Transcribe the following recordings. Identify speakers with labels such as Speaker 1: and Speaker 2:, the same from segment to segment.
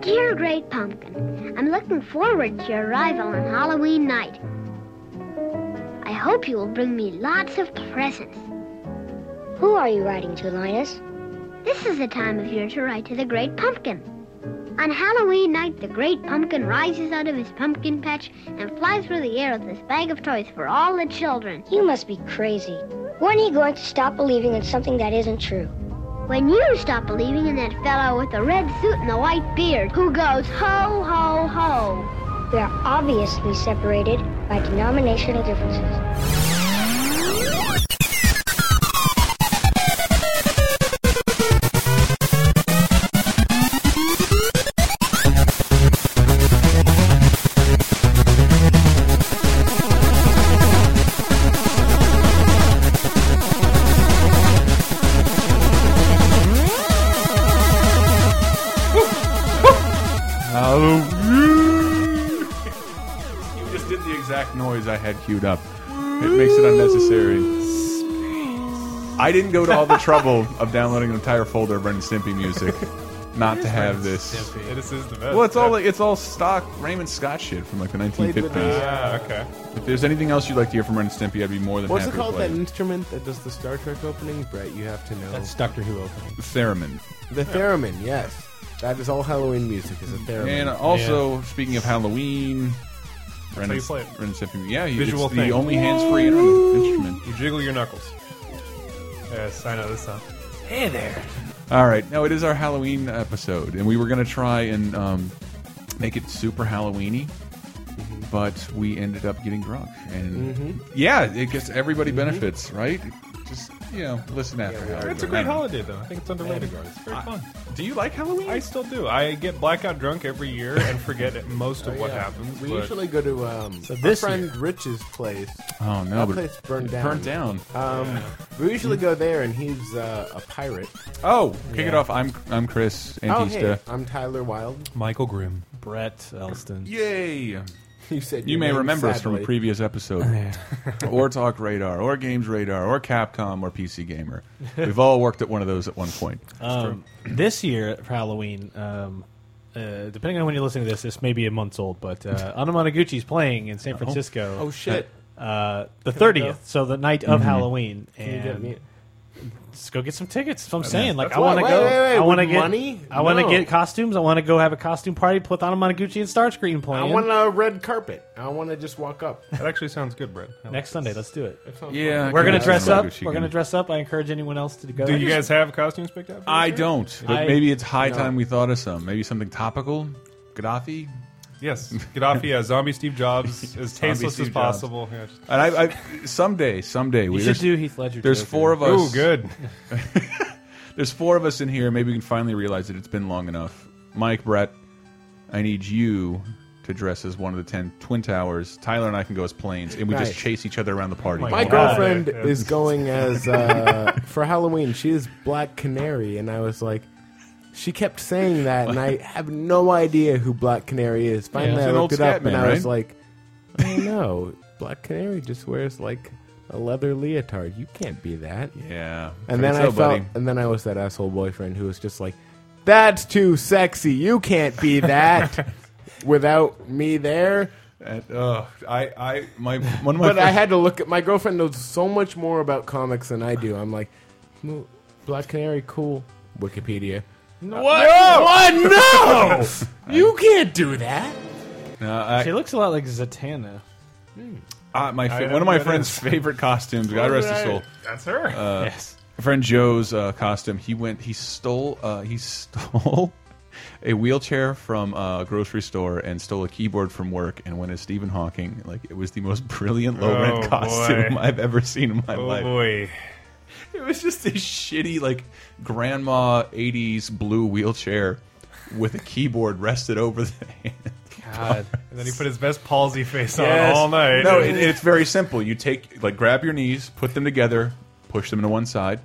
Speaker 1: Dear Great Pumpkin, I'm looking forward to your arrival on Halloween night. I hope you will bring me lots of presents.
Speaker 2: Who are you writing to, Linus?
Speaker 1: This is the time of year to write to the Great Pumpkin. On Halloween night, the Great Pumpkin rises out of his pumpkin patch and flies through the air with this bag of toys for all the children.
Speaker 2: You must be crazy. When are you going to stop believing in something that isn't true?
Speaker 1: When you stop believing in that fellow with the red suit and the white beard who goes ho, ho, ho.
Speaker 2: We are obviously separated by denominational differences.
Speaker 3: Halloween.
Speaker 4: You just did the exact noise I had queued up. It makes it unnecessary. I didn't go to all the trouble of downloading an entire folder of Ren and Stimpy music not to have this.
Speaker 3: Stimpy. This is the best.
Speaker 4: Well, it's all like, it's all stock Raymond Scott shit from like the
Speaker 5: Played with uh,
Speaker 4: 1950s.
Speaker 3: Ah, okay.
Speaker 4: If there's anything else you'd like to hear from Ren and Stimpy, I'd be more than
Speaker 5: What's it
Speaker 4: happy
Speaker 5: called?
Speaker 4: to play.
Speaker 5: That instrument that does the Star Trek opening, Brett. You have to know.
Speaker 6: That's Doctor Who opening.
Speaker 4: Theremin.
Speaker 5: the theremin. Yes, that is all Halloween music. Is a theremin.
Speaker 4: And also, speaking of Halloween, Ren
Speaker 3: how
Speaker 4: and
Speaker 3: you play it.
Speaker 4: Ren and Stimpy. Yeah, you-
Speaker 3: Visual
Speaker 4: it's
Speaker 3: thing.
Speaker 4: the only hands-free instrument.
Speaker 3: You jiggle your knuckles. Yes, I know this song.
Speaker 4: All right, now it is our Halloween episode, and we were gonna try and um, make it super Halloweeny,
Speaker 5: Mm-hmm.
Speaker 4: but we ended up getting drunk, and yeah, it gets everybody
Speaker 5: Mm-hmm.
Speaker 4: benefits, right? Just you know, listen after. Halloween.
Speaker 3: It's a great holiday, though. I think it's underrated. It's very fun.
Speaker 4: Do you like Halloween?
Speaker 3: I still do. I get blackout drunk every year and forget most of what
Speaker 5: Oh, Yeah.
Speaker 3: happens.
Speaker 5: We
Speaker 3: but-
Speaker 5: usually go to um,
Speaker 6: So
Speaker 5: our
Speaker 6: this
Speaker 5: friend Rich's place.
Speaker 4: oh no,
Speaker 5: That
Speaker 4: but
Speaker 5: place burned
Speaker 4: it
Speaker 5: down.
Speaker 4: Burned down.
Speaker 5: Um, We usually go there, and he's uh, a pirate.
Speaker 4: Oh, kick it off. I'm I'm Chris
Speaker 5: Oh,
Speaker 4: Antista.
Speaker 5: hey, I'm Tyler Wilde.
Speaker 3: Michael Grimm.
Speaker 6: Brett Elston.
Speaker 4: Yay!
Speaker 5: You said
Speaker 4: You
Speaker 5: your
Speaker 4: may
Speaker 5: name
Speaker 4: remember us from a
Speaker 5: sadly.
Speaker 4: previous episode, or Talk Radar, or Games Radar, or Capcom, or PC Gamer. We've all worked at one of those at one point.
Speaker 6: Um, this year for Halloween, um, uh, depending on when you're listening to this, this may be a month old, but uh, Anamanaguchi's playing in San Francisco.
Speaker 5: Oh shit!
Speaker 6: Uh, the thirtieth, so the night of Halloween,
Speaker 5: Mm-hmm. you get
Speaker 6: and
Speaker 5: me-
Speaker 6: let's go get some tickets. That's what I'm saying. Like
Speaker 5: That's
Speaker 6: I want to
Speaker 5: why-
Speaker 6: go.
Speaker 5: wait, wait, wait,
Speaker 6: I want to
Speaker 5: with
Speaker 6: get
Speaker 5: money?
Speaker 6: I want to
Speaker 5: No.
Speaker 6: get costumes. I want to go have a costume party with Anamanaguchi and Starscream
Speaker 5: I
Speaker 6: playing.
Speaker 5: want a red carpet. I want to just walk up.
Speaker 3: That actually sounds good, Brett. I like
Speaker 6: Next
Speaker 3: it.
Speaker 6: Sunday, let's do it.
Speaker 4: Yeah,
Speaker 6: We're gonna
Speaker 4: Capcom,
Speaker 6: dress up.
Speaker 4: Anamanaguchi
Speaker 6: We're gonna
Speaker 4: can-
Speaker 6: dress up. I encourage anyone else to go.
Speaker 3: Do you guys have costumes picked out? for
Speaker 6: Uh,
Speaker 4: I
Speaker 3: this year?
Speaker 4: don't. But
Speaker 6: I-
Speaker 4: maybe it's high time we thought of some. Maybe something topical. Gaddafi.
Speaker 3: Yes. Gaddafi as zombie Steve Jobs, as tasteless
Speaker 4: Steve
Speaker 3: as possible. Yeah, just-
Speaker 4: And I, I someday, someday we
Speaker 6: You should
Speaker 4: there's,
Speaker 6: do Heath Ledger.
Speaker 4: there's
Speaker 6: Joker.
Speaker 4: four of us.
Speaker 3: Ooh, good.
Speaker 4: There's four of us in here. Maybe we can finally realize that it's been long enough. Mike, Brett, I need you to dress as one of the ten twin towers. Tyler and I can go as planes, and we just
Speaker 5: Nice.
Speaker 4: chase each other around the party.
Speaker 5: My
Speaker 3: Wow.
Speaker 5: girlfriend
Speaker 3: Yeah.
Speaker 5: is going as uh, for Halloween. She is Black Canary, and I was like, she kept saying that, and I have no idea who Black Canary is. Finally,
Speaker 4: He's
Speaker 5: I
Speaker 4: an
Speaker 5: looked
Speaker 4: old
Speaker 5: it up,
Speaker 4: Scatman,
Speaker 5: and I was
Speaker 4: right?
Speaker 5: like, oh no, Black Canary just wears like a leather leotard. You can't be that.
Speaker 4: Yeah.
Speaker 5: And then
Speaker 4: so,
Speaker 5: I felt,
Speaker 4: buddy.
Speaker 5: and then I was that asshole boyfriend who was just like, that's too sexy. You can't be that without me there.
Speaker 4: And, ugh, I, I, my one of my
Speaker 5: But I
Speaker 4: first-
Speaker 5: had to look at my girlfriend knows so much more about comics than I do. I'm like, "Mo- Black Canary, cool. Wikipedia. What? No! What? No! you can't do that.
Speaker 4: No, uh, I-
Speaker 6: She looks a lot like Zatanna.
Speaker 4: ah, my fa-
Speaker 3: I know
Speaker 4: one of my
Speaker 3: who that
Speaker 4: friend's
Speaker 3: is.
Speaker 4: favorite costumes. God rest his soul. Uh,
Speaker 3: That's her.
Speaker 6: yes.
Speaker 4: friend Joe's uh, costume. He went. He stole. Uh, he stole a wheelchair from a grocery store and stole a keyboard from work and went as Stephen Hawking. Like it was the most brilliant low
Speaker 3: Oh,
Speaker 4: rent
Speaker 3: boy.
Speaker 4: costume I've ever seen in my
Speaker 3: oh,
Speaker 4: life.
Speaker 3: boy.
Speaker 4: It was just this shitty like grandma '80s blue wheelchair with a keyboard rested over the hand.
Speaker 6: God.
Speaker 3: And then he put his best palsy face
Speaker 4: Yes.
Speaker 3: on all night.
Speaker 4: No, it, it's very simple. You take like grab your knees, put them together, push them to one side,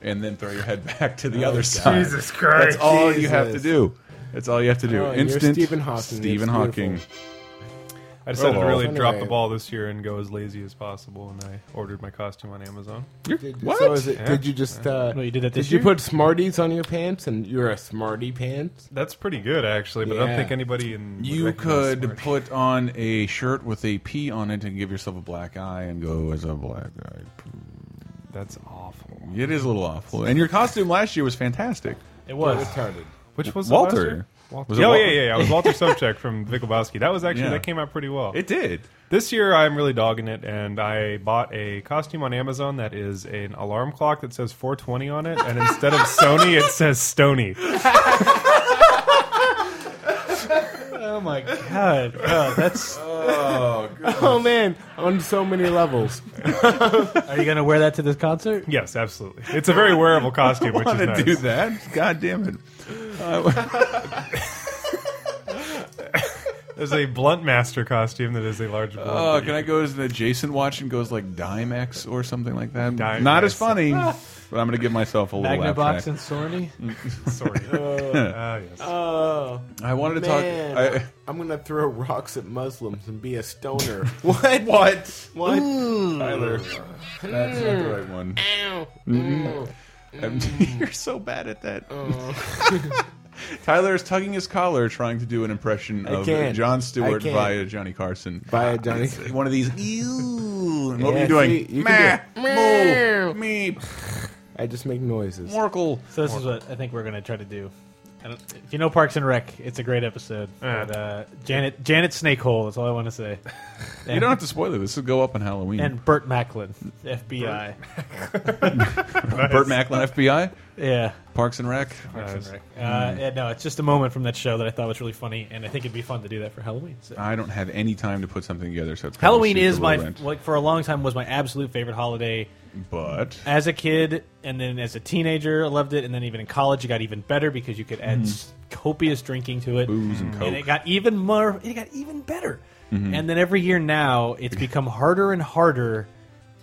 Speaker 4: and then throw your head back to
Speaker 3: Oh,
Speaker 4: the other side.
Speaker 3: Jesus Christ.
Speaker 4: That's all you have to
Speaker 5: Jesus.
Speaker 4: do. That's all you have to do.
Speaker 5: Oh, and you're
Speaker 4: Instant
Speaker 5: Stephen Hawking.
Speaker 4: Stephen
Speaker 5: That's
Speaker 4: Hawking.
Speaker 5: beautiful.
Speaker 3: I decided
Speaker 4: Oh,
Speaker 3: to
Speaker 4: well.
Speaker 3: really drop
Speaker 5: Anyway.
Speaker 3: the ball this year and go as lazy as possible, and I ordered my costume on Amazon.
Speaker 5: Did,
Speaker 4: What?
Speaker 5: So is it,
Speaker 3: Yeah.
Speaker 5: did you just? Uh,
Speaker 6: Well, you did that this
Speaker 5: you
Speaker 6: year?
Speaker 5: put Smarties on your pants, and you're a Smarty pants?
Speaker 3: That's pretty good, actually, but I
Speaker 5: Yeah.
Speaker 3: don't think anybody in would
Speaker 4: You
Speaker 3: recognize
Speaker 4: could
Speaker 3: Smart.
Speaker 4: put on a shirt with a P on it and give yourself a black eye and go as a black guy.
Speaker 3: That's awful.
Speaker 4: It is a little awful. And your costume last year was fantastic.
Speaker 6: It was.
Speaker 5: Retarded.
Speaker 3: Which was it last
Speaker 4: Walter.
Speaker 3: year?
Speaker 4: Was it
Speaker 3: oh
Speaker 4: Wal-
Speaker 3: yeah, yeah, yeah. I was Walter Sobchak from Vikolbowski. That was actually
Speaker 4: Yeah.
Speaker 3: that came out pretty well.
Speaker 4: It did.
Speaker 3: This year, I'm really dogging it, and I bought a costume on Amazon that is an alarm clock that says 420 on it, and instead of Sony, it says Stony.
Speaker 6: Oh my god, bro, that's.
Speaker 5: Oh man, on so many levels.
Speaker 6: Are you gonna wear that to this concert?
Speaker 3: Yes, absolutely. It's a very wearable costume, which is
Speaker 4: want to
Speaker 3: nice.
Speaker 4: do that? God damn it!
Speaker 3: There's a blunt master costume that is a large blunt.
Speaker 4: Oh,
Speaker 3: that you
Speaker 4: can I go as an adjacent watch and goes like Dimex or something like that?
Speaker 3: Dimex.
Speaker 4: Not as funny, but I'm going to give myself a little
Speaker 6: Magna
Speaker 4: laugh
Speaker 6: Box
Speaker 4: track.
Speaker 6: and Sorny?
Speaker 3: can sort of- Ah, yes.
Speaker 5: Oh
Speaker 4: I wanted to
Speaker 5: man,
Speaker 4: talk. I,
Speaker 5: I'm gonna throw rocks at Muslims and be a stoner. what? What? What?
Speaker 4: Tyler, that's not the right one.
Speaker 5: Mm.
Speaker 4: Um, You're so bad at that.
Speaker 5: Oh.
Speaker 4: Tyler is tugging his collar, trying to do an impression of
Speaker 5: can.
Speaker 4: John
Speaker 5: I
Speaker 4: Stewart
Speaker 5: can.
Speaker 4: via Johnny Carson. Ah,
Speaker 5: Via Johnny-
Speaker 4: It's one of these. Ew. And what
Speaker 5: Yeah,
Speaker 4: were you
Speaker 5: see,
Speaker 4: doing?
Speaker 5: you
Speaker 4: Meh,
Speaker 5: can
Speaker 4: moo, me,
Speaker 5: I just make noises.
Speaker 4: morkel.
Speaker 6: So this is what I think we're gonna try to do. I don't, if you know Parks and Rec, it's a great episode.
Speaker 3: Yeah.
Speaker 6: But, uh, Janet Janet Snakehole. That's all I want to say.
Speaker 4: You don't have to spoil it. This will go up on Halloween.
Speaker 6: And Burt Macklin, FBI.
Speaker 4: Burt Macklin, FBI,
Speaker 6: Yeah.
Speaker 4: Parks and Rec.
Speaker 3: Nice.
Speaker 6: Uh,
Speaker 4: Hmm.
Speaker 6: yeah, no, it's just a moment from that show that I thought was really funny, and I think it'd be fun to do that for Halloween. So.
Speaker 4: I don't have any time to put something together, so it's probably
Speaker 6: Halloween
Speaker 4: super
Speaker 6: is my
Speaker 4: low rent.
Speaker 6: like for a long time was my absolute favorite holiday.
Speaker 4: But
Speaker 6: As a kid, and then as a teenager, I loved it, and then even in college, it got even better because you could add s copious drinking to it,
Speaker 4: Hmm. Booze and Coke. Mm-hmm.
Speaker 6: it got even more. It got even better, and then every year now, it's become harder and harder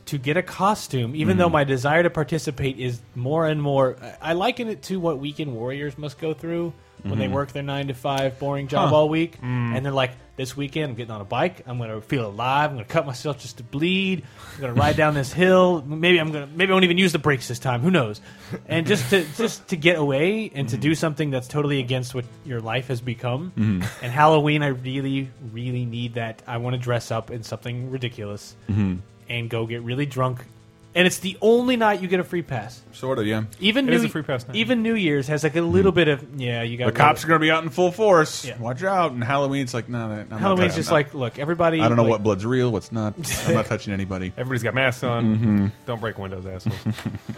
Speaker 6: to get a costume. Even
Speaker 4: Mm-hmm.
Speaker 6: though my desire to participate is more and more, I- I liken it to what weekend warriors must go through. When
Speaker 3: Mm-hmm.
Speaker 6: they work their nine to five boring job
Speaker 4: Huh.
Speaker 6: all week,
Speaker 3: Mm.
Speaker 6: and they're like, "This weekend, I'm getting on a bike. I'm going to feel alive. I'm going to cut myself just to bleed. I'm going to ride down this hill. Maybe I'm going to. Maybe I won't even use the brakes this time. Who knows?" And just to just to get away and to do
Speaker 3: Mm-hmm.
Speaker 6: something that's totally against what your life has become.
Speaker 3: Mm-hmm.
Speaker 6: And Halloween, I really, really need that. I want to dress up in something ridiculous
Speaker 3: Mm-hmm.
Speaker 6: and go get really drunk. And it's the only night you get a free pass.
Speaker 4: sort of, yeah.
Speaker 6: Even
Speaker 3: It
Speaker 6: New
Speaker 3: is a free pass night. Mm-hmm.
Speaker 6: Even New Year's has like a little bit of yeah. You got
Speaker 4: The cops are going to be out in full force.
Speaker 6: Yeah.
Speaker 4: Watch out. And Halloween's like, no, nah, nah,
Speaker 6: Halloween's just like look, everybody.
Speaker 4: I don't know
Speaker 6: like,
Speaker 4: what blood's real, what's not. I'm not touching anybody.
Speaker 3: Everybody's got masks on.
Speaker 4: Mm-hmm.
Speaker 3: Don't break windows, assholes.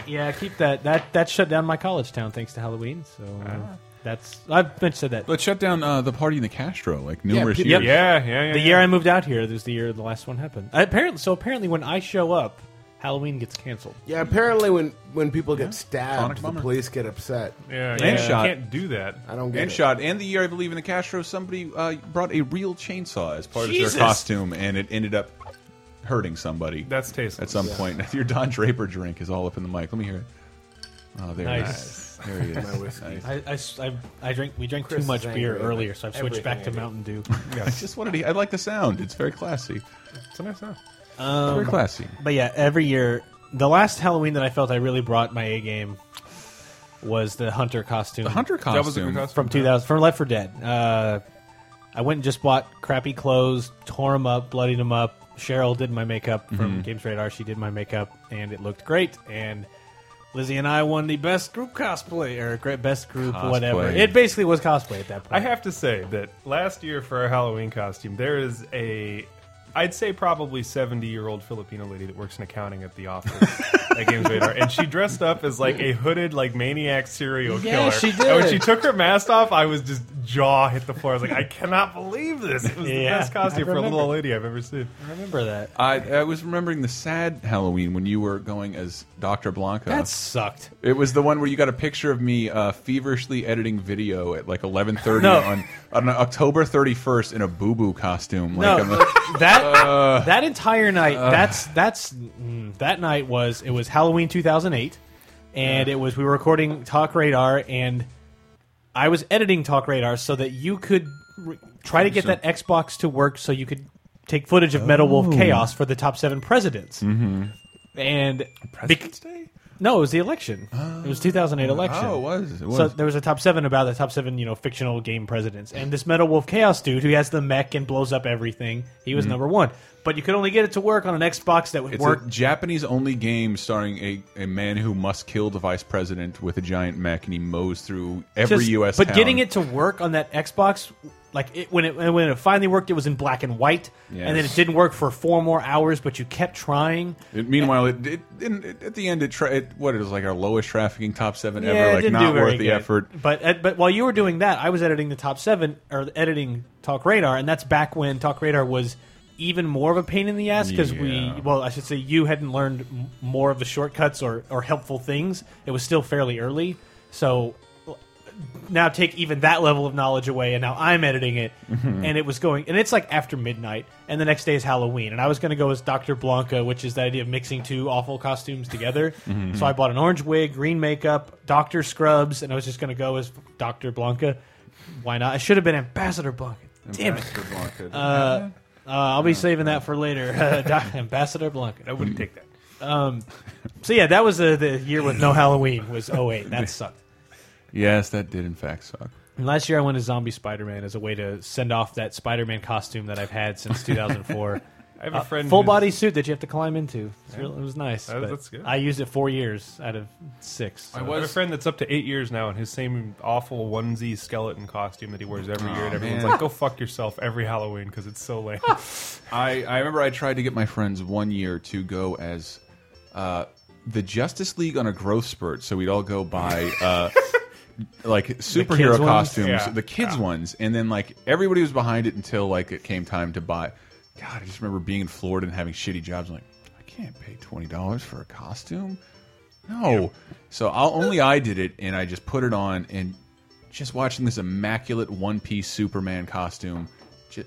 Speaker 6: Yeah, keep that. That that shut down my college town thanks to Halloween. So uh, that's I've been said that.
Speaker 4: Let's shut down uh, the party in the Castro like numerous
Speaker 5: pe-
Speaker 4: years.
Speaker 6: yep.
Speaker 3: yeah, yeah, yeah.
Speaker 6: the
Speaker 3: yeah.
Speaker 6: year I moved out here, there's the year the last one happened. I, apparently, so apparently when I show up, Halloween gets canceled.
Speaker 5: Yeah, apparently when when people get
Speaker 4: Chronic
Speaker 5: stabbed, the
Speaker 4: bummer.
Speaker 5: police get upset.
Speaker 3: yeah,
Speaker 4: And
Speaker 3: yeah.
Speaker 4: shot.
Speaker 3: You can't do that.
Speaker 5: I don't get
Speaker 4: And
Speaker 5: it.
Speaker 4: shot. And the year I believe in the Castro, somebody uh, brought a real chainsaw as part
Speaker 6: Jesus.
Speaker 4: of their costume, and it ended up hurting somebody.
Speaker 3: That's tasteless.
Speaker 4: at some point. Your Don Draper drink is all up in the mic. Let me hear it. Oh, there
Speaker 6: Nice.
Speaker 4: it is. There he is.
Speaker 5: My whiskey.
Speaker 4: Nice.
Speaker 6: I, I s- I- I drank we drank
Speaker 5: Chris
Speaker 6: too much
Speaker 5: is
Speaker 6: beer
Speaker 5: angry.
Speaker 6: earlier, so I've switched back to
Speaker 5: Everything I
Speaker 6: Mountain Dew.
Speaker 4: I just wanted to. I like the sound. It's very classy.
Speaker 3: It's a nice sound.
Speaker 4: very classy.
Speaker 6: But yeah, every year, the last Halloween that I felt I really brought my A game was the hunter costume.
Speaker 4: The hunter costume.
Speaker 3: That was a good costume.
Speaker 6: from 2000 from Left 4 Dead. Uh, I went and just bought crappy clothes, tore them up, bloodied them up. Cheryl did my makeup from Games Radar. She did my makeup, and it looked great. And Lizzie and I won the best group cosplay or gre- best group whatever.
Speaker 4: Cosplay.
Speaker 6: It basically was cosplay at that point.
Speaker 3: I have to say that last year for our Halloween costume, there is a, I'd say probably 70 year old Filipino lady that works in accounting at the office at Games Radar. And she dressed up as like a hooded, like maniac serial
Speaker 6: Yeah,
Speaker 3: killer.
Speaker 6: she
Speaker 3: And when
Speaker 6: did.
Speaker 3: she took her mask off, I was just jaw hit the floor. I was like, I cannot believe this. It was the
Speaker 6: Yeah,
Speaker 3: best
Speaker 6: I
Speaker 3: costume for a
Speaker 6: remember.
Speaker 3: little old lady I've ever seen.
Speaker 6: I remember that.
Speaker 4: I, I was remembering the sad Halloween when you were going as Dr. Blanca.
Speaker 6: That sucked.
Speaker 4: it was the one where you got a picture of me uh, feverishly editing video at like 11:30
Speaker 6: No.
Speaker 4: on on October 31st in a boo boo costume. Like
Speaker 6: No,
Speaker 4: I'm a,
Speaker 6: that
Speaker 4: Uh,
Speaker 6: that entire night. that's that's mm, that night was it was Halloween 2008, and it was we were recording Talk Radar, and I was editing Talk Radar so that you could r try to get that Xbox to work so you could take footage of Metal
Speaker 4: Oh.
Speaker 6: Wolf Chaos for the top seven presidents. Mm-hmm. And
Speaker 4: President's Day?
Speaker 6: no, it was the election. it was 2008 election.
Speaker 4: Oh, it was. It was.
Speaker 6: So there was a top seven about the top seven, you know, fictional game presidents, and this Metal Wolf Chaos dude who has the mech and blows up everything. He was number one, but you could only get it to work on an Xbox that would
Speaker 4: Mm-hmm. it's
Speaker 6: work.
Speaker 4: a Japanese only game starring a, a man who must kill the vice president with a giant mech and he mows through every
Speaker 6: Just-
Speaker 4: U.S.
Speaker 6: But
Speaker 4: town.
Speaker 6: getting it to work on that Xbox, like it, when it when it finally worked, it was in black and white, and then it
Speaker 4: Yes.
Speaker 6: didn't work for four more hours. But you kept trying.
Speaker 4: It- meanwhile, it, it, in- it- at the end, it, tra it what it was like our lowest trafficking top seven
Speaker 6: Yeah, it
Speaker 4: ever, like
Speaker 6: didn't do
Speaker 4: not
Speaker 6: very
Speaker 4: worth the
Speaker 6: good.
Speaker 4: effort.
Speaker 6: But uh, but while you were doing that, I was editing the top seven or editing Talk Radar, and that's back when Talk Radar was even more of a pain in the ass because
Speaker 4: Yeah.
Speaker 6: we well I should say you hadn't learned m- more of the shortcuts or or helpful things. It was still fairly early, so now take even that level of knowledge away and now i'm editing it and it was going and it's like after midnight and the next day is halloween and i was going to go as dr blanca which is the idea of mixing two awful costumes together so i bought an orange wig green makeup dr scrubs and i was just going to go as dr blanca why not i should have been ambassador blanca damn it
Speaker 4: Ambassador Blanca.
Speaker 6: uh, i'll be saving that for later Doc- ambassador
Speaker 3: I
Speaker 6: blanca
Speaker 3: wouldn't take that.
Speaker 6: Um, so yeah that was the, the year with no halloween was 08 that sucked
Speaker 4: yes, that did in fact suck.
Speaker 6: And last year I went as Zombie Spider Man as a way to send off that Spider Man costume that I've had since 2004.
Speaker 3: I have a friend
Speaker 6: Uh, Full
Speaker 3: who's-
Speaker 6: body suit that you have to climb into. It's real- it was nice.
Speaker 3: That-
Speaker 6: but
Speaker 3: that's good.
Speaker 6: I used it four years out of six. so-
Speaker 3: I have a friend that's up to eight years now in his same awful onesie skeleton costume that he wears every
Speaker 6: Oh,
Speaker 3: year, and everyone's
Speaker 4: man.
Speaker 3: like, "Go fuck yourself!" Every Halloween because it's so lame.
Speaker 4: I, I remember I tried to get my friends one year to go as uh, the Justice League on a growth spurt, so we'd all go buy uh, like superhero
Speaker 6: ones?
Speaker 4: costumes,
Speaker 3: Yeah.
Speaker 4: the kids ones, and then like everybody was behind it until like it came time to buy. God, I just remember being in Florida and having shitty jobs. I'm like, I can't pay twenty dollars for a costume. No, so I'll, only I did it, and I just put it on and just watching this immaculate one-piece Superman costume. Just,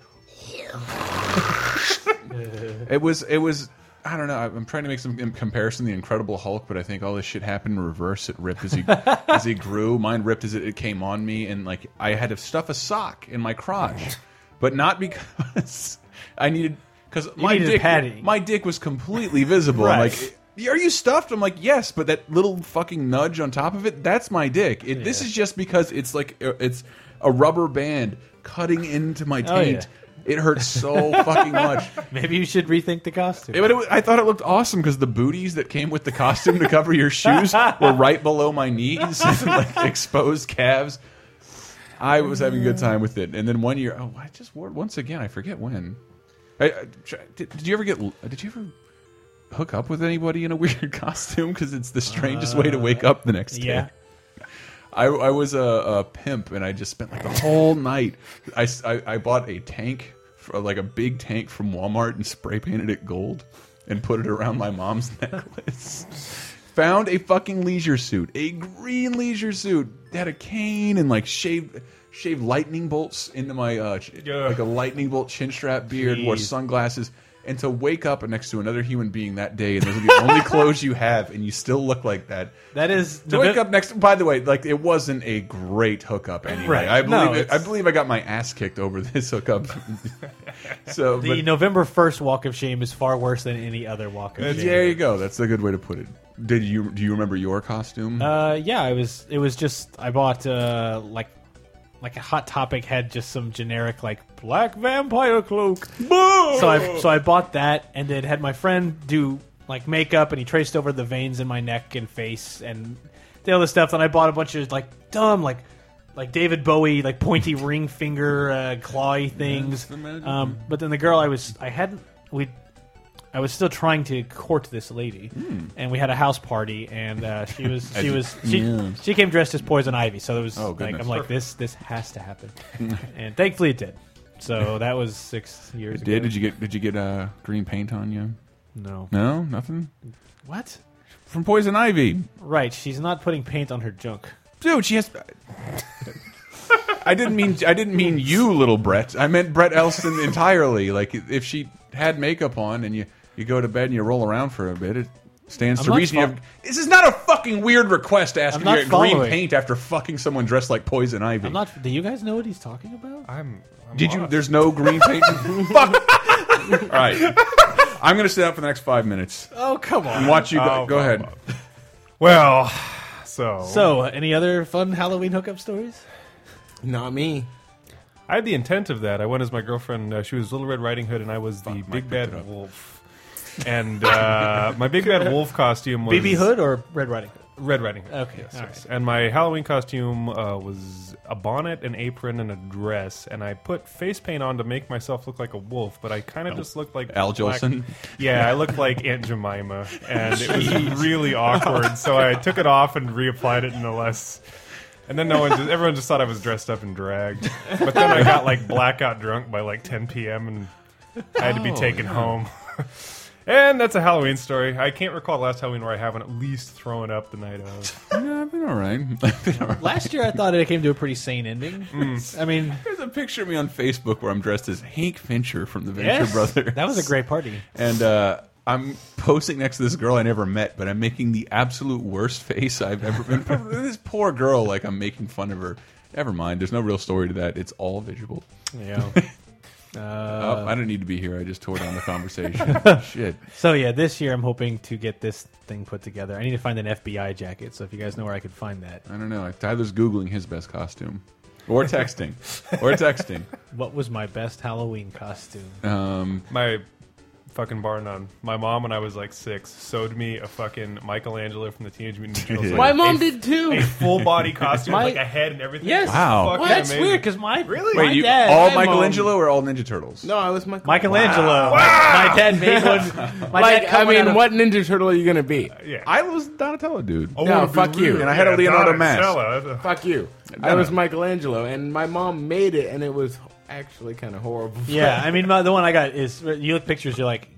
Speaker 4: it was it was I don't know. I'm trying to make some comparison to the Incredible Hulk, but I think all this shit happened in reverse. It ripped as he as he grew. Mine ripped as it, it came on me, and like I had to stuff a sock in my crotch, but not because I needed because my
Speaker 6: needed
Speaker 4: dick
Speaker 6: padding.
Speaker 4: my dick was completely visible. I'm
Speaker 6: Right.
Speaker 4: like, are you stuffed? I'm like, yes, but that little fucking nudge on top of it, that's my dick. It, This is just because it's like uh, it's a rubber band cutting into my
Speaker 6: Oh, yeah.
Speaker 4: taint. It hurts so fucking much.
Speaker 6: Maybe you should rethink the costume.
Speaker 4: Yeah, but it was, I thought it looked awesome because the booties that came with the costume to cover your shoes were right below my knees, and, like exposed calves. I was having a good time with it, and then one year, oh, I just wore it once again. I forget when. I, I- tr- did, did you ever get? Did you ever hook up with anybody in a weird costume? Because it's the strangest way to wake up the next day.
Speaker 6: yeah.
Speaker 4: I, I was a, a pimp and I just spent like the whole night. I, s- I- I bought a tank, for, like a big tank from Walmart and spray painted it gold and put it around my mom's necklace. Found a fucking leisure suit, a green leisure suit. Had a cane and like shaved shaved lightning bolts into my uh, ch-
Speaker 3: Ugh.
Speaker 4: like a lightning bolt chin strap beard. Wore
Speaker 6: Jeez.
Speaker 4: sunglasses. And to wake up next to another human being that day, and those are the only clothes you have, and you still look like that.
Speaker 6: That is
Speaker 4: To wake up next. By the way, like it wasn't a great hookup anyway.
Speaker 6: Right.
Speaker 4: I
Speaker 6: No,
Speaker 4: believe it, I
Speaker 6: it's-
Speaker 4: believe I got my ass kicked over this hookup. so
Speaker 6: The
Speaker 4: but,
Speaker 6: November 1st walk of shame is far worse than any other walk of shame.
Speaker 4: there you go. That's a good way to put it. Did you do you remember your costume?
Speaker 6: Uh, yeah, it was. It was just I bought uh, like like a Hot Topic had just some generic like black vampire cloak. So I so I bought that and then had my friend do like makeup and he traced over the veins in my neck and face and the other stuff. Then I bought a bunch of like dumb like like David Bowie like pointy ring finger uh, clawy things.
Speaker 4: the magic.
Speaker 6: Um, but then the girl I was I hadn't we I was still trying to court this lady,
Speaker 4: Hmm.
Speaker 6: and we had a house party, and uh, she was she was she,
Speaker 4: Yeah.
Speaker 6: she came dressed as Poison Ivy, so it was
Speaker 4: Oh,
Speaker 6: like
Speaker 4: goodness.
Speaker 6: I'm like this this has to happen, and thankfully it did. So that was six years.
Speaker 4: did
Speaker 6: ago.
Speaker 4: did you get did you get uh, green paint on you?
Speaker 6: No.
Speaker 4: No, nothing
Speaker 6: What?
Speaker 4: from Poison Ivy.
Speaker 6: Right. She's not putting paint on her junk.
Speaker 4: Dude, she has. I didn't mean I didn't mean you, little Brett. I meant Brett Elston entirely. Like if she had makeup on and you you go to bed and you roll around for a bit, it stands
Speaker 6: I'm
Speaker 4: to
Speaker 6: not
Speaker 4: reason. You
Speaker 6: fo-
Speaker 4: have, this is not a fucking weird request to ask
Speaker 6: I'm
Speaker 4: if you
Speaker 6: not
Speaker 4: get green
Speaker 6: following.
Speaker 4: paint after fucking someone dressed like Poison Ivy.
Speaker 6: I'm not. Do you guys know what he's talking about?
Speaker 3: I'm, I'm
Speaker 4: Did you?
Speaker 3: lost.
Speaker 4: There's no green paint. Fuck. All right. I'm going to sit out for the next five minutes
Speaker 6: Oh come on.
Speaker 4: and watch you go.
Speaker 3: Oh,
Speaker 4: go
Speaker 3: come
Speaker 4: ahead.
Speaker 3: on. Well, so
Speaker 6: So, uh, any other fun Halloween hookup stories?
Speaker 5: Not me.
Speaker 3: I had the intent of that. I went as my girlfriend. Uh, she was Little Red Riding Hood, and I was the big
Speaker 4: it up.
Speaker 3: bad wolf. And uh, my big bad wolf costume was
Speaker 6: BB Hood or Red Riding Hood?
Speaker 3: Red Riding Hood.
Speaker 6: Okay,
Speaker 3: yes,
Speaker 6: all
Speaker 3: yes. And my Halloween costume uh, was a bonnet, an apron, and a dress. And I put face paint on to make myself look like a wolf, but I kind of just looked like
Speaker 4: Oh. Al
Speaker 3: black-
Speaker 4: Jolson?
Speaker 3: Yeah, I looked like Aunt Jemima, and it was really awkward. So I took it off and reapplied it in a less. And then no one, just, everyone just thought I was dressed up and dragged. But then I got like blackout drunk by like 10 p.m. and I had to be
Speaker 4: Oh,
Speaker 3: taken home. and that's a Halloween story. I can't recall the last Halloween where I haven't at least thrown up the night of.
Speaker 4: Yeah, I've been all right. I've been all right.
Speaker 6: Last year, I thought it came to a pretty sane ending.
Speaker 3: Mm.
Speaker 6: I mean,
Speaker 4: There's a picture of me on Facebook where I'm dressed as Hank Fincher from the Venture
Speaker 6: yes,
Speaker 4: Brothers.
Speaker 6: that was a great party.
Speaker 4: And uh, I'm posing next to this girl I never met, but I'm making the absolute worst face I've ever been. this poor girl, like I'm making fun of her. Never mind. There's no real story to that. It's all visual.
Speaker 6: Yeah. Uh,
Speaker 4: oh, I don't need to be here. I just tore down the conversation. Shit.
Speaker 6: So yeah, this year I'm hoping to get this thing put together. I need to find an FBI jacket. So if you guys know where I could find that,
Speaker 4: I don't know. Tyler's googling his best costume, or texting, or texting.
Speaker 6: what was my best Halloween costume?
Speaker 4: Um,
Speaker 3: My fucking bar none. My mom, when I was like six, sewed me a fucking Michelangelo from the Teenage Mutant Ninja Turtles.
Speaker 5: My
Speaker 3: Like,
Speaker 5: mom
Speaker 3: a-
Speaker 5: did too.
Speaker 3: A full body costume,
Speaker 6: My-
Speaker 3: with, like a head and everything.
Speaker 6: Yes.
Speaker 4: Wow.
Speaker 3: Fucking
Speaker 4: Well,
Speaker 6: that's
Speaker 3: amazing.
Speaker 6: weird because my
Speaker 3: Really?
Speaker 6: my
Speaker 4: wait, you,
Speaker 6: dad,
Speaker 4: all
Speaker 5: my mom-
Speaker 4: Michelangelo or all Ninja Turtles?
Speaker 5: No, I was Michael.
Speaker 6: Michelangelo. My dad made one. My dad
Speaker 5: Like,
Speaker 6: cut
Speaker 5: I
Speaker 6: one out
Speaker 5: mean,
Speaker 6: of-
Speaker 5: what Ninja Turtle are you gonna be?
Speaker 3: Yeah.
Speaker 4: I was Donatello, dude.
Speaker 3: Oh,
Speaker 5: No,
Speaker 3: it'd be
Speaker 5: fuck you.
Speaker 3: rude.
Speaker 5: And
Speaker 4: I had a
Speaker 3: Yeah,
Speaker 4: Leonardo
Speaker 3: Donatello. That's a-
Speaker 5: Fuck you. I was Michelangelo, and my mom made it, and it was actually kind of horrible.
Speaker 6: Yeah, I mean, my, the one I got is you look at pictures. You're like,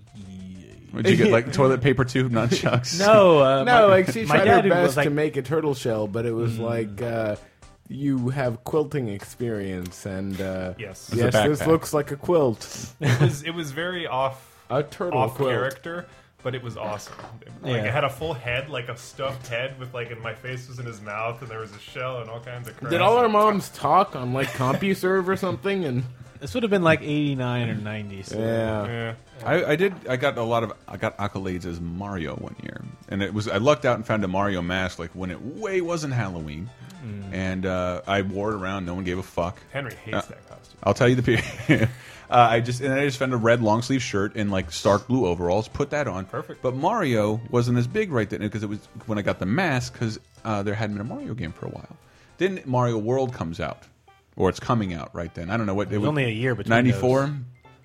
Speaker 4: Would you get like toilet paper tube nunchucks?
Speaker 6: no, uh,
Speaker 5: No,
Speaker 6: my-
Speaker 5: like she
Speaker 6: my
Speaker 5: tried
Speaker 6: dad
Speaker 5: her
Speaker 6: was
Speaker 5: best
Speaker 6: like,
Speaker 5: to make a turtle shell, but it was like uh, you have quilting experience, and uh,
Speaker 3: Yes. It's a
Speaker 5: yes, this
Speaker 4: backpack.
Speaker 5: looks like a quilt,
Speaker 3: It was, it was very off,
Speaker 5: a turtle
Speaker 3: off
Speaker 5: quilt.
Speaker 3: character, but it was awesome. Like
Speaker 6: Yeah.
Speaker 3: I had a full head, like a stuffed head, with like, and my face was in his mouth, and there was a shell and all kinds of. Crap.
Speaker 5: Did all our moms talk on like CompuServe or something? And
Speaker 6: this would have been like '89 or '90. So.
Speaker 5: yeah,
Speaker 3: Yeah.
Speaker 4: I, I did. I got a lot of. I got accolades as Mario one year, and it was. I lucked out and found a Mario mask like when it way wasn't Halloween,
Speaker 5: Hmm.
Speaker 4: and uh, I wore it around. No one gave a fuck.
Speaker 3: Henry hates that costume.
Speaker 4: I'll tell you the. pe- uh, I just and I just found a red long sleeve shirt and like stark blue overalls. Put that on.
Speaker 3: Perfect.
Speaker 4: But Mario wasn't as big right then because it was when I got the mask because uh, there hadn't been a Mario game for a while. Then Mario World comes out, or it's coming out right then. I don't know what. It
Speaker 6: was only a year between
Speaker 4: ninety four.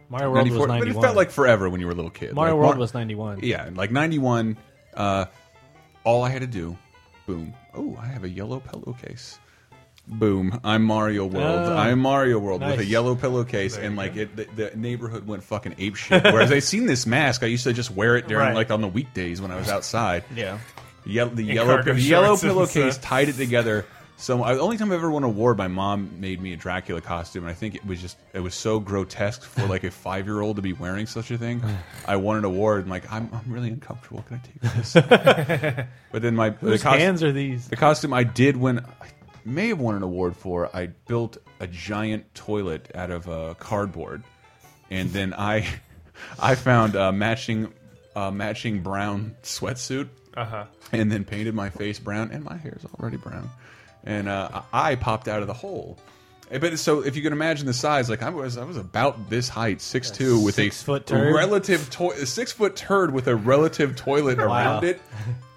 Speaker 6: Mario World
Speaker 4: Ninety four.
Speaker 6: was
Speaker 4: But it
Speaker 6: 91.
Speaker 4: felt like forever when you were a little kid.
Speaker 6: Mario
Speaker 4: Like,
Speaker 6: World
Speaker 4: Mar-
Speaker 6: was 91.
Speaker 4: yeah, and, like 91, uh, all I had to do, boom. Oh, I have a yellow pillowcase. Boom. I'm Mario World.
Speaker 6: Ah.
Speaker 4: I'm Mario World with a
Speaker 6: Nice.
Speaker 4: yellow pillowcase. And like it, the, the neighborhood went fucking ape shit. Whereas I seen this mask, I used to just wear it during
Speaker 6: Right.
Speaker 4: like on the weekdays when I was outside.
Speaker 6: Yeah.
Speaker 4: Ye- the yellow,
Speaker 3: cargo
Speaker 4: the yellow
Speaker 3: shorts and
Speaker 4: pillowcase
Speaker 3: stuff.
Speaker 4: tied it together. So I- the only time I've ever won a award, my mom made me a Dracula costume, and I think it was just it was so grotesque for like a five year old to be wearing such a thing. I won an award, and like I'm I'm really uncomfortable. Can I take this? but then my
Speaker 6: Whose
Speaker 4: the cos-
Speaker 6: hands are these?
Speaker 4: the costume I did win, I may have won an award for. I built a giant toilet out of uh, cardboard, and then I, I found a matching, uh, matching brown sweatsuit,
Speaker 3: Uh-huh.
Speaker 4: and then painted my face brown, and my hair's already brown, and uh, I popped out of the hole. Eh, But so if you can imagine the size, like I was, I was about this height, six two, with a
Speaker 6: six-foot turd?
Speaker 4: relative toi- a six foot turd with a relative toilet around it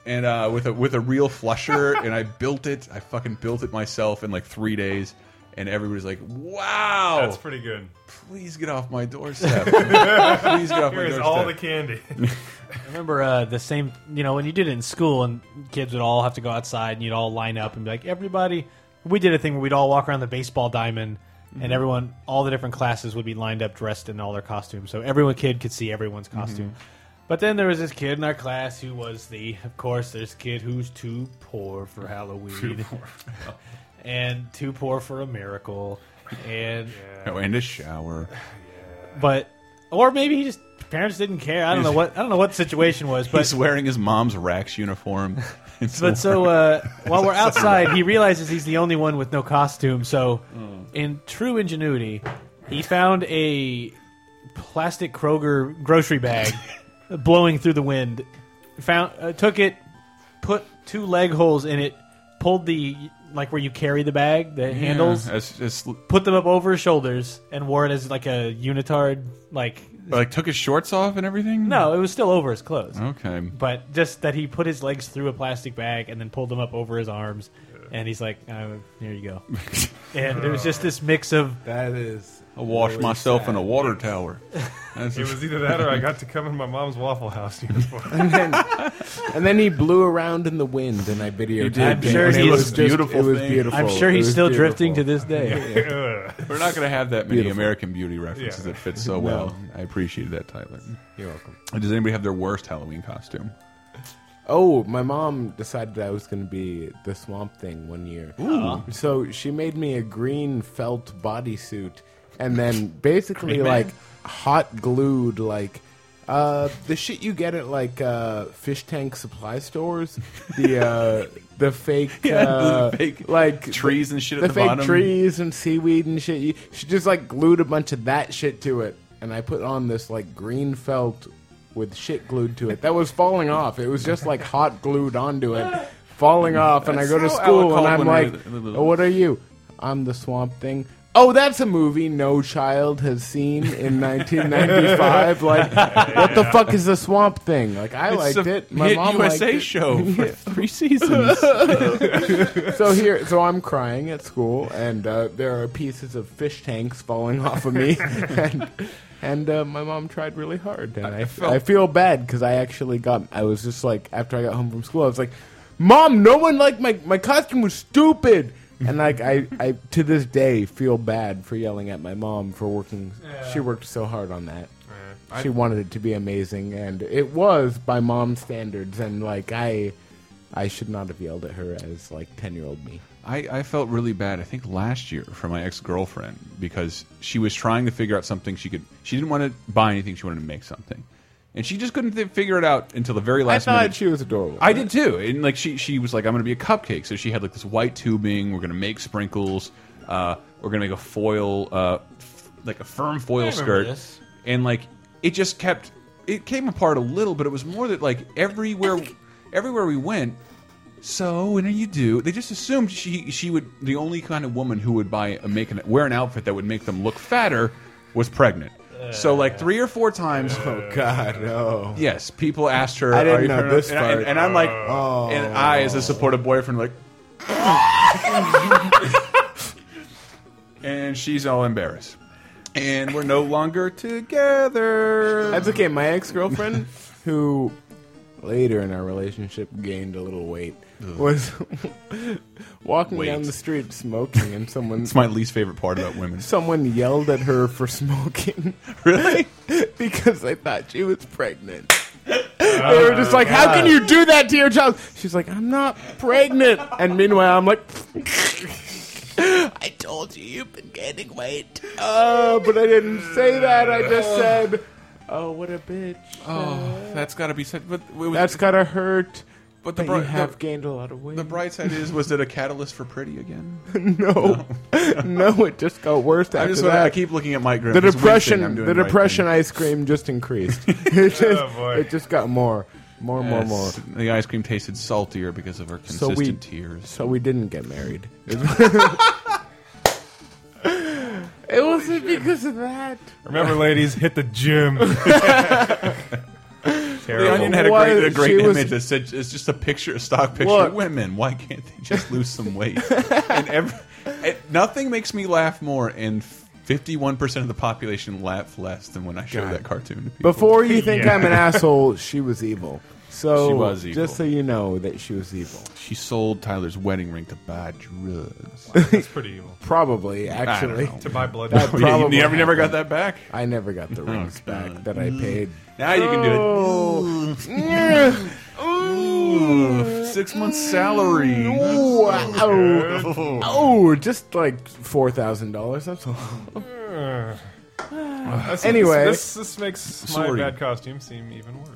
Speaker 4: and uh, with a with a real flusher and I built it I fucking built it myself in like three days and everybody's like wow
Speaker 5: Oh.
Speaker 3: That's pretty good.
Speaker 4: please get off my doorstep please get off my
Speaker 3: Here is
Speaker 4: doorstep
Speaker 3: all the candy.
Speaker 6: remember uh, the same you know when you did it in school and kids would all have to go outside and you'd all line up and be like everybody we did a thing where we'd all walk around the baseball diamond and everyone all the different classes would be lined up dressed in all their costumes so everyone kid could see everyone's costume but then there was this kid in our class who was the of course this kid who's too poor for halloween and too poor for a miracle and
Speaker 4: oh, and a shower
Speaker 6: but or maybe he just parents didn't care i don't know what i don't know what the situation was but
Speaker 4: he's wearing his mom's Rax uniform It's
Speaker 6: But so uh, while we're outside, he realizes he's the only one with no costume. So, in true ingenuity, he found a plastic Kroger grocery bag blowing through the wind. Found uh, took it, put two leg holes in it, pulled the like where you carry the bag, the handles,
Speaker 4: Yeah, it's just
Speaker 6: put them up over his shoulders, and wore it as like a unitard. Like
Speaker 4: like took his shorts off and everything.
Speaker 6: no, it was still over his clothes,
Speaker 4: Okay.
Speaker 6: but just that he put his legs through a plastic bag and then pulled them up over his arms. And he's like, oh, "Here you go." and there was just this mix of
Speaker 5: That is.
Speaker 4: I wash
Speaker 5: really
Speaker 4: myself
Speaker 5: sad.
Speaker 4: in a water tower. That's
Speaker 3: It
Speaker 4: just-
Speaker 3: was either that or I got to come in my mom's Waffle House uniform.
Speaker 5: And then, and then he blew around in the wind, and I videotaped.
Speaker 4: did. I'm
Speaker 5: it,
Speaker 6: sure
Speaker 5: and
Speaker 6: he
Speaker 5: it
Speaker 6: was-
Speaker 5: was just-
Speaker 4: beautiful
Speaker 5: It was
Speaker 4: thing.
Speaker 5: beautiful.
Speaker 6: I'm sure
Speaker 5: It
Speaker 6: he's
Speaker 5: was
Speaker 6: still
Speaker 5: beautiful.
Speaker 6: drifting to this day.
Speaker 3: Ugh.
Speaker 4: We're not going to have that many
Speaker 5: Beautiful.
Speaker 4: American Beauty references
Speaker 3: Yeah.
Speaker 4: that fit so well. I appreciate that, Tyler.
Speaker 5: You're welcome.
Speaker 4: Does anybody have their worst Halloween costume?
Speaker 5: Oh, my mom decided I was going to be the Swamp Thing one year.
Speaker 6: Uh-huh.
Speaker 5: So she made me a green felt bodysuit, and then basically
Speaker 4: Great man.
Speaker 5: like hot glued like uh, the shit you get at like uh, fish tank supply stores. The uh, the fake
Speaker 4: Yeah, the
Speaker 5: uh,
Speaker 4: fake
Speaker 5: like
Speaker 4: trees and shit at
Speaker 5: The
Speaker 4: the
Speaker 5: fake
Speaker 4: bottom.
Speaker 5: trees and seaweed and shit. You- She just like glued a bunch of that shit to it, and I put on this like green felt with shit glued to it that was falling off. It was just like hot glued onto it, falling off. And I
Speaker 4: That's
Speaker 5: go to
Speaker 4: how
Speaker 5: school and
Speaker 4: Alec
Speaker 5: I'm
Speaker 4: Baldwin
Speaker 5: like,
Speaker 4: is- is- is-
Speaker 5: "Oh, "What are you?" I'm the Swamp Thing. Oh, that's a movie no child has seen in 1995. like, what the fuck is the Swamp Thing? Like, Oh, I liked it. My
Speaker 4: hit
Speaker 5: mom
Speaker 4: USA
Speaker 5: liked it.
Speaker 4: show for three seasons.
Speaker 5: So here, so I'm crying at school, and uh, there are pieces of fish tanks falling off of me, and, and uh, my mom tried really hard, and I, I,
Speaker 4: felt-
Speaker 5: feel bad because I actually got, I was just like, after I got home from school, I was like, Mom, no one liked my my costume was stupid, and like I, I to this day feel bad for yelling at my mom for working. She worked so hard on that. She wanted it to be amazing, and it was by mom standards. And like I, I should not have yelled at her as like ten year old me.
Speaker 4: I, I felt really bad. I think last year for my ex girlfriend because she was trying to figure out something she could. She didn't want to buy anything. She wanted to make something, and she just couldn't th figure it out until the very
Speaker 5: I
Speaker 4: last
Speaker 5: thought
Speaker 4: minute.
Speaker 5: she was adorable.
Speaker 4: I did too, and like she she was like, "I'm gonna be a cupcake." So she had like this white tubing. We're gonna make sprinkles. Uh, we're gonna make a foil, uh, f like a firm foil skirt,
Speaker 6: this.
Speaker 4: and like it just kept. It came apart a little, but it was more that like everywhere, everywhere we went. So when do you do? They just assumed she she would the only kind of woman who would buy a make an wear an outfit that would make them look fatter was pregnant. so like three or four times,
Speaker 5: Oh God, no.
Speaker 4: Yes, people asked her.
Speaker 5: I didn't
Speaker 4: "Are you
Speaker 5: know
Speaker 4: pregnant?"
Speaker 5: this
Speaker 4: and, I-
Speaker 5: part.
Speaker 4: and I'm like,
Speaker 5: Oh.
Speaker 4: and I, as a supportive boyfriend, like, and she's all embarrassed, and we're no longer together.
Speaker 5: That's okay. My ex girlfriend, who later in our relationship gained a little weight, was walking
Speaker 4: Weight.
Speaker 5: down the street smoking, and someone
Speaker 4: It's my least favorite part about women.
Speaker 5: someone yelled at her for smoking
Speaker 4: Really?
Speaker 5: because they thought she was pregnant.
Speaker 4: Oh
Speaker 5: They were just like, "How can you do that to your child?" She's like, "I'm not pregnant," and meanwhile, I'm like. I told you you've been gaining weight. Oh, but I didn't say that. I just said, "Oh, what a bitch."
Speaker 4: Oh, that's got to be said. But it was-
Speaker 5: That's gotta hurt.
Speaker 4: but the
Speaker 5: But
Speaker 4: bri-
Speaker 5: you have
Speaker 4: the,
Speaker 5: gained a lot of weight.
Speaker 4: the bright side is, was it a catalyst for pretty again?
Speaker 5: no, no, it just got worse after
Speaker 4: I just
Speaker 5: that.
Speaker 4: wanna, I keep looking at Mike Grimm.
Speaker 5: the
Speaker 4: He's wincing, I'm
Speaker 5: depression,
Speaker 4: doing
Speaker 5: the
Speaker 4: right
Speaker 5: depression
Speaker 4: thing. Oh,
Speaker 5: ice cream just increased. it just,
Speaker 3: boy.
Speaker 5: it just got more, more, more, more.
Speaker 4: Yes, The ice cream tasted saltier because of her
Speaker 5: So
Speaker 4: consistent
Speaker 5: we-
Speaker 4: tears.
Speaker 5: So we didn't get married. it wasn't because of that.
Speaker 3: Remember, ladies, hit the gym.
Speaker 4: The
Speaker 3: Terrible.
Speaker 4: Onion had a
Speaker 5: Why-
Speaker 4: great, a great
Speaker 5: she was-
Speaker 4: image that said, it's just a picture, a stock picture.
Speaker 5: Look.
Speaker 4: Women, why can't they just lose some weight? and every, it, nothing makes me laugh more, and 51% of the population laugh less than when I show that cartoon to people.
Speaker 5: Before you think I'm an asshole, she was evil. So
Speaker 4: She was evil.
Speaker 5: just so you know that she was evil.
Speaker 4: She sold Tyler's wedding ring to buy drugs.
Speaker 3: That's pretty evil.
Speaker 5: Probably, actually.
Speaker 4: know.
Speaker 3: To buy blood.
Speaker 5: That
Speaker 4: Yeah, you
Speaker 5: Probably
Speaker 4: never, never got that
Speaker 5: happened.
Speaker 4: back.
Speaker 5: I never got the rings back that I
Speaker 4: Mm.
Speaker 5: paid.
Speaker 4: Now you can do
Speaker 5: Oh.
Speaker 4: it. Six months salary.
Speaker 5: Wow. Oh, just like four thousand dollars. That's all.
Speaker 3: Ugh. This-
Speaker 5: Anyway.
Speaker 3: this, this makes my
Speaker 4: Sorry.
Speaker 3: bad costume seem even worse.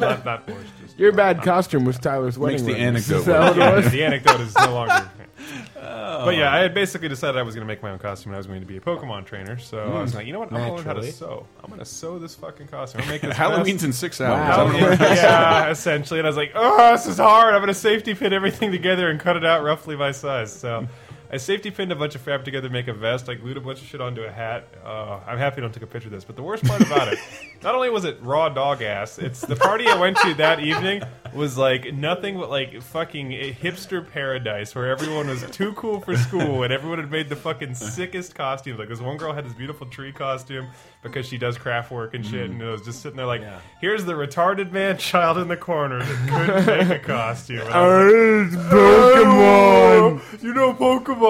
Speaker 3: not, not worse. Just
Speaker 5: Your bad costume was Tyler's wedding
Speaker 4: Makes the
Speaker 5: ring. Is
Speaker 4: anecdote worse.
Speaker 5: that what it
Speaker 3: Yeah,
Speaker 5: was?
Speaker 3: the anecdote is no longer. But yeah, I had basically decided I was going to make my own costume. and I was going to be a Pokemon trainer, so I was like, you know what? I'm going to learn how to
Speaker 5: Naturally.
Speaker 3: sew. I'm going to sew this fucking costume. I'm gonna make this
Speaker 4: Halloween's
Speaker 3: mask.
Speaker 4: in six hours.
Speaker 5: Wow.
Speaker 4: I don't know what-
Speaker 3: yeah, essentially. And I was like, oh, this is hard. I'm going to safety pin everything together and cut it out roughly by size. So I safety pinned a bunch of fabric together to make a vest. I glued a bunch of shit onto a hat. Uh, I'm happy I don't take a picture of this, but the worst part about it, not only was it raw dog ass, it's the party I went to that evening was like nothing but like fucking hipster paradise where everyone was too cool for school and everyone had made the fucking sickest costumes. Like this one girl had this beautiful tree costume because she does craft work and
Speaker 4: Mm.
Speaker 3: shit, and it was just sitting there like, here's the retarded man child in the corner that couldn't make a costume. And I was like,
Speaker 5: Pokemon.
Speaker 3: you know Pokemon,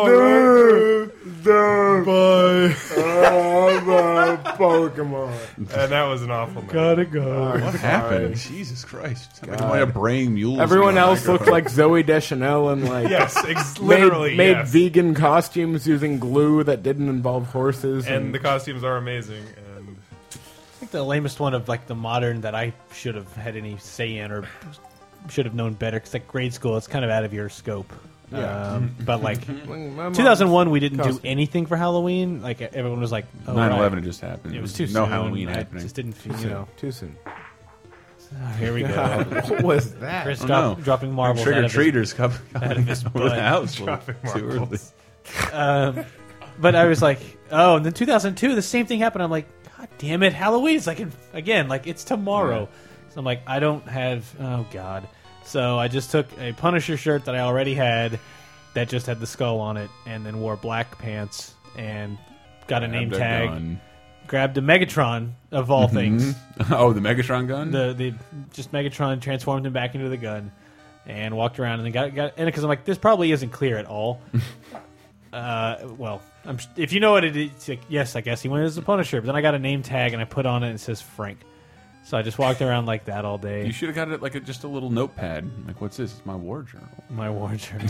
Speaker 3: right?
Speaker 5: Pokemon.
Speaker 3: and "Uh, that was an awful night.
Speaker 6: go.
Speaker 4: What happened? Jesus Christ! Sound like why a brain mule.
Speaker 5: Everyone else looked like Zoe Deschanel and like
Speaker 3: Yes, ex-
Speaker 5: made,
Speaker 3: literally
Speaker 5: made
Speaker 3: yes.
Speaker 5: vegan costumes using glue that didn't involve horses.
Speaker 3: and the costumes are amazing. And
Speaker 6: I think the lamest one of like the modern that I should have had any say in or should have known better because like grade school, it's kind of out of your scope.
Speaker 5: Yeah.
Speaker 6: Um, but like
Speaker 5: My mom-
Speaker 6: 2001, we didn't do
Speaker 5: Costume.
Speaker 6: anything for Halloween. Like everyone was like, oh,
Speaker 4: 9/11
Speaker 6: right.
Speaker 4: had just happened.
Speaker 6: It was too
Speaker 4: no
Speaker 6: soon.
Speaker 4: Halloween
Speaker 6: I
Speaker 4: happening.
Speaker 6: Just didn't feel, you know.
Speaker 5: Too soon.
Speaker 6: Oh, here we go.
Speaker 5: what was that?
Speaker 6: Chris
Speaker 4: Oh,
Speaker 6: drop,
Speaker 4: no.
Speaker 6: dropping marbles.
Speaker 4: Trick
Speaker 6: out
Speaker 4: or
Speaker 6: of his
Speaker 4: treaters come coming
Speaker 6: his
Speaker 4: over
Speaker 6: butt.
Speaker 4: the house. a little
Speaker 3: Dropping
Speaker 4: too early.
Speaker 3: marbles.
Speaker 6: Um, but I was like, oh, and then 2002, the same thing happened. I'm like, God damn it, Halloween's like in- again, like it's tomorrow. So I'm like, I don't have, oh God. So I just took a Punisher shirt that I already had, that just had the skull on it, and then wore black pants and got a
Speaker 4: Grabbed
Speaker 6: name
Speaker 4: a
Speaker 6: tag.
Speaker 4: gun. Mm-hmm.
Speaker 6: Grabbed a Megatron of all things.
Speaker 4: Oh, the Megatron gun.
Speaker 6: The the just Megatron transformed him back into the gun, and walked around and then got got and because I'm like this probably isn't clear at all. uh, well, I'm s- if you know what it is, it's like, yes, I guess he went as the Punisher. But then I got a name tag and I put on it and it says Frank. So I just walked around like that all
Speaker 4: you
Speaker 6: day.
Speaker 4: should have got it like a, just a little notepad. Like, what's this? It's my war journal.
Speaker 6: My war journal.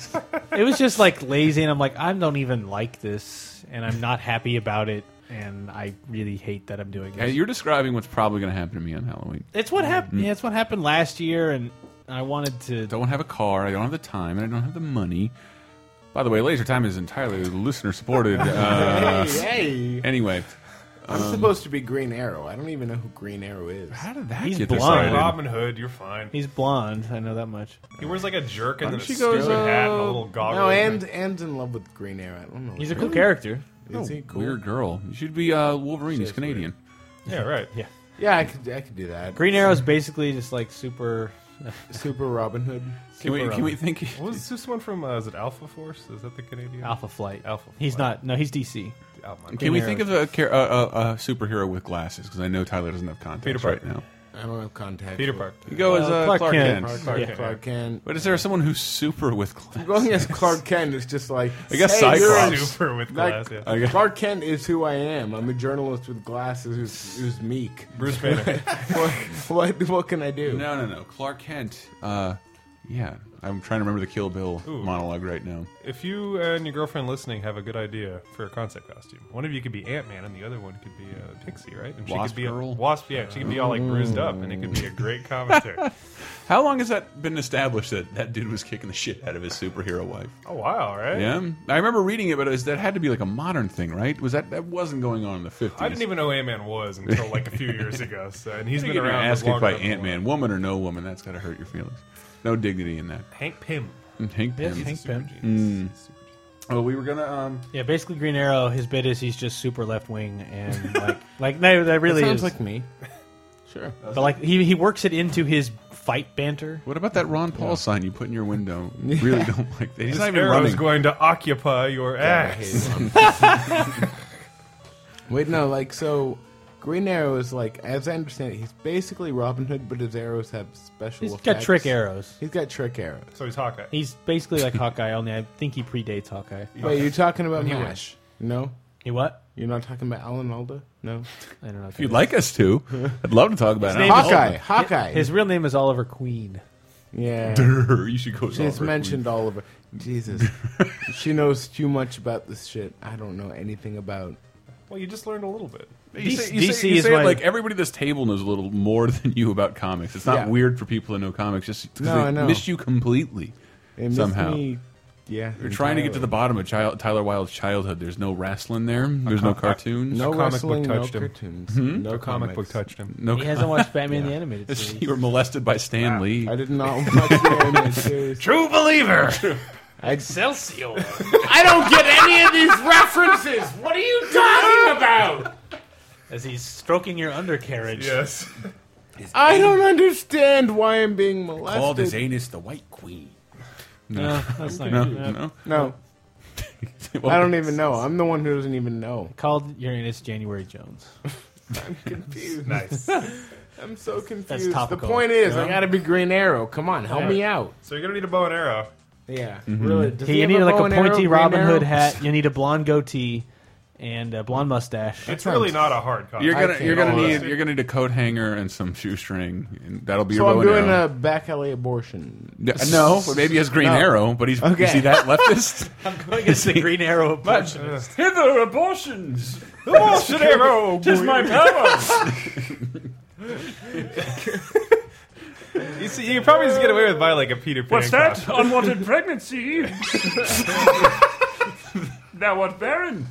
Speaker 6: it was just like lazy, and I'm like, I don't even like this, and I'm not happy about it, and I really hate that I'm doing
Speaker 4: Hey, Mm-hmm.
Speaker 6: this.
Speaker 4: you're describing what's probably going to happen to me on Halloween.
Speaker 6: it's what happened. Yeah, it's what happened last year, and I wanted to.
Speaker 4: don't have a car. I don't have the time, and I don't have the money. By the way, Laser Time is entirely listener supported. Uh,
Speaker 5: Hey, hey.
Speaker 4: anyway,
Speaker 5: I'm
Speaker 3: Um,
Speaker 5: supposed to be Green Arrow. I don't even know who Green Arrow is.
Speaker 4: how did that
Speaker 6: He's
Speaker 4: get
Speaker 6: blind.
Speaker 4: decided?
Speaker 3: Robin Hood, you're fine.
Speaker 6: He's blonde. I know that much.
Speaker 3: He wears like a jerk and
Speaker 4: Why
Speaker 3: then a
Speaker 4: don't she
Speaker 3: stupid
Speaker 4: go,
Speaker 3: hat and a
Speaker 4: uh,
Speaker 3: little goggle.
Speaker 5: No, and Anne's in love with Green Arrow. I don't know.
Speaker 6: He's a cool character.
Speaker 5: Is he cool?
Speaker 4: Weird girl. You should be uh, Wolverine. He's Canadian.
Speaker 3: yeah, right.
Speaker 6: Yeah.
Speaker 5: Yeah, I could, I could do that.
Speaker 6: Green Arrow's basically just like super.
Speaker 5: Super Robin Hood.
Speaker 4: Can we?
Speaker 6: Super
Speaker 4: Can we think?
Speaker 3: What was this one from? Uh, is it Alpha Force? Is that the Canadian?
Speaker 6: Alpha Flight.
Speaker 3: Alpha
Speaker 6: He's
Speaker 3: Flight.
Speaker 6: not. No, he's DC.
Speaker 3: Oh, my
Speaker 4: Can we
Speaker 6: Green
Speaker 4: think of a, char- a, a, a superhero with glasses? Because I know Tyler doesn't have context
Speaker 3: Peter
Speaker 4: right
Speaker 3: Parker.
Speaker 4: now.
Speaker 5: I don't have contact.
Speaker 3: Peter Park.
Speaker 4: You go as uh, Clark,
Speaker 6: Clark
Speaker 4: Kent.
Speaker 6: Kent.
Speaker 5: Clark,
Speaker 6: Yeah.
Speaker 5: Clark Kent.
Speaker 4: But is there someone who's super with
Speaker 5: Going
Speaker 4: glasses?
Speaker 5: as Clark Kent is just like
Speaker 4: I guess
Speaker 5: hey, you're
Speaker 4: Cyclops.
Speaker 5: a-
Speaker 3: Super with
Speaker 5: Like,
Speaker 3: glass. yeah.
Speaker 4: I guess-
Speaker 5: Clark Kent is who I am. I'm a journalist with glasses who's, who's meek.
Speaker 3: Bruce Banner.
Speaker 5: what, what, what can I do?
Speaker 4: No, no, no. Clark Kent. Uh, yeah, I'm trying to remember the Kill Bill monologue right now.
Speaker 3: If you and your girlfriend listening have a good idea for a concept costume, one of you could be Ant Man and the other one could be uh, Pixie, right? And
Speaker 4: Wasp
Speaker 3: could be
Speaker 4: Girl?
Speaker 3: A, wasp, yeah. She could be all like bruised up, and it could be a great commentary.
Speaker 4: How long has that been established that that dude was kicking the shit out of his superhero wife?
Speaker 3: oh wow, right?
Speaker 4: Yeah, I remember reading it, but it was, that had to be like a modern thing, right? Was that that wasn't going on in the fifties?
Speaker 3: I didn't even know Ant Man was until like a few years ago. So, and he's been around
Speaker 4: asked
Speaker 3: longer
Speaker 4: by
Speaker 3: than the
Speaker 4: Ant Man, woman or no woman. That's got to hurt your feelings. No dignity in that.
Speaker 3: one. Hank Pym.
Speaker 4: And Hank
Speaker 6: Yeah,
Speaker 4: Pym.
Speaker 6: Hank-
Speaker 3: Super
Speaker 6: Pym.
Speaker 3: genius. Super genius.
Speaker 4: Oh, we were gonna. Um,
Speaker 6: Yeah, basically Green Arrow. His bit is he's just super left wing and like like no, that really
Speaker 5: sounds
Speaker 6: is.
Speaker 5: like me. Sure.
Speaker 6: but like he he works it into his fight banter.
Speaker 4: Uh, what about that Ron Paul sign you put in your window? Really don't like that. He's not even
Speaker 3: Arrow's
Speaker 4: running.
Speaker 3: going to occupy your ass.
Speaker 5: Wait, no, like so. Green Arrow is like, as I understand it, he's basically Robin Hood, but his arrows have special.
Speaker 6: He's got
Speaker 5: effects.
Speaker 6: trick arrows.
Speaker 5: He's got trick arrows.
Speaker 3: So he's Hawkeye.
Speaker 6: He's basically like Hawkeye. Only I think he predates Hawkeye.
Speaker 5: Wait, you're talking about Mash? No,
Speaker 6: He what?
Speaker 5: you're not talking about Alan Alda. No,
Speaker 6: I don't know.
Speaker 4: If you'd like us to, I'd love to talk about it.
Speaker 6: name is-
Speaker 5: Hawkeye. Hawkeye.
Speaker 6: His real name is Oliver Queen.
Speaker 5: yeah.
Speaker 4: you should go.
Speaker 5: She's
Speaker 4: solve it.
Speaker 5: mentioned Oliver. Jesus, she knows too much about this shit. I don't know anything about.
Speaker 3: Well, you just learned a little bit.
Speaker 4: You
Speaker 6: DC
Speaker 4: say, you say- you
Speaker 6: is
Speaker 4: say it
Speaker 6: my-
Speaker 4: like everybody at this table knows a little more than you about comics. It's not
Speaker 5: Yeah.
Speaker 4: weird for people to know comics just because
Speaker 5: No,
Speaker 4: they
Speaker 5: I know.
Speaker 4: miss you completely
Speaker 5: It missed
Speaker 4: somehow.
Speaker 5: me- yeah,
Speaker 4: We're trying to get to the bottom of child, Tyler Wilde's childhood. There's no wrestling there. There's no
Speaker 3: com- I-
Speaker 4: cartoons.
Speaker 5: no
Speaker 3: A comic book
Speaker 5: wrestling,
Speaker 3: touched
Speaker 5: no
Speaker 3: him.
Speaker 5: cartoons,
Speaker 4: Hmm?
Speaker 5: no
Speaker 3: The comic book
Speaker 5: comics.
Speaker 3: touched him.
Speaker 4: no.
Speaker 6: He
Speaker 4: com-
Speaker 6: hasn't watched Batman the Animated
Speaker 4: you
Speaker 6: Series.
Speaker 4: were molested by Stan Lee.
Speaker 5: I did not watch the anime series.
Speaker 3: True believer.
Speaker 6: Excelsior!
Speaker 5: I don't get any of these references. What are you talking about?
Speaker 6: As he's stroking your undercarriage.
Speaker 3: yes.
Speaker 5: I don't understand why I'm being molested.
Speaker 4: Called his anus the White Queen.
Speaker 6: No, that's not
Speaker 4: No,
Speaker 6: good. Yeah.
Speaker 4: no.
Speaker 5: no, I don't even know. I'm the one who doesn't even know.
Speaker 6: Called Uranus January Jones.
Speaker 5: Confused.
Speaker 3: Nice.
Speaker 5: I'm so confused.
Speaker 6: topical.
Speaker 5: The point is,
Speaker 6: Yeah.
Speaker 5: I gotta be Green Arrow. Come on, help
Speaker 6: Yeah.
Speaker 5: me out.
Speaker 3: So you're gonna need a bow and arrow.
Speaker 5: Yeah,
Speaker 4: Mm-hmm.
Speaker 5: really. Does
Speaker 6: He,
Speaker 5: he
Speaker 6: you
Speaker 5: have
Speaker 6: need like
Speaker 5: bow
Speaker 6: a
Speaker 5: and arrow,
Speaker 6: pointy
Speaker 5: Green
Speaker 6: Robin Hood
Speaker 5: Arrow?
Speaker 6: hat. You need a blonde goatee and a blonde mustache.
Speaker 3: It's really
Speaker 5: sounds-
Speaker 3: not a hard comic.
Speaker 4: You're gonna
Speaker 5: can't
Speaker 4: you're gonna
Speaker 5: do
Speaker 4: need
Speaker 3: that.
Speaker 4: you're gonna need a coat hanger and some shoestring, and that'll be
Speaker 5: So
Speaker 4: your bow
Speaker 5: I'm
Speaker 4: and
Speaker 5: doing
Speaker 4: arrow.
Speaker 5: a back alley abortion.
Speaker 4: Yeah, No, but maybe he has Green
Speaker 5: No.
Speaker 4: Arrow, but he's
Speaker 5: Okay.
Speaker 4: you see that leftist.
Speaker 6: It's the Green Arrow approach.
Speaker 4: Hither abortions!
Speaker 3: Bullshit arrow. Just my power. you see, you could probably just get away with by like a Peter Pan. costume.
Speaker 7: Unwanted pregnancy. now what, Baron?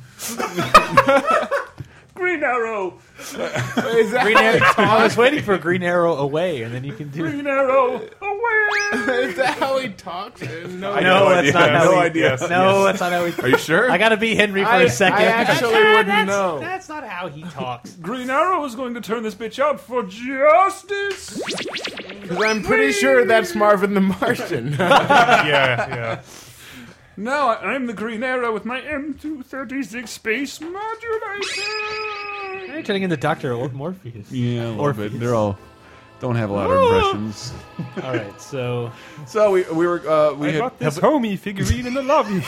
Speaker 7: Green Arrow.
Speaker 6: Green Arrow. I was waiting for Green Arrow away, and then you can do.
Speaker 7: Green Arrow. Away.
Speaker 5: is that how he talks? No,
Speaker 3: I
Speaker 6: No,
Speaker 3: have
Speaker 6: that's not how.
Speaker 3: No
Speaker 6: we-
Speaker 3: idea. Yes,
Speaker 6: No, that's not how
Speaker 4: Are
Speaker 6: we.
Speaker 4: you sure?
Speaker 6: I gotta be Henry for
Speaker 5: I-
Speaker 6: a second.
Speaker 5: I actually
Speaker 6: Ah,
Speaker 5: wouldn't
Speaker 6: that's,
Speaker 5: know.
Speaker 6: That's not how he talks.
Speaker 7: Green Arrow is going to turn this bitch out for justice.
Speaker 5: because I'm pretty sure that's Marvin the Martian.
Speaker 3: Yeah, yeah.
Speaker 7: Now I- I'm the Green Arrow with my M236 space modulator.
Speaker 6: You're turning into Doctor Morpheus.
Speaker 4: Yeah, a little
Speaker 6: Or-
Speaker 4: bit. They're all don't have a lot
Speaker 7: Ah.
Speaker 4: of impressions.
Speaker 6: All right, so
Speaker 4: So we we were uh, we
Speaker 3: I
Speaker 4: had
Speaker 3: got this homie figurine in the lobby.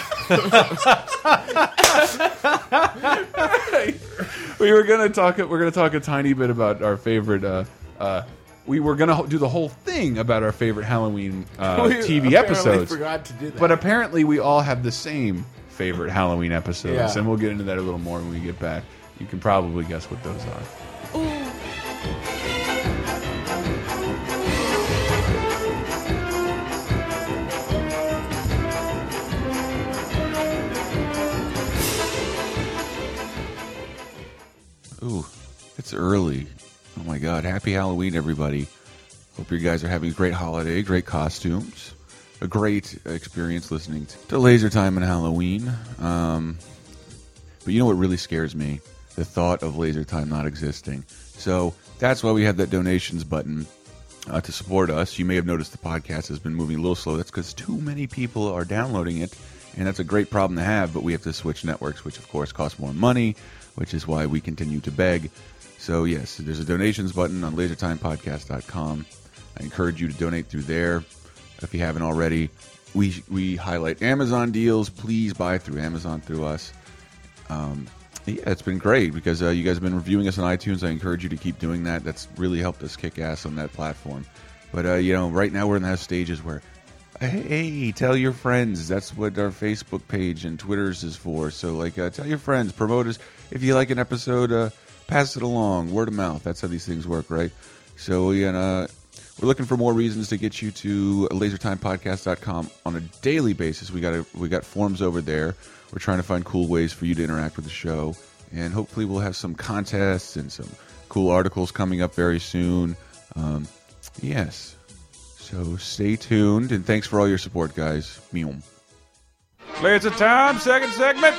Speaker 4: we were gonna talk we're gonna talk a tiny bit about our favorite. Uh, uh, we were gonna ho- do the whole thing about our favorite Halloween uh,
Speaker 5: We
Speaker 4: TV
Speaker 5: apparently
Speaker 4: episodes.
Speaker 5: Forgot to do that.
Speaker 4: But apparently, we all have the same favorite Halloween episodes,
Speaker 5: Yeah.
Speaker 4: and we'll get into that a little more when we get back. You can probably guess what those are. Ooh, it's early. Oh my God. Happy Halloween, everybody. Hope you guys are having a great holiday, great costumes, a great experience listening to, to Laser Time and Halloween. Um, but you know what really scares me? The thought of Laser Time not existing. So that's why we have that donations button uh, to support us. You may have noticed the podcast has been moving a little slow. That's because too many people are downloading it, and that's a great problem to have. But we have to switch networks, which of course costs more money, which is why we continue to beg. So yes, there's a donations button on LaserTimePodcast.com. I encourage you to donate through there if you haven't already. We we highlight Amazon deals. Please buy through Amazon through us. Yeah, it's been great because uh, you guys have been reviewing us on iTunes. I encourage you to keep doing that. That's really helped us kick ass on that platform. But uh, you know, right now we're in those stages where, hey, tell your friends. That's what our Facebook page and Twitter's is for. So like, uh, tell your friends, promote us. If you like an episode, uh, pass it along. Word of mouth. That's how these things work, right? So uh, you know, we're looking for more reasons to get you to lasertimepodcast.com on a daily basis. We got a, we got forms over there. We're trying to find cool ways for you to interact with the show, and hopefully we'll have some contests and some cool articles coming up very soon. Um, yes, so stay tuned and thanks for all your support, guys. Meow.
Speaker 7: Laser time, second segment.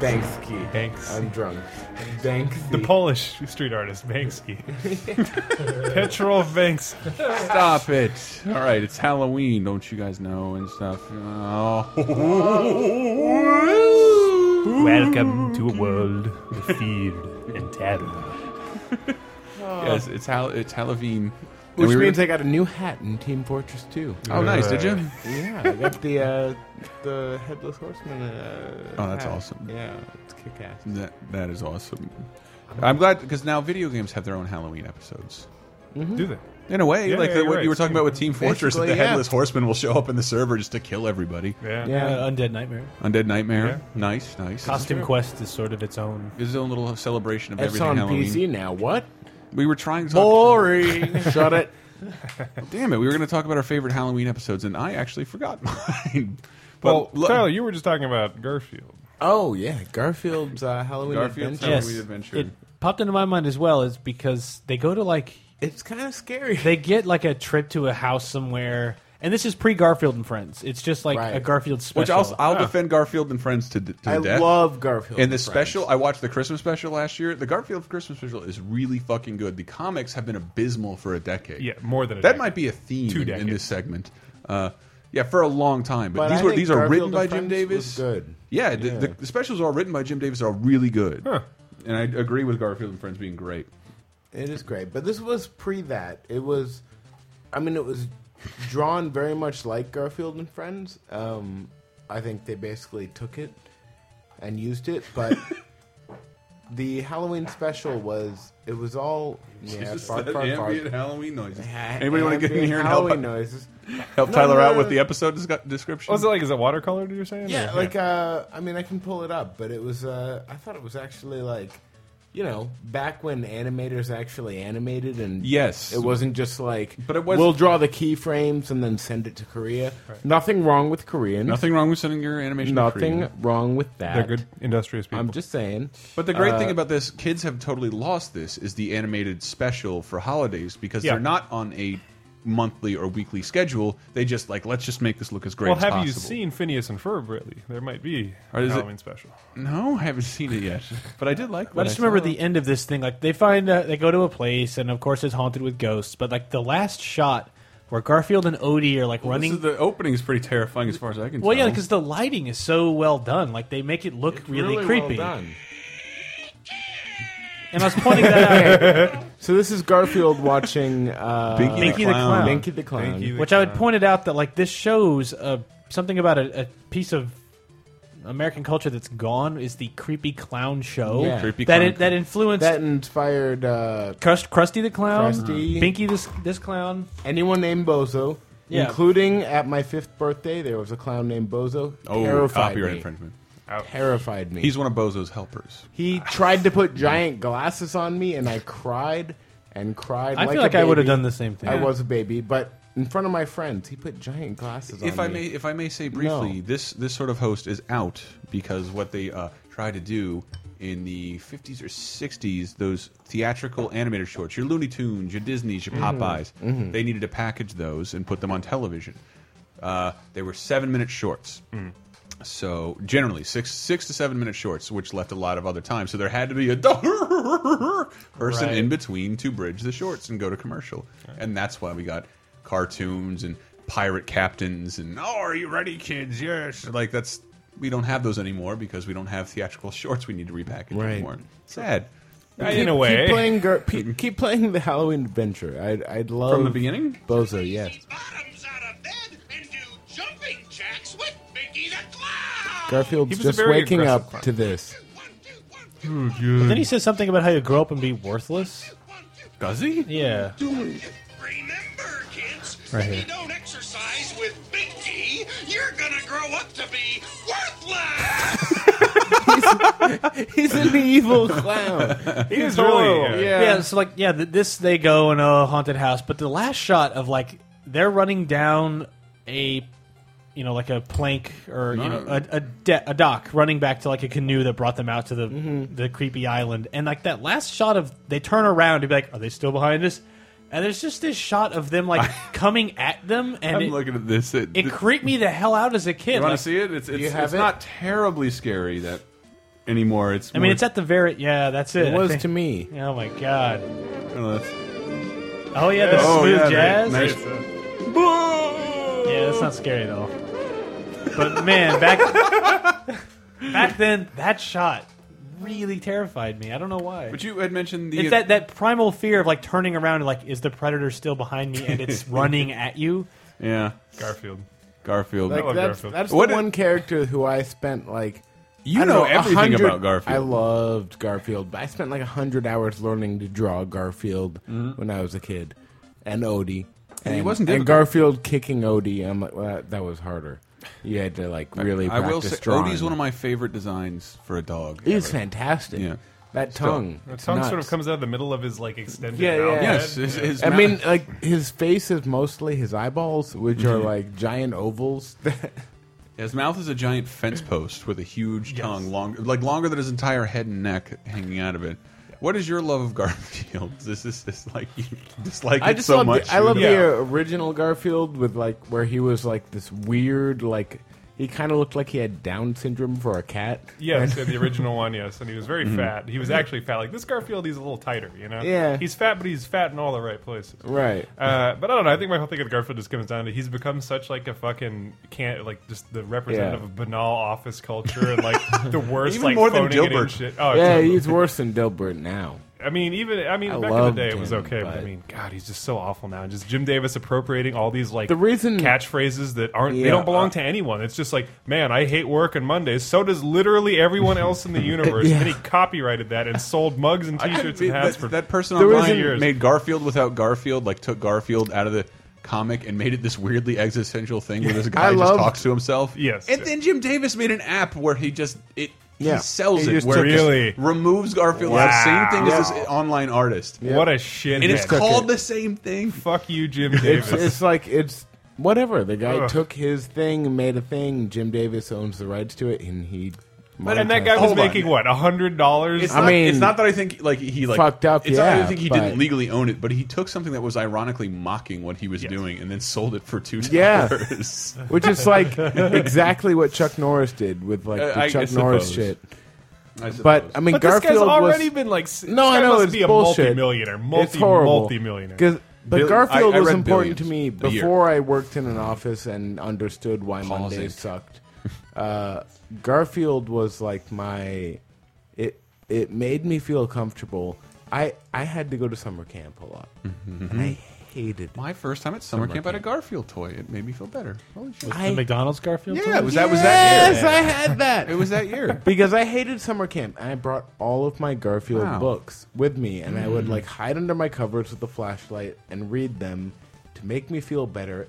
Speaker 5: Banksy.
Speaker 3: Banksy.
Speaker 5: I'm drunk. Banksy.
Speaker 3: The Polish street artist Banksy. Petrov Banks.
Speaker 4: Stop it! All right, it's Halloween, don't you guys know and stuff. Oh.
Speaker 3: Welcome to a world of fear and terror.
Speaker 4: Yes, it's Hal. It's Halloween.
Speaker 5: Which
Speaker 4: we were-
Speaker 5: means I got a new hat in Team Fortress 2.
Speaker 4: Oh, nice. Did you?
Speaker 5: Yeah, I got the uh, the headless horseman. Uh,
Speaker 4: Oh, that's
Speaker 5: hat.
Speaker 4: awesome.
Speaker 5: Yeah, it's kick ass.
Speaker 4: That, that is awesome. I'm glad because now video games have their own Halloween episodes.
Speaker 3: Do they?
Speaker 4: In a way,
Speaker 3: Yeah,
Speaker 4: like
Speaker 3: yeah,
Speaker 4: the,
Speaker 3: you're
Speaker 4: what
Speaker 3: right.
Speaker 4: you were talking about with Team Fortress, that
Speaker 5: Basically,
Speaker 4: the
Speaker 5: yeah.
Speaker 4: headless horseman will show up in the server just to kill everybody.
Speaker 3: Yeah.
Speaker 5: Yeah,
Speaker 6: Uh, Undead Nightmare.
Speaker 4: Undead Nightmare, nice, nice.
Speaker 6: Costume Quest is sort of its own.
Speaker 4: This is a little celebration of
Speaker 5: it's
Speaker 4: everything
Speaker 5: on
Speaker 4: Halloween.
Speaker 5: PC now. What?
Speaker 4: We were trying to
Speaker 5: Boring. Shut it.
Speaker 4: Damn it, we were going to talk about our favorite Halloween episodes, and I actually forgot mine.
Speaker 3: Well,
Speaker 4: look-
Speaker 3: Tyler, you were just talking about Garfield.
Speaker 5: Oh yeah, Garfield's uh, Halloween
Speaker 4: Garfield's
Speaker 5: adventure.
Speaker 4: Halloween Adventure.
Speaker 6: It popped into my mind as well is because they go to like
Speaker 5: It's kind of scary.
Speaker 6: they get like a trip to a house somewhere, and this is pre Garfield and Friends. It's just like
Speaker 5: Right.
Speaker 6: a Garfield special.
Speaker 4: which I'll, I'll defend Garfield and Friends to, d- to
Speaker 5: I
Speaker 4: the death.
Speaker 5: love Garfield.
Speaker 4: and the
Speaker 5: Friends.
Speaker 4: special, I watched the Christmas special last year. The Garfield Christmas special is really fucking good. The comics have been abysmal for a decade.
Speaker 3: Yeah, more than a
Speaker 4: that
Speaker 3: decade.
Speaker 4: might be a theme
Speaker 3: Two
Speaker 4: in, in this
Speaker 3: decades.
Speaker 4: segment. Uh, yeah, for a long time. But,
Speaker 5: But
Speaker 4: these
Speaker 5: I
Speaker 4: were
Speaker 5: think
Speaker 4: these are written
Speaker 5: Garfield
Speaker 4: by
Speaker 5: and
Speaker 4: Jim
Speaker 5: Friends
Speaker 4: Davis.
Speaker 5: was good.
Speaker 4: Yeah, the, The, the specials are all written by Jim Davis are really good. And I agree with Garfield and Friends being great.
Speaker 5: It is great, but this was pre that. It was, I mean, it was drawn very much like Garfield and Friends. Um, I think they basically took it and used it, but the Halloween special was it was all yeah,
Speaker 4: Just
Speaker 5: fart,
Speaker 4: that
Speaker 5: fart,
Speaker 4: ambient
Speaker 5: fart.
Speaker 4: Halloween noises.
Speaker 5: Yeah,
Speaker 4: Anybody want to get in
Speaker 5: ambient
Speaker 4: here and help,
Speaker 5: Halloween noises?
Speaker 4: help
Speaker 5: No,
Speaker 4: Tyler
Speaker 5: no,
Speaker 4: out
Speaker 5: no,
Speaker 4: with
Speaker 5: no.
Speaker 4: the episode discu- description?
Speaker 3: What's it like? Is it watercolor? You're saying?
Speaker 5: Yeah,
Speaker 3: Or-
Speaker 5: like uh, I mean, I can pull it up, but it was uh, I thought it was actually like, you know, back when animators actually animated and
Speaker 4: Yes.
Speaker 5: it wasn't just like,
Speaker 4: But it was-
Speaker 5: we'll draw the keyframes and then send it to Korea. Nothing wrong with Korean.
Speaker 4: Nothing wrong with sending your animation. to
Speaker 5: Nothing
Speaker 4: Korea.
Speaker 5: wrong with that.
Speaker 3: they're good industrious people.
Speaker 5: I'm just saying.
Speaker 4: But the great thing about this, kids have totally lost this, is the animated special for holidays because
Speaker 3: Yeah.
Speaker 4: they're not on a monthly or weekly schedule. They just like, let's just make this look as great
Speaker 3: well,
Speaker 4: as
Speaker 3: have you
Speaker 4: possible.
Speaker 3: seen Phineas and Ferb? Really, there might be
Speaker 4: Or
Speaker 3: a
Speaker 4: is it-
Speaker 3: Halloween special.
Speaker 4: No, I haven't seen it yet. But I did like
Speaker 6: But
Speaker 4: what
Speaker 6: I just
Speaker 4: saw.
Speaker 6: remember the end of this thing. Like they find uh, they go to a place, and of course it's haunted with ghosts. But like the last shot where Garfield and Odie are like
Speaker 4: This
Speaker 6: running.
Speaker 4: is- the opening is pretty terrifying as far as I can
Speaker 6: well,
Speaker 4: tell.
Speaker 6: yeah, because the lighting is so well done. Like they make it look really, creepy. And I was pointing that out,
Speaker 5: So this is Garfield watching uh,
Speaker 4: Binky,
Speaker 6: Binky
Speaker 4: the
Speaker 6: the
Speaker 4: Clown.
Speaker 6: Clown.
Speaker 5: Binky the Clown.
Speaker 3: Thank you.
Speaker 6: which I would pointed out that like this shows uh, something about a, a piece of American culture that's gone is the creepy clown show
Speaker 5: Yeah.
Speaker 4: Creepy
Speaker 6: that
Speaker 4: clown
Speaker 6: it, that
Speaker 4: show.
Speaker 6: influenced
Speaker 5: That inspired uh,
Speaker 6: Crust, Krusty the Clown,
Speaker 5: Krusty.
Speaker 6: Binky this this clown.
Speaker 5: anyone named Bozo,
Speaker 6: Yeah.
Speaker 5: including at my fifth birthday, there was a clown named Bozo.
Speaker 4: Oh,
Speaker 5: terrified
Speaker 4: copyright
Speaker 5: me.
Speaker 4: infringement.
Speaker 5: Terrified me.
Speaker 4: He's one of Bozo's helpers.
Speaker 5: he tried to put giant glasses on me, and I cried and cried.
Speaker 6: I
Speaker 5: like
Speaker 6: feel
Speaker 5: a
Speaker 6: like I would have
Speaker 5: baby.
Speaker 6: done the same thing.
Speaker 5: I was a baby, but in front of my friends, he put giant glasses on
Speaker 4: if I
Speaker 5: me.
Speaker 4: may, if I may say briefly, this this sort of host is out because what they uh, try to do in the 50s or 60s, those theatrical animator shorts, your Looney Tunes, your Disney's, your
Speaker 5: Mm-hmm.
Speaker 4: Popeyes, they needed to package those and put them on television. Uh, they were seven minute shorts.
Speaker 5: Mm.
Speaker 4: So generally six six to seven minute shorts, which left a lot of other time. So there had to be a person in between to bridge the shorts and go to commercial, and that's why we got cartoons and pirate captains and oh, are you ready, kids? Yes. Like that's we don't have those anymore because we don't have theatrical shorts. We need to repackage
Speaker 5: Right.
Speaker 4: anymore. Sad
Speaker 3: in a way.
Speaker 5: Keep playing, Gar- pe- keep playing the Halloween Adventure. I'd, I'd love
Speaker 4: from the beginning.
Speaker 5: Bozo, yes.
Speaker 8: bottoms out of bed and do jumping jacks with Mickey the Clown.
Speaker 5: Garfield's
Speaker 3: He was a
Speaker 5: just
Speaker 3: very
Speaker 5: waking
Speaker 3: aggressive
Speaker 5: up
Speaker 3: clown.
Speaker 5: to this.
Speaker 8: One, two, one, two, one,
Speaker 4: Mm-hmm.
Speaker 6: Then he says something about how you grow up and be worthless.
Speaker 8: one, two.
Speaker 4: Does he?
Speaker 6: Yeah.
Speaker 8: Remember, kids,
Speaker 6: Right
Speaker 8: if you
Speaker 6: here.
Speaker 8: don't exercise with Mickey, you're gonna grow up to be worthless.
Speaker 5: He's an evil clown.
Speaker 3: He is
Speaker 6: Oh,
Speaker 4: oh,
Speaker 3: really. uh,
Speaker 5: yeah.
Speaker 6: Yeah, so like yeah, th- this they go in a haunted house, but the last shot of like they're running down a you know like a plank or you know a a, de- a dock running back to like a canoe that brought them out to the the creepy island and like that last shot of they turn around to be like are they still behind us? And there's just this shot of them like coming at them and
Speaker 4: I'm
Speaker 6: it,
Speaker 4: looking at this. It,
Speaker 6: it creeped me the hell out as a kid.
Speaker 4: you want
Speaker 6: like-
Speaker 4: to see it? It's it's,
Speaker 5: you have
Speaker 4: it's
Speaker 5: it?
Speaker 4: not terribly scary that anymore. It's
Speaker 6: I mean,
Speaker 4: more-
Speaker 6: it's at the very yeah. That's it.
Speaker 5: It
Speaker 6: I
Speaker 5: was
Speaker 6: think.
Speaker 5: to me.
Speaker 6: Oh my god.
Speaker 4: Oh, that's-
Speaker 6: Oh yeah, the
Speaker 4: Oh,
Speaker 6: smooth
Speaker 4: yeah,
Speaker 6: jazz.
Speaker 4: nice-
Speaker 3: it's, uh,
Speaker 6: Yeah, that's not scary though. But man, back Back then, that shot really terrified me. I don't know why.
Speaker 4: But you had mentioned the
Speaker 6: it's that, that primal fear of like turning around and like, is the predator still behind me and it's running at you?
Speaker 4: yeah
Speaker 3: Garfield.
Speaker 4: Garfield.
Speaker 5: Like
Speaker 3: love
Speaker 5: that's
Speaker 3: Garfield.
Speaker 5: that's
Speaker 4: What
Speaker 5: the
Speaker 4: did-
Speaker 5: one character who I spent like
Speaker 4: you
Speaker 5: I
Speaker 4: know,
Speaker 5: don't a
Speaker 4: everything
Speaker 5: hundred-
Speaker 4: about Garfield.
Speaker 5: I loved Garfield, but I spent like a hundred hours learning to draw Garfield when I was a kid, and Odie.
Speaker 4: Mm-hmm. And he wasn't difficult.
Speaker 5: And Garfield kicking Odie, I'm like, well, that, that was harder. You had to like really.
Speaker 4: I will say,
Speaker 5: practice drawing.
Speaker 4: Odie's one of my favorite designs for a dog.
Speaker 5: He's
Speaker 4: ever.
Speaker 5: fantastic.
Speaker 4: Yeah.
Speaker 5: That
Speaker 4: Still.
Speaker 5: tongue.
Speaker 3: The
Speaker 5: it's
Speaker 3: tongue sort
Speaker 5: nuts.
Speaker 3: of comes out of the middle of his like extended
Speaker 5: Yeah,
Speaker 3: mouth.
Speaker 5: yeah.
Speaker 3: head.
Speaker 4: Yes, his, his
Speaker 5: I
Speaker 4: mouth- Mm-hmm.
Speaker 5: mean, like his face is mostly his eyeballs, which are like giant ovals.
Speaker 4: his mouth is a giant fence post with a huge tongue, long, like longer than his entire head and neck hanging out of it. What is your love of Garfield? Is this this like you dislike
Speaker 5: I
Speaker 4: it
Speaker 5: just
Speaker 4: so
Speaker 5: love
Speaker 4: much?
Speaker 5: The, I love
Speaker 3: Yeah.
Speaker 5: the original Garfield with like where he was like this weird like he kind of looked like he had Down syndrome for a cat.
Speaker 3: Yes, yeah, the original one, yes. And he was
Speaker 4: Mm-hmm.
Speaker 3: very fat. He was actually fat. Like this Garfield, he's a little tighter, you know?
Speaker 5: Yeah.
Speaker 3: He's fat, but he's fat in all the right places.
Speaker 5: Right.
Speaker 3: Uh, but I don't know. I think my whole thing of Garfield just comes down to he's become such like a fucking can't like just the representative
Speaker 5: Yeah.
Speaker 3: of banal office culture and like the worst
Speaker 4: Even
Speaker 3: like
Speaker 4: more than
Speaker 3: phoning it in
Speaker 4: Dilbert.
Speaker 3: shit. Oh,
Speaker 5: Yeah,
Speaker 3: totally.
Speaker 5: he's worse than Dilbert now.
Speaker 3: I mean, even I mean,
Speaker 5: I
Speaker 3: back in the
Speaker 5: loved
Speaker 3: day, it was
Speaker 5: him,
Speaker 3: okay. But, I
Speaker 5: but-
Speaker 3: mean, God, he's just so awful now. And just Jim Davis appropriating all these like
Speaker 5: The reason-
Speaker 3: catchphrases that aren't they
Speaker 5: Yeah,
Speaker 3: don't belong
Speaker 5: uh,
Speaker 3: to anyone. It's just like, man, I hate work on Mondays. So does literally everyone else in the universe.
Speaker 5: Yeah.
Speaker 3: And he copyrighted that and sold mugs and
Speaker 4: I couldn't
Speaker 3: T-shirts
Speaker 4: be-
Speaker 3: and hats
Speaker 4: that,
Speaker 3: for
Speaker 4: that person
Speaker 5: There
Speaker 4: online
Speaker 5: isn't-
Speaker 3: years.
Speaker 4: made Garfield without Garfield, like took Garfield out of the comic and made it this weirdly existential thing where this guy just
Speaker 5: love-
Speaker 4: talks to himself.
Speaker 3: Yes.
Speaker 4: and then Jim Davis made an app where he just it.
Speaker 5: Yeah.
Speaker 4: He sells
Speaker 5: He
Speaker 4: it
Speaker 5: just
Speaker 4: where
Speaker 5: took
Speaker 4: it
Speaker 3: Really?
Speaker 4: just removes Garfield.
Speaker 3: Wow.
Speaker 4: The same thing as this online artist.
Speaker 3: what a
Speaker 4: And
Speaker 3: shit.
Speaker 4: it's
Speaker 5: took
Speaker 4: called
Speaker 5: it.
Speaker 4: the same thing.
Speaker 3: fuck you, Jim
Speaker 5: It's
Speaker 3: Davis.
Speaker 5: it's like it's whatever. The guy
Speaker 3: Ugh.
Speaker 5: took his thing, and made a thing. Jim Davis owns the rights to it, and he.
Speaker 3: but and that guy was
Speaker 4: Hold on.
Speaker 3: making what hundred dollars.
Speaker 4: It's
Speaker 5: I
Speaker 4: not,
Speaker 5: mean-
Speaker 4: it's not that I think like he like
Speaker 5: Fucked up,
Speaker 4: It's not that I
Speaker 5: yeah,
Speaker 4: think he
Speaker 5: but-
Speaker 4: didn't legally own it, but he took something that was ironically mocking what he was doing and then sold it for two
Speaker 5: Yeah.
Speaker 4: dollars.
Speaker 5: which is like exactly what Chuck Norris did with like
Speaker 4: Uh,
Speaker 5: the
Speaker 4: I
Speaker 5: Chuck
Speaker 4: suppose.
Speaker 5: Norris shit. But I mean,
Speaker 3: But this
Speaker 5: Garfield
Speaker 3: guy's already
Speaker 5: was,
Speaker 3: been like s-
Speaker 5: No,
Speaker 3: this
Speaker 5: I
Speaker 3: guy
Speaker 5: know
Speaker 3: must
Speaker 5: it's
Speaker 3: be a
Speaker 5: bullshit.
Speaker 3: multi-millionaire, multi
Speaker 5: it's horrible.
Speaker 3: multi-millionaire.
Speaker 5: 'Cause- But
Speaker 4: Bill-
Speaker 5: Garfield
Speaker 4: I- I
Speaker 5: was
Speaker 4: read
Speaker 5: important to me
Speaker 4: billions a year.
Speaker 5: before I worked in an office and understood why
Speaker 4: Paul's
Speaker 5: Mondays
Speaker 4: Inc.
Speaker 5: sucked. Uh, Garfield was like my it it made me feel comfortable. I I had to go to summer camp a lot,
Speaker 4: Mm-hmm.
Speaker 5: and I hated. it.
Speaker 4: my first time at summer, camp, I had a Garfield toy. It made me feel better. Holy shit.
Speaker 5: I-
Speaker 6: the McDonald's Garfield.
Speaker 4: yeah,
Speaker 6: toy?
Speaker 4: it was that was that
Speaker 5: Yes,
Speaker 4: year?
Speaker 5: I had that.
Speaker 4: It was that year.
Speaker 5: because I hated summer camp. And I brought all of my Garfield
Speaker 4: Wow. Mm.
Speaker 5: books with me, and I would like hide under my covers with a flashlight and read them to make me feel better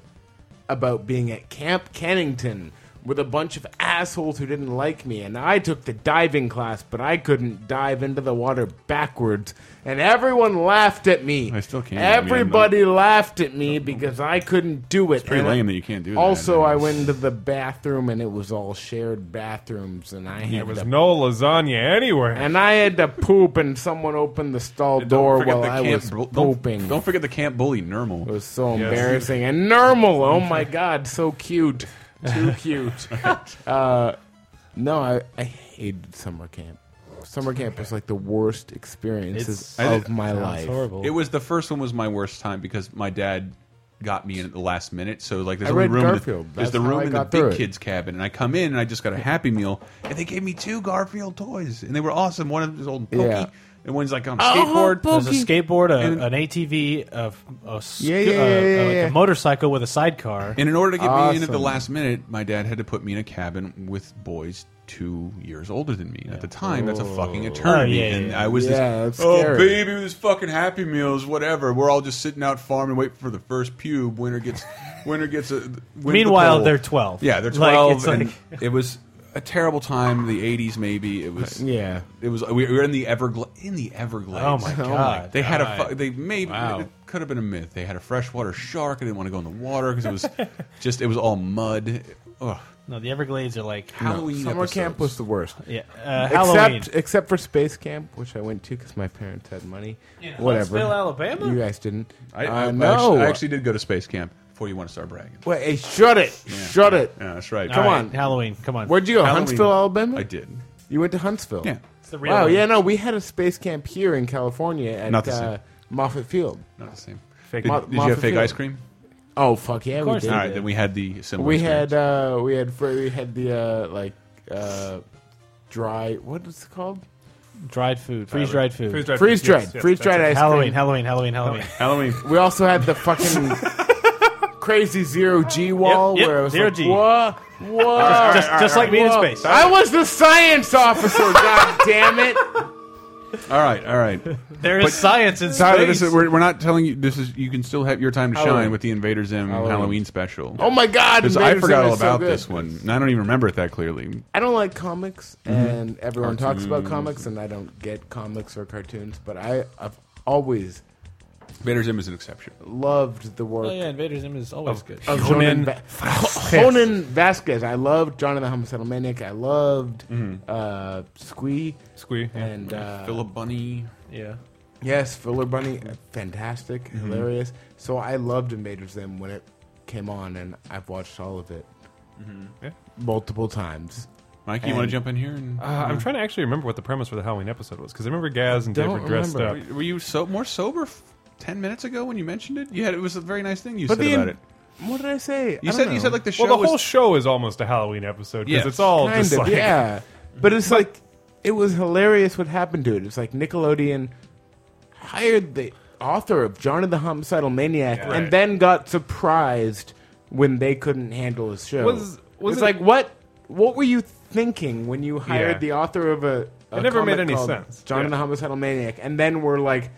Speaker 5: about being at Camp Kennington with a bunch of assholes who didn't like me. And I took the diving class, but I couldn't dive into the water backwards, and everyone laughed at me.
Speaker 4: I still can't, I mean,
Speaker 5: Everybody laughed at me because I couldn't do it. It's
Speaker 4: pretty lame that you can't do that.
Speaker 5: Also, I went into the bathroom, and it was all shared bathrooms, and I had
Speaker 3: There was
Speaker 5: to
Speaker 3: no lasagna anywhere.
Speaker 5: and I had to poop, and someone opened the stall door
Speaker 4: Don't forget
Speaker 5: while
Speaker 4: the
Speaker 5: I
Speaker 4: camp
Speaker 5: was
Speaker 4: bu- don't,
Speaker 5: pooping.
Speaker 4: Don't forget the camp bully Nermal.
Speaker 5: it was so
Speaker 3: Yes.
Speaker 5: embarrassing. And normal, oh my god, so cute, too cute. uh, no, I, I hated summer camp. Summer camp was like the worst experiences
Speaker 6: It's-
Speaker 4: I
Speaker 5: of
Speaker 4: did-
Speaker 5: my life.
Speaker 6: It's horrible.
Speaker 4: It was the first one was my worst time because my dad got me in at the last minute. So like there's
Speaker 5: I
Speaker 4: only
Speaker 5: read
Speaker 4: room in the-
Speaker 5: Garfield.
Speaker 4: there's
Speaker 5: That's
Speaker 4: the
Speaker 5: how
Speaker 4: room
Speaker 5: I
Speaker 4: in the
Speaker 5: got through
Speaker 4: big
Speaker 5: it.
Speaker 4: kids cabin and I come in and I just got a happy meal and they gave me two Garfield toys and they were awesome. One of them was old pokey
Speaker 5: Yeah. Oh,
Speaker 4: and one's like on a skateboard.
Speaker 6: There's a
Speaker 5: Pokey.
Speaker 6: skateboard, a,
Speaker 4: And-
Speaker 6: an ATV, a, a, sc-
Speaker 5: Yeah, yeah,
Speaker 6: uh,
Speaker 5: yeah, yeah,
Speaker 6: uh, like
Speaker 5: yeah.
Speaker 6: a motorcycle with a sidecar.
Speaker 4: And in order to get me in at the
Speaker 5: Awesome.
Speaker 4: last minute, my dad had to put me in a cabin with boys two years older than me. And At the time, that's a fucking eternity.
Speaker 6: Oh, yeah, yeah,
Speaker 4: and
Speaker 6: yeah.
Speaker 4: I was
Speaker 5: Yeah,
Speaker 4: this,
Speaker 5: that's
Speaker 4: oh,
Speaker 5: scary.
Speaker 4: baby, with this fucking Happy Meals, whatever. We're all just sitting out farming, waiting for the first pube. Winner gets, winner gets a. wins the
Speaker 6: Meanwhile,
Speaker 4: poll.
Speaker 6: they're 12.
Speaker 4: Yeah, they're
Speaker 6: Like,
Speaker 4: twelve.
Speaker 6: it's like-
Speaker 4: and it was a terrible time. The eighties, maybe it was.
Speaker 5: Yeah.
Speaker 4: it was. We were in the Everglades. In the Everglades.
Speaker 6: Oh my god!
Speaker 4: They had a. fu- They maybe
Speaker 6: Wow.
Speaker 4: it could have been a myth. They had a freshwater shark. I didn't want to go in the water because it was just it was all mud. Ugh.
Speaker 6: no, the Everglades are like
Speaker 4: Halloween
Speaker 5: Summer camp was
Speaker 4: episodes.
Speaker 5: the worst.
Speaker 6: yeah, uh, Halloween.
Speaker 5: Except except for space camp, which I went to because my parents had money.
Speaker 6: In
Speaker 5: Whatever.
Speaker 6: Huntsville, Alabama?
Speaker 5: You guys didn't.
Speaker 4: I,
Speaker 5: Uh,
Speaker 4: I,
Speaker 5: no.
Speaker 4: actually, I actually did go to space camp before you want to start bragging.
Speaker 5: Wait, hey, shut it! Shut it!
Speaker 4: Yeah, that's right.
Speaker 6: All
Speaker 5: Come
Speaker 6: right,
Speaker 5: on.
Speaker 6: Halloween. Come on.
Speaker 5: Where'd you go?
Speaker 4: Halloween.
Speaker 5: Huntsville, Alabama.
Speaker 4: I did.
Speaker 5: You went to Huntsville.
Speaker 4: Yeah.
Speaker 6: It's the real
Speaker 5: Wow.
Speaker 6: one.
Speaker 5: Yeah. No, we had a space camp here in California at
Speaker 4: Not the
Speaker 5: uh,
Speaker 4: same.
Speaker 5: Moffett Field.
Speaker 4: Not the same.
Speaker 3: Fake
Speaker 4: did
Speaker 5: Mo-
Speaker 4: did you have
Speaker 5: Moffat
Speaker 4: fake
Speaker 5: Field.
Speaker 4: ice cream?
Speaker 5: Oh fuck yeah, we
Speaker 6: course
Speaker 5: did.
Speaker 4: All right, then we had the similar.
Speaker 5: we
Speaker 4: experience.
Speaker 5: had uh, we had fr- we had the uh, like uh, dry. What is it called?
Speaker 6: Dried food, freeze dried food.
Speaker 3: Freeze dried.
Speaker 5: Freeze dried.
Speaker 3: Yes, yes,
Speaker 5: Freeze
Speaker 3: that's
Speaker 5: dried
Speaker 3: it.
Speaker 5: ice
Speaker 6: Halloween,
Speaker 5: cream.
Speaker 6: Halloween, Halloween, Halloween.
Speaker 4: Halloween.
Speaker 5: We also had the fucking crazy zero G wall
Speaker 6: Yep, yep,
Speaker 5: where it was
Speaker 6: zero
Speaker 5: like,
Speaker 6: G.
Speaker 5: whoa, whoa.
Speaker 6: just just like me in
Speaker 5: whoa.
Speaker 6: space.
Speaker 5: I was the science officer. God damn it!
Speaker 4: All right, all right.
Speaker 6: There is science in
Speaker 4: Tyler,
Speaker 6: space.
Speaker 4: this is, we're, we're not telling you. This is you can still have your time to shine
Speaker 5: Halloween.
Speaker 4: with the Invader Zim Halloween, special.
Speaker 5: Oh my god!
Speaker 4: 'Cause I
Speaker 5: Invaders
Speaker 4: forgot
Speaker 5: Zim
Speaker 4: all
Speaker 5: is so
Speaker 4: about
Speaker 5: good.
Speaker 4: this one. And I don't even remember it that clearly.
Speaker 5: I don't like comics, and everyone talks about
Speaker 4: Mm-hmm. Cartoons.
Speaker 5: comics, and I don't get comics or cartoons, but I, I've always
Speaker 4: Invader Zim is an exception.
Speaker 5: loved the work
Speaker 6: oh yeah, Invader Zim is always
Speaker 3: Oh.
Speaker 6: good.
Speaker 5: of
Speaker 3: Conan
Speaker 5: Conan, Va- Conan Vasquez. I loved John and the Homicidal Maniac. I loved
Speaker 4: Mm-hmm.
Speaker 5: uh, Squee
Speaker 3: Squee. yeah.
Speaker 5: and uh,
Speaker 4: Philip Bunny.
Speaker 6: Yeah.
Speaker 5: Yes, Filler Bunny, uh, fantastic, hilarious. So I loved Invaders Zim when it came on, and I've watched all of it Mm-hmm.
Speaker 3: Yeah.
Speaker 5: multiple times.
Speaker 4: Mike, you want to
Speaker 5: And-
Speaker 4: jump in here? And,
Speaker 3: Uh,
Speaker 5: Mm-hmm.
Speaker 3: I'm trying to actually remember what the premise for the Halloween episode was because I remember Gaz and Dave
Speaker 5: Don't
Speaker 3: were dressed
Speaker 5: remember.
Speaker 3: up.
Speaker 4: were you so more sober f- ten minutes ago when you mentioned it? You had it was a very nice thing you
Speaker 5: But
Speaker 4: said
Speaker 5: the-
Speaker 4: about it.
Speaker 5: What did I say?
Speaker 4: You
Speaker 5: I
Speaker 4: said
Speaker 5: don't
Speaker 4: you
Speaker 5: know.
Speaker 4: said like the show
Speaker 3: Well, the whole
Speaker 4: was
Speaker 3: show is almost a Halloween episode because
Speaker 4: Yes.
Speaker 3: it's all
Speaker 5: kind
Speaker 3: just
Speaker 5: of,
Speaker 3: like
Speaker 5: yeah. But it's like it was hilarious what happened to it. It's like Nickelodeon hired the author of John and the Homicidal Maniac,
Speaker 3: Right.
Speaker 5: and then got surprised when they couldn't handle his show.
Speaker 3: Was- was
Speaker 5: it's
Speaker 3: it-
Speaker 5: like what? What were you thinking when you hired
Speaker 3: Yeah.
Speaker 5: the author of a? a
Speaker 3: It never
Speaker 5: comic
Speaker 3: made any
Speaker 5: called
Speaker 3: sense.
Speaker 5: John
Speaker 3: Yeah.
Speaker 5: and the Homicidal Maniac, and then we're like.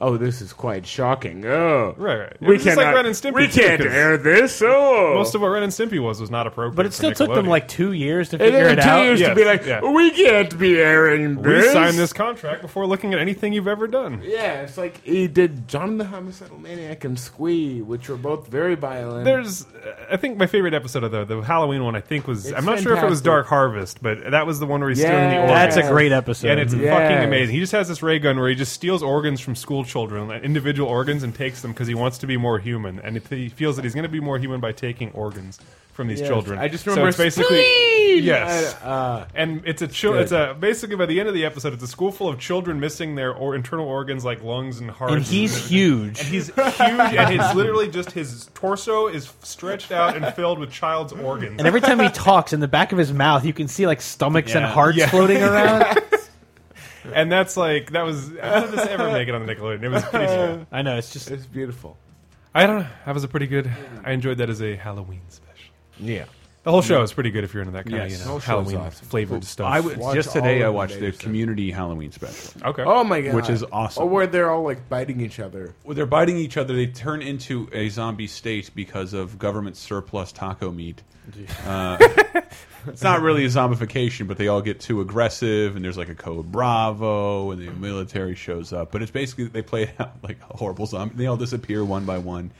Speaker 5: Oh, this is quite shocking. Oh,
Speaker 3: Right, right. It
Speaker 5: We
Speaker 3: was just
Speaker 5: can't.
Speaker 3: like Ren and Stimpy,
Speaker 5: we
Speaker 3: too,
Speaker 5: can't
Speaker 3: 'cause
Speaker 5: air this. Oh,
Speaker 3: most of what Ren and Stimpy was was not appropriate.
Speaker 6: But it
Speaker 3: for
Speaker 6: still took them
Speaker 3: Nickelodeon.
Speaker 6: like two years to
Speaker 5: It
Speaker 6: figure
Speaker 5: took
Speaker 6: it
Speaker 5: two
Speaker 6: out.
Speaker 5: years
Speaker 3: Yes,
Speaker 5: to be like,
Speaker 3: yeah.
Speaker 5: we can't be airing
Speaker 3: we
Speaker 5: this.
Speaker 3: signed this contract before looking at anything you've ever done.
Speaker 5: Yeah, it's like he did John the Homicidal Maniac and Squee, which were both very violent.
Speaker 3: There's, uh, I think my favorite episode of the the Halloween one. I think was
Speaker 5: It's
Speaker 3: I'm not sure if it was
Speaker 5: fantastic.
Speaker 3: Dark Harvest, but that was the one where he's stealing the
Speaker 5: Yeah.
Speaker 3: organs.
Speaker 6: That's a
Speaker 5: Yes.
Speaker 6: great episode.
Speaker 3: and it's
Speaker 5: Yes.
Speaker 3: fucking amazing. He just has this ray gun where he just steals organs from school children, like individual organs, and takes them because he wants to be more human, and if he feels that he's going to be more human by taking organs from these
Speaker 5: Yes.
Speaker 3: children.
Speaker 5: I just
Speaker 3: So
Speaker 5: remember
Speaker 3: it's basically yes,
Speaker 5: I- uh,
Speaker 3: and it's a chil-
Speaker 5: good.
Speaker 3: it's a basically by the end of the episode, it's a school full of children missing their or internal organs like lungs and hearts.
Speaker 6: and he's huge.
Speaker 3: And he's huge, and it's literally just his torso is stretched out and filled with child's organs.
Speaker 6: And every time he talks, in the back of his mouth, you can see like stomachs and
Speaker 4: Yeah.
Speaker 6: hearts
Speaker 3: Yeah.
Speaker 6: floating around.
Speaker 3: And that's like that was how did this ever make it on the Nickelodeon? It was pretty.
Speaker 4: Uh.
Speaker 3: Sad.
Speaker 6: I know it's just
Speaker 5: it's beautiful.
Speaker 3: I don't know. That was a pretty good. I enjoyed that as a Halloween special.
Speaker 5: Yeah.
Speaker 3: The whole show is pretty good if you're into that
Speaker 4: Mm.
Speaker 3: kind
Speaker 4: Yes. The
Speaker 3: of you know,
Speaker 5: whole show's
Speaker 3: Halloween
Speaker 5: awesome.
Speaker 3: flavored stuff.
Speaker 4: I w-
Speaker 5: Watch
Speaker 4: just
Speaker 5: all
Speaker 4: today I
Speaker 5: of the
Speaker 4: watched the
Speaker 5: Invader Zim.
Speaker 4: Community Halloween special.
Speaker 3: okay.
Speaker 5: Oh my god.
Speaker 4: Which is awesome.
Speaker 5: Or where they're all like biting each other.
Speaker 4: Well, they're biting each other. They turn into a zombie state because of government surplus taco meat. Uh, it's not really a zombification, but they all get too aggressive, and there's like a code Bravo, and the military shows up. But it's basically they play it out like a horrible zombie. They all disappear one by one.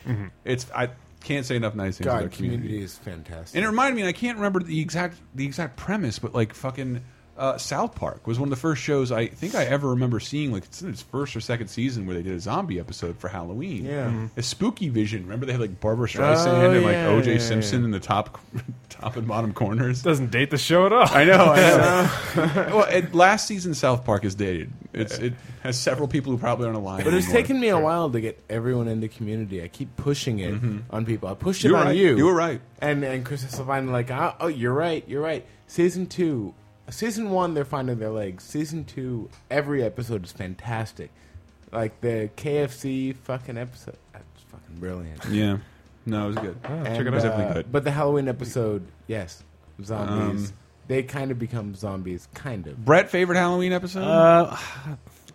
Speaker 4: It's I can't say enough nice things about
Speaker 5: God,
Speaker 4: their community.
Speaker 5: community is fantastic.
Speaker 4: And it reminded me, and I can't remember the exact the exact premise, but like fucking uh, South Park was one of the first shows I think I ever remember seeing, like it's in its first or second season where they did a zombie episode for Halloween.
Speaker 5: Yeah. Mhm.
Speaker 4: a spooky vision. Remember they had like Barbara Streisand
Speaker 5: Oh,
Speaker 4: and like
Speaker 5: yeah,
Speaker 4: O.J.
Speaker 5: yeah, yeah,
Speaker 4: Simpson in the top top and bottom corners.
Speaker 3: Doesn't date the show at all.
Speaker 4: I know. I know. well, it, last season South Park is dated. It's it has several people who probably aren't alive.
Speaker 5: but it's
Speaker 4: anymore.
Speaker 5: taken me a while to get everyone in the community. I keep pushing it on people. I pushed it
Speaker 4: Mm-hmm. You're
Speaker 5: on
Speaker 4: right.
Speaker 5: you.
Speaker 4: You were right.
Speaker 5: And and Chris Sylvan like, oh, oh, you're right, you're right. Season two, season one, they're finding their legs. Season two, every episode is fantastic. Like the KFC fucking episode, that's fucking brilliant.
Speaker 4: Yeah. No, it was good.
Speaker 5: And,
Speaker 4: Oh, Check it out. Definitely
Speaker 5: uh,
Speaker 4: good. Um,
Speaker 5: But the Halloween episode, yes, zombies. they kind of become zombies, kind of.
Speaker 4: Brett favorite Halloween episode?
Speaker 6: Uh,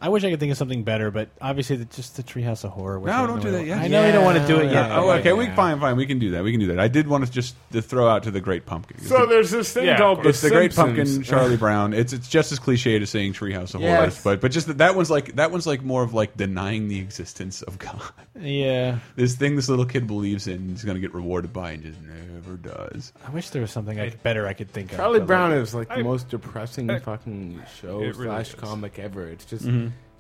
Speaker 6: I wish I could think of something better, but obviously the, just the Treehouse of Horror. which
Speaker 4: No,
Speaker 6: I
Speaker 4: don't
Speaker 6: know
Speaker 4: do
Speaker 6: we
Speaker 4: that
Speaker 6: don't-
Speaker 4: yet.
Speaker 6: I know you don't want to do it
Speaker 5: Yeah.
Speaker 6: yet.
Speaker 5: Yeah.
Speaker 4: Oh, okay. We
Speaker 5: yeah.
Speaker 4: fine, fine. We can do that. We can do that. I did want to just to throw out to the Great Pumpkin.
Speaker 5: So there's this thing
Speaker 3: Yeah, of
Speaker 5: called
Speaker 3: course.
Speaker 4: it's the Great
Speaker 5: Simpsons.
Speaker 4: Pumpkin, Charlie Brown. It's it's just as cliche to saying Treehouse of
Speaker 5: Yes.
Speaker 4: Horrors, but but just that, that one's like that one's like more of like denying the existence of God.
Speaker 6: Yeah.
Speaker 4: This thing this little kid believes in, he's gonna get rewarded by, and just never does.
Speaker 6: I wish there was something I could, better I could think of.
Speaker 5: Charlie
Speaker 6: but, like,
Speaker 5: Brown is like the
Speaker 3: I-
Speaker 5: most depressing
Speaker 3: I-
Speaker 5: fucking show
Speaker 3: It really
Speaker 5: slash
Speaker 3: is.
Speaker 5: comic ever. It's just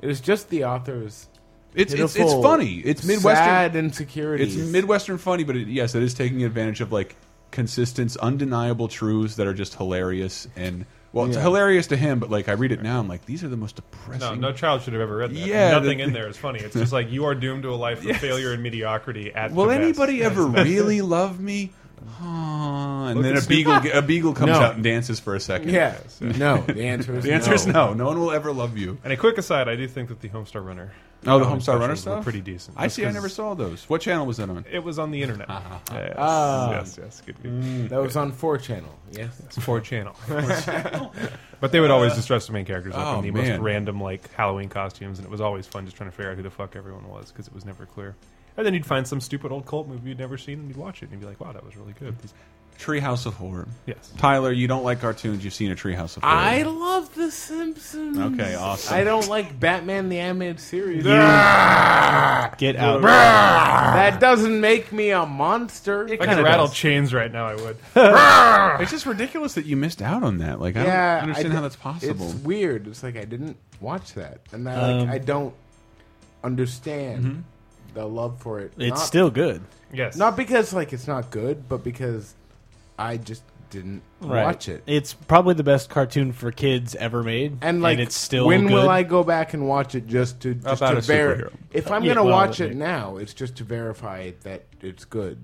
Speaker 5: it was just the authors.
Speaker 4: It's it's, it's
Speaker 5: pitiful,
Speaker 4: funny. It's midwestern.
Speaker 5: sad insecurities.
Speaker 4: It's midwestern funny, but it, yes, it is taking advantage of like consistent, undeniable truths that are just hilarious and. Well, it's
Speaker 5: Yeah.
Speaker 4: hilarious to him, but like I read it now, I'm like, these are the most
Speaker 3: No,
Speaker 4: depressing.
Speaker 3: no child should have ever read that.
Speaker 4: Yeah,
Speaker 3: nothing
Speaker 4: the-
Speaker 3: in there is funny. It's just like you are doomed to a life of failure and mediocrity. At
Speaker 4: Will
Speaker 3: the best.
Speaker 4: anybody ever really love me? Aw, and
Speaker 3: Look
Speaker 4: then
Speaker 3: at
Speaker 4: a
Speaker 3: Snoop.
Speaker 4: beagle a beagle comes
Speaker 5: No.
Speaker 4: out and dances for a second.
Speaker 5: Yeah. No. The answer is
Speaker 4: The answer is no. No one will ever love you.
Speaker 3: And a quick aside, I do think that the Homestar Runner.
Speaker 4: Oh, the
Speaker 3: Halloween
Speaker 4: Homestar Runner
Speaker 3: specials were
Speaker 4: stuff?
Speaker 3: pretty decent.
Speaker 4: I
Speaker 3: Just
Speaker 4: see. I
Speaker 3: 'cause
Speaker 4: never saw those. What channel was that on?
Speaker 3: It was on the internet. yes,
Speaker 5: Ah.
Speaker 3: yes, yes, good. good.
Speaker 5: That was on four channel. Yes.
Speaker 3: It's four channel. but they would always just dress the main characters up
Speaker 4: oh,
Speaker 3: in the most
Speaker 4: man.
Speaker 3: random like Halloween costumes, and it was always fun just trying to figure out who the fuck everyone was because it was never clear. And then you'd find some stupid old cult movie you'd never seen, and you'd watch it, and you'd be like, "Wow, that was really good." These-
Speaker 4: Treehouse of Horror.
Speaker 3: yes,
Speaker 4: Tyler, you don't like cartoons. You've seen a Treehouse of Horror.
Speaker 5: I love The Simpsons.
Speaker 4: Okay, awesome.
Speaker 5: I don't like Batman the animated series.
Speaker 6: Get out.
Speaker 5: That doesn't make me a monster.
Speaker 3: if I could
Speaker 6: kinda
Speaker 3: rattle
Speaker 6: does.
Speaker 3: chains right now. I would.
Speaker 4: It's just ridiculous that you missed out on that. Like, I
Speaker 5: yeah,
Speaker 4: don't understand
Speaker 5: I
Speaker 4: how
Speaker 5: di-
Speaker 4: that's possible.
Speaker 5: It's weird. It's like I didn't watch that, and I, like,
Speaker 6: Um,
Speaker 5: I don't understand
Speaker 4: mm-hmm.
Speaker 5: the love for it.
Speaker 6: It's
Speaker 5: not,
Speaker 6: still good.
Speaker 3: yes,
Speaker 5: not because like it's not good, but because I just didn't watch it.
Speaker 6: It's probably the best cartoon for kids ever made,
Speaker 5: And like,
Speaker 6: it's still
Speaker 5: when
Speaker 6: good.
Speaker 5: will I go back and watch it just to just
Speaker 4: About
Speaker 5: to
Speaker 4: a
Speaker 5: ver-
Speaker 4: superhero.
Speaker 5: If I'm
Speaker 6: Yeah,
Speaker 5: gonna
Speaker 6: well,
Speaker 5: watch it
Speaker 6: yeah.
Speaker 5: now, it's just to verify that it's good.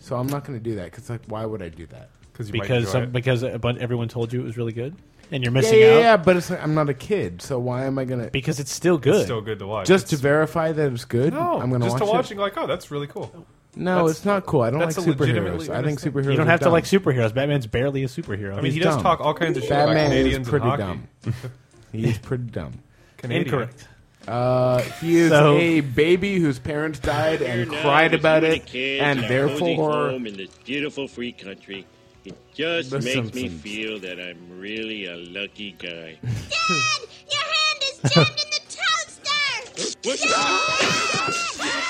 Speaker 5: So I'm not gonna do that because like, why would I do that?
Speaker 3: you might
Speaker 6: because
Speaker 3: enjoy
Speaker 6: some,
Speaker 3: it.
Speaker 6: because a bunch, everyone told you it was really good, and you're
Speaker 5: Yeah,
Speaker 6: missing
Speaker 5: yeah,
Speaker 6: out
Speaker 5: yeah, but it's like I'm not a kid, so why am I gonna
Speaker 6: because it's still good.
Speaker 3: it's still good to watch.
Speaker 5: just to
Speaker 3: It's-
Speaker 5: verify that it's good?
Speaker 3: no,
Speaker 5: I'm gonna
Speaker 3: just
Speaker 5: watch
Speaker 3: to watch
Speaker 5: it.
Speaker 3: and go like, "Oh, that's really cool."
Speaker 5: No,
Speaker 3: That's-
Speaker 5: it's not cool. I don't like
Speaker 3: that's a legitimately
Speaker 5: superheroes. I think
Speaker 3: honest thing.
Speaker 5: superheroes.
Speaker 6: you don't
Speaker 5: are
Speaker 6: have to
Speaker 5: dumb.
Speaker 6: like superheroes. Batman's barely a superhero.
Speaker 3: I mean,
Speaker 5: He's
Speaker 3: he does
Speaker 5: dumb.
Speaker 3: talk all kinds of shit about
Speaker 5: Batman is
Speaker 3: Canadians
Speaker 5: pretty
Speaker 3: and hockey.
Speaker 5: dumb. He's pretty dumb.
Speaker 3: Canadian.
Speaker 6: incorrect.
Speaker 5: Uh, he is
Speaker 6: So-
Speaker 5: a baby whose parents died and
Speaker 9: You're now
Speaker 5: cried
Speaker 9: with
Speaker 5: about
Speaker 9: you
Speaker 5: it,
Speaker 9: kids
Speaker 5: and
Speaker 9: in a cozy
Speaker 5: therefore,
Speaker 9: home in this beautiful free country. It just
Speaker 5: The
Speaker 9: makes me
Speaker 5: Simpsons.
Speaker 9: feel that I'm really a lucky guy.
Speaker 10: Dad, your hand is jammed in the toaster.
Speaker 9: What's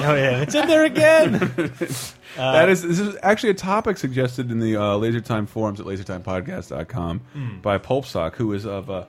Speaker 6: Oh yeah, it's in there again.
Speaker 4: that is this is actually a topic suggested in the uh, Laser Time forums at lasertimepodcast.com by Pulpsock, who is of a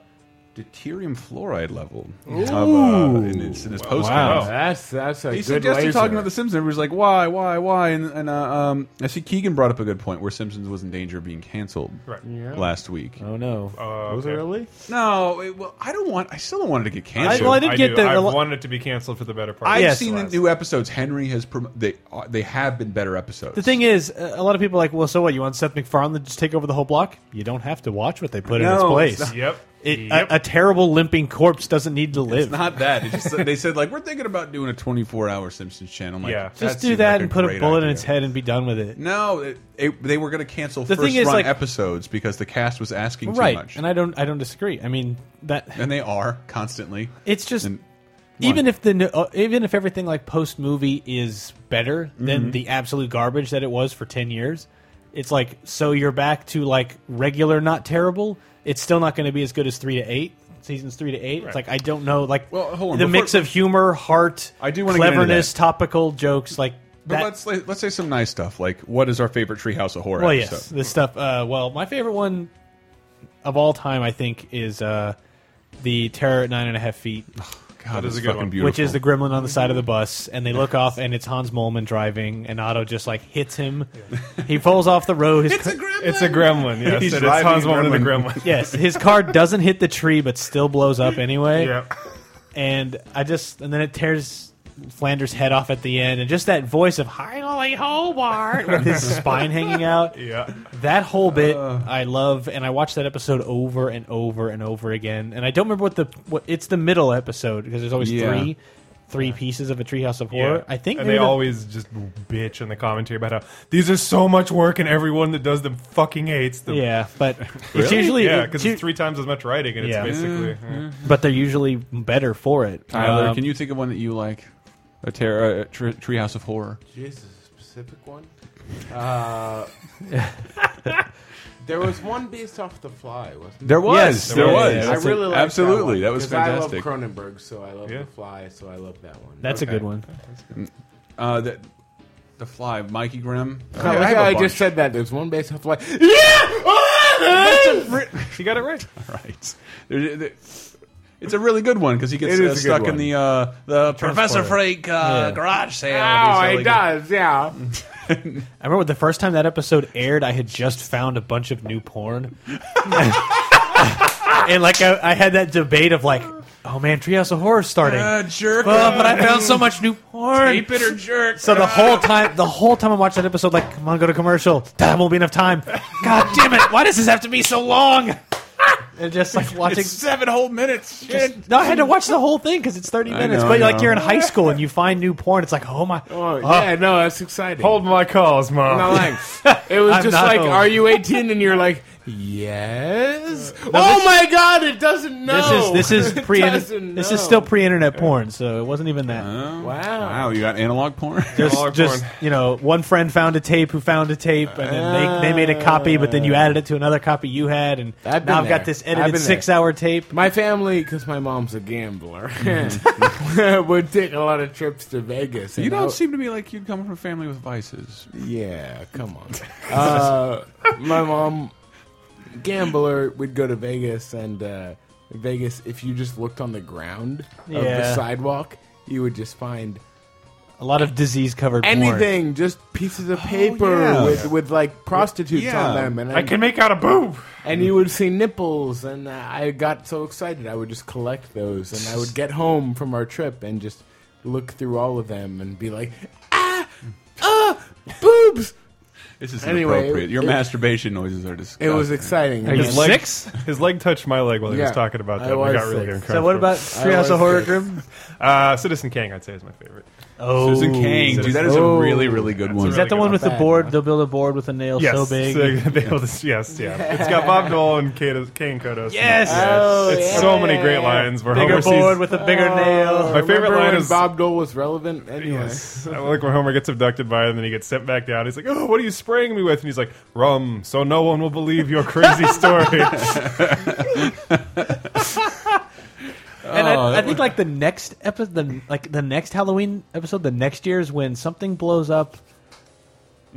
Speaker 4: deuterium fluoride level of, uh, in his, in his post.
Speaker 6: wow.
Speaker 5: Oh, that's that's a
Speaker 4: He
Speaker 5: good
Speaker 4: suggested
Speaker 5: laser.
Speaker 4: talking about The Simpsons. Everybody's like, why, why, why? And, and uh, um, I see Keegan brought up a good point where Simpsons was in danger of being canceled
Speaker 3: Right.
Speaker 4: last week.
Speaker 6: Oh no.
Speaker 3: Uh,
Speaker 5: Was it
Speaker 3: okay.
Speaker 5: really?
Speaker 4: No, it, well, I don't want. I still don't want it to get
Speaker 6: I-
Speaker 4: canceled.
Speaker 6: well, I did
Speaker 3: I
Speaker 6: get
Speaker 3: do.
Speaker 6: the-
Speaker 3: I
Speaker 6: the lo-
Speaker 3: wanted it to be canceled for the better part.
Speaker 4: I've
Speaker 6: Yes.
Speaker 4: seen the new episodes. Henry has prom- they are they have been better episodes.
Speaker 6: The thing is, uh, a lot of people are like, well, so what? You want Seth MacFarlane to just take over the whole block? You don't have to watch what they put in its
Speaker 4: No,
Speaker 6: place.
Speaker 4: it's not-
Speaker 3: Yep.
Speaker 6: It,
Speaker 3: yep.
Speaker 6: a, a terrible limping corpse doesn't need to live.
Speaker 4: it's not that. It's just, that they said like we're thinking about doing a 24 hour Simpsons channel. I'm Like,
Speaker 3: Yeah.
Speaker 4: seems
Speaker 6: just do that
Speaker 4: like
Speaker 6: and put a
Speaker 4: great
Speaker 6: bullet in
Speaker 4: idea.
Speaker 6: its head and be done with it.
Speaker 4: No, it, it, they were going to cancel
Speaker 6: The
Speaker 4: first
Speaker 6: thing is,
Speaker 4: run
Speaker 6: like-
Speaker 4: episodes because the cast was asking
Speaker 6: right,
Speaker 4: too much,
Speaker 6: and I don't, I don't disagree. I mean that
Speaker 4: and they are constantly.
Speaker 6: it's just
Speaker 4: And-
Speaker 6: even
Speaker 4: What?
Speaker 6: if the no- uh, even if everything like post movie is better
Speaker 4: Mm-hmm.
Speaker 6: than the absolute garbage that it was for ten years, it's like so you're back to like regular, not terrible. It's still not going to be as good as three to eight seasons, three to eight. It's like I don't know, like
Speaker 4: Well, hold on,
Speaker 6: the
Speaker 4: before-
Speaker 6: mix of humor, heart,
Speaker 4: I do wanna get into
Speaker 6: cleverness,
Speaker 4: that.
Speaker 6: topical jokes, like
Speaker 4: But
Speaker 6: that.
Speaker 4: let's let's say some nice stuff like what is our favorite Treehouse of Horror?
Speaker 6: Well,
Speaker 4: episode?
Speaker 6: yes, this stuff. Uh, well, my favorite one of all time, I think, is uh, the terror at nine and a half feet.
Speaker 4: God,
Speaker 3: That
Speaker 4: it's
Speaker 3: is a good
Speaker 4: fucking
Speaker 3: one.
Speaker 4: beautiful.
Speaker 6: Which is the gremlin on the side of the bus, and they look off, and it's Hans Molman driving, and Otto just like hits him. He falls off the road. His ca-
Speaker 3: It's a gremlin. Yes,
Speaker 4: He's
Speaker 3: it is
Speaker 4: driving
Speaker 3: Hans
Speaker 4: a
Speaker 3: Moleman and the
Speaker 4: gremlin.
Speaker 3: gremlin.
Speaker 6: yes, his car doesn't hit the tree, but still blows up anyway.
Speaker 3: yeah.
Speaker 6: And I just, and then it tears Flanders' head off at the end, and just that voice of Heinle Hobart with his spine hanging out.
Speaker 3: Yeah.
Speaker 6: That whole bit I love, and I watched that episode over and over and over again. And I don't remember what the what it's the middle episode because there's always
Speaker 4: Yeah.
Speaker 6: three three pieces of a Treehouse of Horror.
Speaker 3: Yeah.
Speaker 6: I think
Speaker 3: and
Speaker 6: maybe
Speaker 3: they
Speaker 6: the-
Speaker 3: always just bitch in the commentary about how these are so much work and everyone that does them fucking hates them.
Speaker 6: yeah, but it's
Speaker 4: Really?
Speaker 6: usually
Speaker 3: yeah,
Speaker 6: it-
Speaker 3: because it's three times as much writing and
Speaker 6: Yeah.
Speaker 3: it's basically
Speaker 5: Mm-hmm.
Speaker 3: eh.
Speaker 6: but they're usually better for it.
Speaker 4: Tyler,
Speaker 6: Um,
Speaker 4: can you think of one that you like? A terror, uh, tre- Treehouse of Horror.
Speaker 5: Jesus, a specific one. Uh, there was one based off The Fly, wasn't there?
Speaker 4: There was,
Speaker 6: Yes,
Speaker 4: there
Speaker 6: there
Speaker 4: was.
Speaker 6: was. Yeah,
Speaker 5: I really like
Speaker 4: absolutely. That, was fantastic.
Speaker 5: I love Cronenberg, so I love
Speaker 3: Yeah.
Speaker 5: The Fly, so I love that one.
Speaker 6: that's
Speaker 4: okay.
Speaker 6: a good one.
Speaker 4: uh, the, the Fly, Mikey Grimm.
Speaker 5: I,
Speaker 4: have
Speaker 5: like
Speaker 4: a
Speaker 5: how I
Speaker 4: bunch.
Speaker 5: just said that. There's one based off The Fly. Yeah.
Speaker 3: you got it right.
Speaker 4: right. There- there- it's a really good one because he gets uh,
Speaker 5: It is a good
Speaker 4: stuck in
Speaker 5: one.
Speaker 4: the uh, the Professor
Speaker 6: Transporter.
Speaker 4: Freak uh,
Speaker 6: Yeah.
Speaker 4: garage sale.
Speaker 5: Oh,
Speaker 4: He's
Speaker 5: it
Speaker 4: like-
Speaker 5: does, yeah.
Speaker 6: I remember the first time that episode aired, I had just found a bunch of new porn. and like I, I had that debate of like, oh man, Treehouse of Horror starting.
Speaker 4: Ah, jerk
Speaker 6: Oh, but I
Speaker 4: off.
Speaker 6: found so much new porn.
Speaker 4: Tape it or jerk.
Speaker 6: So the whole time, the whole time I watched that episode, like, come on, go to commercial. That won't be enough time. God damn it! Why does this have to be so long? And just like watching.
Speaker 4: It's seven whole minutes. Shit.
Speaker 6: No, I had to watch the whole thing because it's thirty
Speaker 4: I
Speaker 6: minutes.
Speaker 4: know,
Speaker 6: but
Speaker 4: I
Speaker 6: like
Speaker 4: know.
Speaker 6: you're in high school and you find new porn, it's like, oh my,
Speaker 5: Oh,
Speaker 6: Oh.
Speaker 5: yeah, no, that's exciting.
Speaker 3: Hold my calls, mom.
Speaker 5: No, like, it was
Speaker 6: I'm
Speaker 5: just
Speaker 6: not
Speaker 5: like,
Speaker 6: old.
Speaker 5: are you 18? And you're like, yes. oh my god, it doesn't know.
Speaker 6: this is this is
Speaker 5: It
Speaker 6: pre
Speaker 5: doesn't
Speaker 6: this is
Speaker 5: know.
Speaker 6: still pre-internet porn, so it wasn't even that.
Speaker 4: Oh,
Speaker 5: Wow.
Speaker 4: Wow, you got analog porn?
Speaker 3: Dollar
Speaker 6: just, just
Speaker 3: porn.
Speaker 6: you know, one friend found a tape who found a tape, and then they, they made a copy, but then you added it to another copy you had, and
Speaker 5: I've been
Speaker 6: now I've got
Speaker 5: there.
Speaker 6: this
Speaker 5: I've
Speaker 6: edited
Speaker 5: been there.
Speaker 6: six-hour tape.
Speaker 5: My family, because my mom's a gambler, would take a lot of trips to Vegas.
Speaker 4: You
Speaker 5: and I-
Speaker 4: don't seem to be like you come from a family with vices.
Speaker 5: Yeah, come on. uh, my mom, gambler, would go to Vegas, and uh, Vegas, if you just looked on the ground of the
Speaker 6: Yeah.
Speaker 5: sidewalk, you would just find
Speaker 6: A lot of disease-covered porn.
Speaker 5: anything, just pieces of paper
Speaker 4: yeah.
Speaker 5: with, with like prostitutes
Speaker 4: Yeah.
Speaker 5: on them, and
Speaker 3: I can make out a boob.
Speaker 5: and you would see nipples, and uh, I got so excited, I would just collect those, and I would get home from our trip and just look through all of them and be like, ah, ah, boobs.
Speaker 4: This is
Speaker 5: Anyway,
Speaker 4: inappropriate. Your
Speaker 5: it-
Speaker 4: masturbation noises are disgusting.
Speaker 5: It was exciting.
Speaker 6: Are you
Speaker 5: And I-
Speaker 3: leg-
Speaker 6: six?
Speaker 3: His leg touched my leg while he
Speaker 5: Yeah.
Speaker 3: was talking about
Speaker 5: I
Speaker 3: that. We
Speaker 5: was
Speaker 3: got really
Speaker 5: six.
Speaker 3: uncomfortable.
Speaker 6: So what about Treehouse
Speaker 5: was
Speaker 6: of Horror
Speaker 5: good.
Speaker 6: Grim?
Speaker 3: uh, Citizen Kang? I'd say is my favorite.
Speaker 6: Oh,
Speaker 4: Susan Kang, dude, that is
Speaker 5: Oh.
Speaker 4: a really, really good one.
Speaker 6: Is that the
Speaker 3: Really good.
Speaker 6: one with the
Speaker 5: Bad
Speaker 6: board? They'll build a board with a nail
Speaker 3: Yes,
Speaker 6: so big.
Speaker 3: they will just- yes, yeah. It's got Bob Dole and Kate, Kane Kodos.
Speaker 6: Yes!
Speaker 5: Oh,
Speaker 3: it's
Speaker 5: yeah. Oh.
Speaker 3: so many great lines. Where
Speaker 6: Bigger
Speaker 3: Homer sees-
Speaker 6: board with a bigger nail.
Speaker 3: My favorite
Speaker 5: Uh, Remember
Speaker 3: line
Speaker 5: when
Speaker 3: is-
Speaker 5: Bob Dole was relevant. Anyway,
Speaker 3: Yes. I like when Homer gets abducted by it and then he gets sent back down. He's like, Oh, what are you spraying me with? And he's like, Rum, so no one will believe your crazy story.
Speaker 6: And
Speaker 4: Oh,
Speaker 6: I, I
Speaker 4: that
Speaker 6: think like the next episode, the like the next Halloween episode, the next year is when something blows up,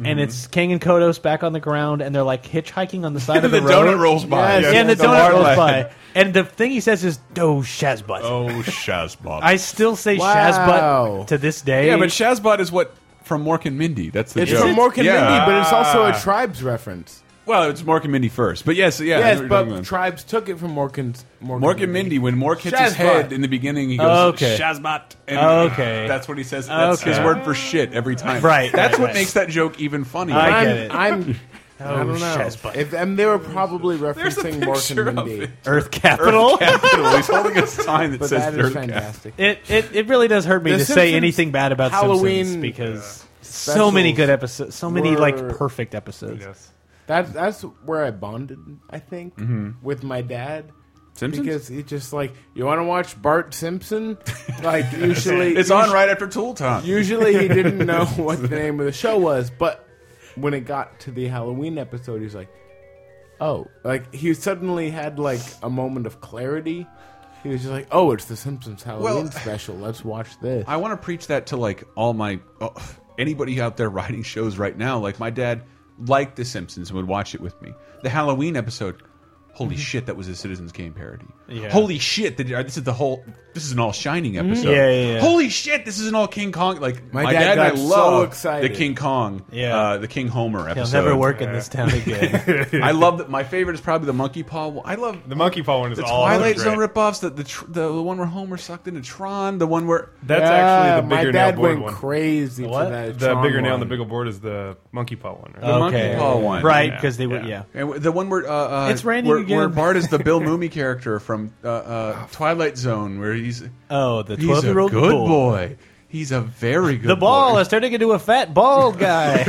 Speaker 6: and it's King and Kodos back on the ground, and they're like hitchhiking on the side of the,
Speaker 4: the
Speaker 6: road.
Speaker 4: donut rolls by.
Speaker 5: Yes.
Speaker 6: Yeah, and the,
Speaker 5: The
Speaker 6: donut rolls
Speaker 5: Marlin.
Speaker 6: by, and the thing he says is "Do Shazbot."
Speaker 4: Oh, Shazbot.
Speaker 6: I still say
Speaker 5: Wow.
Speaker 6: Shazbot to this day.
Speaker 4: yeah, but Shazbot is what from Mork and Mindy. That's the
Speaker 5: it's
Speaker 4: joke.
Speaker 5: from Mork and
Speaker 4: yeah. Ah.
Speaker 5: Mindy, but it's also a Tribes reference.
Speaker 4: well, it's Mork and Mindy first, but yes, yeah. I know
Speaker 5: Yes,
Speaker 4: what you're
Speaker 5: but
Speaker 4: talking about.
Speaker 5: Tribes took it from Mork and Mork,
Speaker 4: Mork and Mindy, when Mork hits his
Speaker 5: Shazbot.
Speaker 4: head in the beginning, he goes
Speaker 6: Okay.
Speaker 4: Shazbot. And
Speaker 6: Okay.
Speaker 4: that's what he says. That's his
Speaker 6: Okay.
Speaker 4: word for shit every time.
Speaker 6: Right,
Speaker 4: That's
Speaker 6: right,
Speaker 4: what
Speaker 6: right. Oh,
Speaker 4: makes that joke even funnier.
Speaker 6: I
Speaker 5: I'm,
Speaker 6: get it.
Speaker 5: I'm, I don't know.
Speaker 6: Shazbot.
Speaker 5: If, and they were probably referencing Mork
Speaker 4: picture
Speaker 5: and
Speaker 4: of
Speaker 5: Mindy.
Speaker 4: it.
Speaker 6: Earth Capital.
Speaker 4: Capital. He's holding a sign that
Speaker 5: But
Speaker 4: says
Speaker 5: that
Speaker 4: Dirt
Speaker 5: is
Speaker 4: Cap.
Speaker 5: fantastic.
Speaker 6: It, it it really does hurt me
Speaker 5: The
Speaker 6: to
Speaker 5: Simpsons
Speaker 6: say anything bad about
Speaker 5: Halloween,
Speaker 6: Simpsons because so many
Speaker 5: specials
Speaker 6: good episodes, so many
Speaker 5: were-
Speaker 6: like perfect episodes.
Speaker 3: yes.
Speaker 5: That, that's where I bonded, I think, with my dad.
Speaker 4: Mm-hmm. Simpsons?
Speaker 5: Because he just like, you want to watch Bart Simpson? Like, usually.
Speaker 4: It's on right after Tool Time.
Speaker 5: Usually he didn't know what the name of the show was, but when it got to the Halloween episode, he's like, "Oh!" Like he suddenly had like a moment of clarity. He was just like, "Oh, it's the Simpsons Halloween
Speaker 4: Well-
Speaker 5: special. Let's watch this."
Speaker 4: I want to preach that to like all my oh, anybody out there writing shows right now. Like my dad liked The Simpsons and would watch it with me. The Halloween episode. Holy shit, that was a Citizens Kane parody.
Speaker 6: Mm-hmm. Yeah. Mm-hmm.
Speaker 4: Holy shit, that- this is the whole. This is an all Shining episode.
Speaker 6: Yeah, yeah, yeah.
Speaker 4: Holy shit, this is an all King Kong. Like
Speaker 5: My
Speaker 4: my,
Speaker 5: dad
Speaker 4: dad,
Speaker 5: got
Speaker 4: and I
Speaker 5: so
Speaker 4: love
Speaker 5: excited.
Speaker 4: the King Kong.
Speaker 6: Yeah.
Speaker 4: uh, the King Homer
Speaker 6: He'll
Speaker 4: episode.
Speaker 6: never work in this town again.
Speaker 4: I love that. My favorite is probably the Monkey Paw. one. I love
Speaker 3: The monkey paw
Speaker 6: Oh,
Speaker 3: one is
Speaker 4: the
Speaker 3: all
Speaker 4: Twilight
Speaker 3: great.
Speaker 4: Zone ripoffs. The the, tr the the one where Homer sucked into Tron. The one where
Speaker 3: That's
Speaker 5: Yeah,
Speaker 3: actually the
Speaker 5: Ah, my
Speaker 3: bigger
Speaker 5: dad
Speaker 3: nail board
Speaker 5: went
Speaker 3: one.
Speaker 5: crazy
Speaker 6: What? Oh.
Speaker 5: for that.
Speaker 3: the
Speaker 5: Tron
Speaker 3: bigger nail and
Speaker 5: one.
Speaker 3: the bigger board is the monkey paw one. Right?
Speaker 6: okay.
Speaker 4: monkey paw one.
Speaker 6: right?
Speaker 3: Yeah,
Speaker 6: Because they would,
Speaker 3: yeah.
Speaker 6: yeah.
Speaker 4: And w- the one where uh, uh,
Speaker 6: It's raining
Speaker 4: where,
Speaker 6: again.
Speaker 4: where Bart is the Bill Mooney character from uh, uh, Twilight Zone, where he's
Speaker 6: Oh, the
Speaker 4: he's a
Speaker 6: twelve-year-old
Speaker 4: good
Speaker 6: bull.
Speaker 4: boy. He's a very good.
Speaker 6: The ball
Speaker 4: boy.
Speaker 6: is turning into a fat bald guy.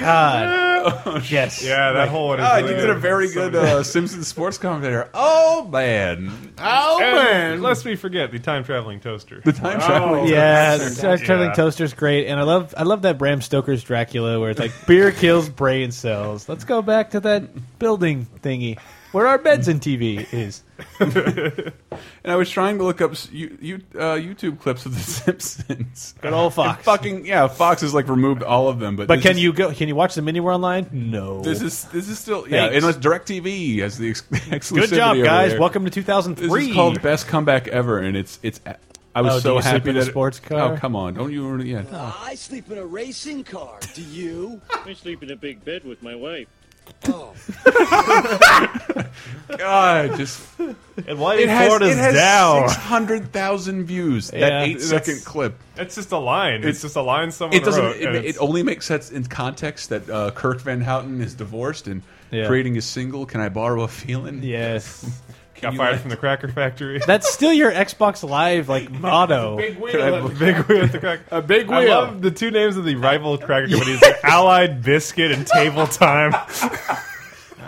Speaker 6: God.
Speaker 4: Oh,
Speaker 6: yes.
Speaker 3: Yeah, that whole one. Is
Speaker 5: oh,
Speaker 4: Ah, you
Speaker 3: really
Speaker 4: did a very good uh, Simpsons sports commentator. Oh man,
Speaker 5: Oh
Speaker 3: And
Speaker 5: man!
Speaker 3: Lest we forget the time traveling toaster.
Speaker 4: the time
Speaker 6: Oh.
Speaker 4: traveling.
Speaker 6: Yeah, Star Traveling
Speaker 3: Yeah.
Speaker 6: Toaster's great, and I love I love that Bram Stoker's Dracula, where it's like beer kills brain cells. Let's go back to that building thingy where our beds and TV is.
Speaker 4: And I was trying to look up s- you, you, uh, YouTube clips of The Simpsons.
Speaker 6: Good old Fox.
Speaker 4: And fucking yeah, Fox has like removed all of them. But
Speaker 6: But
Speaker 4: this
Speaker 6: can
Speaker 4: is-
Speaker 6: you go? Can you watch them anywhere online? No.
Speaker 4: This is this is still yeah.
Speaker 6: Thanks.
Speaker 4: Unless DirecTV has the ex exclusivity.
Speaker 6: good job,
Speaker 4: over
Speaker 6: guys.
Speaker 4: there.
Speaker 6: Welcome to 2003.
Speaker 4: This is called best comeback ever, and it's it's. I was
Speaker 6: Oh, do
Speaker 4: so
Speaker 6: you sleep
Speaker 4: happy
Speaker 6: in a
Speaker 4: that
Speaker 6: sports car?
Speaker 4: Oh come on! Don't you ruin it yet?
Speaker 11: I sleep in a racing car. Do you?
Speaker 9: I sleep in a big bed with my wife.
Speaker 4: God, just
Speaker 3: and Whitey Florida's
Speaker 4: Oh. it has
Speaker 3: down.
Speaker 4: Six hundred thousand views.
Speaker 3: Yeah,
Speaker 4: that eight
Speaker 3: that's-
Speaker 4: second clip.
Speaker 3: It's just a line. It's just a line someone
Speaker 4: It doesn't.
Speaker 3: wrote,
Speaker 4: It,
Speaker 3: and
Speaker 4: it
Speaker 3: it's-
Speaker 4: only makes sense in context that uh, Kirk Van Houten is divorced and
Speaker 6: Yeah.
Speaker 4: creating a single. Can I borrow a feeling?
Speaker 6: Yes.
Speaker 4: Can
Speaker 3: Got
Speaker 4: you
Speaker 3: fired
Speaker 4: let-
Speaker 3: from the Cracker Factory.
Speaker 6: That's still your Xbox Live like motto.
Speaker 3: Big wheel,
Speaker 4: I-
Speaker 3: at- big wheel at the crack. A
Speaker 5: big
Speaker 3: I
Speaker 5: wheel.
Speaker 3: love the two names of the rival cracker companies: like Allied Biscuit and Table Time.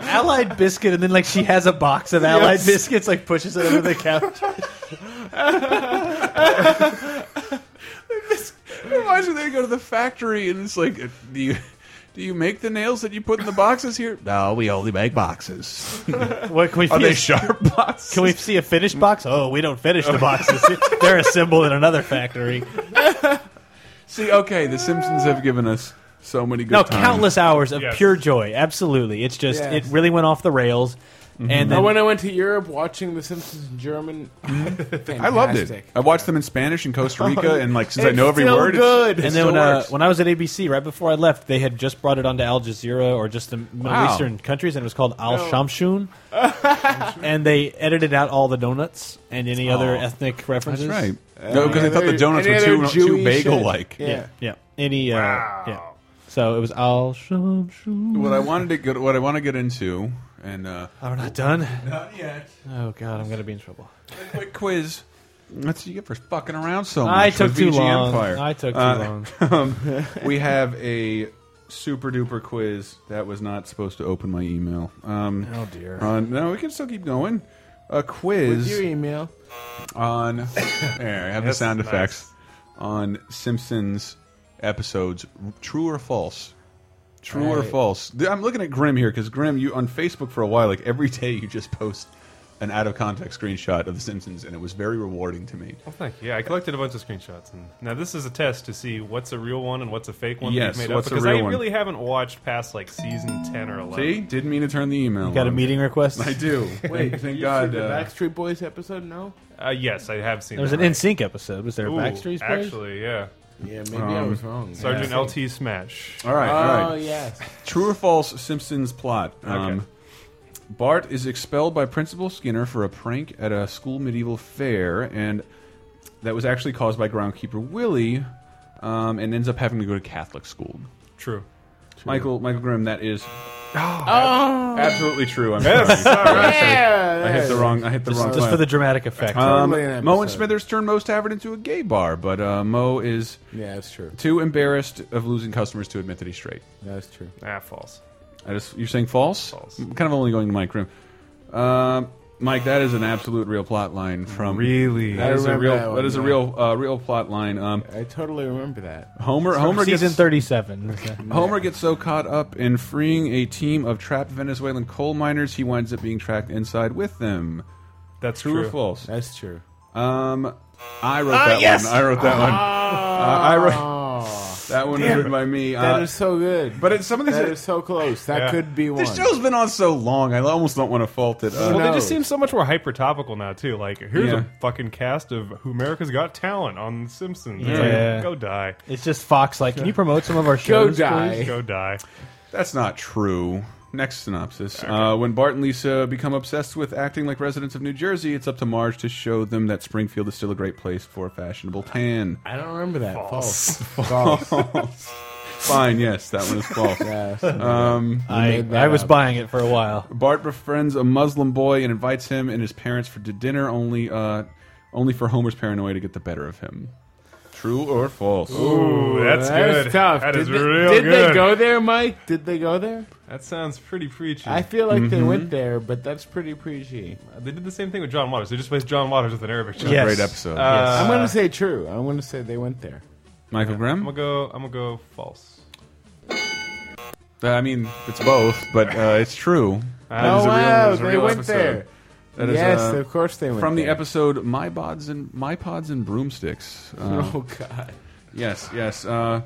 Speaker 6: Allied biscuit, and then like she has a box of Allied
Speaker 3: Yes.
Speaker 6: biscuits, like pushes it over the couch.
Speaker 4: It reminds me they go to the factory and it's like, do you do you make the nails that you put in the boxes here? No, we only make boxes.
Speaker 6: What, can we
Speaker 4: Are
Speaker 6: see
Speaker 4: they
Speaker 6: a-
Speaker 4: sharp boxes?
Speaker 6: Can we see a finished box? Oh, we don't finish the boxes. They're assembled in another factory.
Speaker 4: see? Okay, The Simpsons have given us so many good.
Speaker 6: No,
Speaker 4: times.
Speaker 6: countless hours of
Speaker 3: Yes.
Speaker 6: pure joy. Absolutely, it's just
Speaker 5: Yes.
Speaker 6: it really went off the rails.
Speaker 4: Mm-hmm.
Speaker 6: And
Speaker 5: Now,
Speaker 6: then,
Speaker 5: Oh, when I went to Europe, watching The Simpsons in German, Oh,
Speaker 4: I loved it. I watched them in Spanish in
Speaker 6: Oh,
Speaker 4: Costa Rica, and like since I know every
Speaker 5: still
Speaker 4: word, it's-
Speaker 5: good.
Speaker 4: it
Speaker 6: and then
Speaker 4: still
Speaker 6: when, uh,
Speaker 4: works.
Speaker 6: when I was at ABC, right before I left, they had just brought it onto Al Jazeera or just the Middle
Speaker 4: Wow.
Speaker 6: Eastern countries, and it was called Al
Speaker 5: Oh.
Speaker 6: Shamshun. and they edited out all the donuts and any other ethnic
Speaker 4: that's
Speaker 6: references.
Speaker 4: right. no, because I thought the
Speaker 5: other-
Speaker 4: donuts
Speaker 5: any
Speaker 4: were
Speaker 5: other
Speaker 4: too too
Speaker 5: Jewy
Speaker 4: bagel like.
Speaker 5: shit? Yeah.
Speaker 6: Yeah. Any. Uh, Yeah. So it was Al Shamshun.
Speaker 4: What I wanted to go, what I want to get into, and uh,
Speaker 6: Oh, we're not done.
Speaker 4: not yet.
Speaker 6: Oh God, I'm gonna be in trouble.
Speaker 4: A quick quiz. That's you get for fucking around so much.
Speaker 6: I took
Speaker 4: with
Speaker 6: too
Speaker 4: VG
Speaker 6: long.
Speaker 4: Empire.
Speaker 6: I took too
Speaker 4: Uh, um, we have a super duper quiz that was not supposed to open my email. Um,
Speaker 6: Oh dear.
Speaker 4: uh, no, we can still keep going. A quiz.
Speaker 5: Your email.
Speaker 4: on there I have the sound effects on Simpsons episodes true or false true or false Th- I'm looking at Grim here because Grim you on Facebook for a while like every day you just post an out of context screenshot of the Simpsons and it was very rewarding to me
Speaker 3: Well, thank you. Yeah, I collected a bunch of screenshots, and now this is a test to see what's a real one and what's a fake one. that
Speaker 4: Yes,
Speaker 3: you've made
Speaker 4: what's a
Speaker 3: up, because
Speaker 4: real
Speaker 3: I
Speaker 4: one?
Speaker 3: really haven't watched past like season ten or eleven.
Speaker 4: see didn't mean to turn the email
Speaker 6: Got a
Speaker 4: on.
Speaker 6: meeting request.
Speaker 4: I do
Speaker 5: Wait,
Speaker 4: wait
Speaker 5: you
Speaker 4: thank
Speaker 5: see
Speaker 4: God
Speaker 5: the
Speaker 4: uh,
Speaker 5: Backstreet Boys episode? No.
Speaker 3: Uh, yes, I have seen.
Speaker 6: There was
Speaker 3: that.
Speaker 6: an NSYNC episode. Was there a
Speaker 3: Ooh,
Speaker 6: Backstreet Boys?
Speaker 3: Actually, yeah.
Speaker 5: Yeah, maybe I was wrong.
Speaker 3: Sergeant LT Smash.
Speaker 4: all right all
Speaker 5: Oh
Speaker 4: right
Speaker 5: yes.
Speaker 4: True or false Simpsons plot. Um,
Speaker 3: Okay.
Speaker 4: Bart is expelled by Principal Skinner for a prank at a school medieval fair, and that was actually caused by groundkeeper Willie, um, and ends up having to go to Catholic school.
Speaker 3: True.
Speaker 4: Michael Michael Grimm, that is absolutely true. I'm sorry.
Speaker 5: Yeah.
Speaker 4: I hit the wrong. I hit the wrong.
Speaker 6: Just for
Speaker 4: button.
Speaker 6: the dramatic effect.
Speaker 4: Um,
Speaker 5: Totally an
Speaker 4: Mo and
Speaker 5: episode.
Speaker 4: Smithers turn Moe's tavern into a gay bar, but uh, Mo is
Speaker 5: Yeah, that's true.
Speaker 4: too embarrassed of losing customers to admit that he's straight.
Speaker 5: That's true.
Speaker 3: Ah, false.
Speaker 4: I just you're saying false?
Speaker 3: False.
Speaker 4: I'm kind of only going to Mike Grimm. Um, Mike, that is an absolute real plot line from
Speaker 3: Really?
Speaker 4: That is a
Speaker 5: remember
Speaker 4: real
Speaker 5: that one,
Speaker 4: that is a
Speaker 5: yeah.
Speaker 4: real uh, real plot line. Um,
Speaker 5: I totally remember that.
Speaker 4: Homer Homer
Speaker 6: season
Speaker 4: gets
Speaker 6: 37.
Speaker 4: Homer gets so caught up in freeing a team of trapped Venezuelan coal miners, he winds up being tracked inside with them.
Speaker 3: That's
Speaker 4: True,
Speaker 3: true.
Speaker 4: or false?
Speaker 5: That's true.
Speaker 4: Um, I wrote that one. I wrote that one. Uh, I wrote
Speaker 5: Oh,
Speaker 4: that one was written by me.
Speaker 5: that
Speaker 4: Uh,
Speaker 5: is so good.
Speaker 4: but it's some of these.
Speaker 5: that is so close. That
Speaker 3: Yeah.
Speaker 5: could be one.
Speaker 4: this show's been on so long, I almost don't want to fault it. Uh,
Speaker 3: Well, they
Speaker 5: knows?
Speaker 3: just seem so much more hyper topical now too. Like, here's
Speaker 4: Yeah.
Speaker 3: a fucking cast of Who America's Got Talent on The Simpsons. It's
Speaker 6: Yeah.
Speaker 3: like, go die,
Speaker 6: It's just Fox. Like, can you promote some of our
Speaker 5: Go
Speaker 6: shows?
Speaker 5: die.
Speaker 3: go die.
Speaker 4: That's not true. Next synopsis. Uh, when Bart and Lisa become obsessed with acting like residents of New Jersey, it's up to Marge to show them that Springfield is still a great place for a fashionable tan.
Speaker 5: I don't remember that.
Speaker 3: False.
Speaker 5: False. False.
Speaker 4: Fine, yes, that one is false.
Speaker 5: Yes.
Speaker 4: Um,
Speaker 6: I,
Speaker 5: made that
Speaker 6: I was
Speaker 5: up.
Speaker 6: buying it for a while.
Speaker 4: Bart befriends a Muslim boy and invites him and his parents for to dinner, only uh, only for Homer's paranoia to get the better of him. True or false?
Speaker 3: Ooh, that's
Speaker 5: That's
Speaker 3: good.
Speaker 5: tough.
Speaker 3: That
Speaker 5: did
Speaker 3: is
Speaker 5: they,
Speaker 3: real
Speaker 5: did
Speaker 3: good.
Speaker 5: they go there, Mike? Did they go there?
Speaker 3: That sounds pretty preachy.
Speaker 5: I feel like
Speaker 4: Mm-hmm.
Speaker 5: they went there, but that's pretty preachy.
Speaker 4: Uh,
Speaker 3: they did the same thing with John Waters. They just placed John Waters with an Arabic child.
Speaker 6: Yes.
Speaker 4: Great episode.
Speaker 5: I'm gonna say true. I'm gonna say they went there.
Speaker 4: Michael Grimm?
Speaker 3: I'm gonna go. I'm gonna go false.
Speaker 4: Uh, I mean, it's both, but uh, it's true. That
Speaker 5: oh
Speaker 4: is a real- that
Speaker 5: wow,
Speaker 4: is a
Speaker 5: they
Speaker 4: real
Speaker 5: went
Speaker 4: episode.
Speaker 5: there.
Speaker 4: That is,
Speaker 5: yes,
Speaker 4: uh,
Speaker 5: of course they went
Speaker 4: from the
Speaker 5: there.
Speaker 4: episode "My Pods and My Pods and Broomsticks." Uh,
Speaker 5: Oh god.
Speaker 4: Yes, yes. Uh,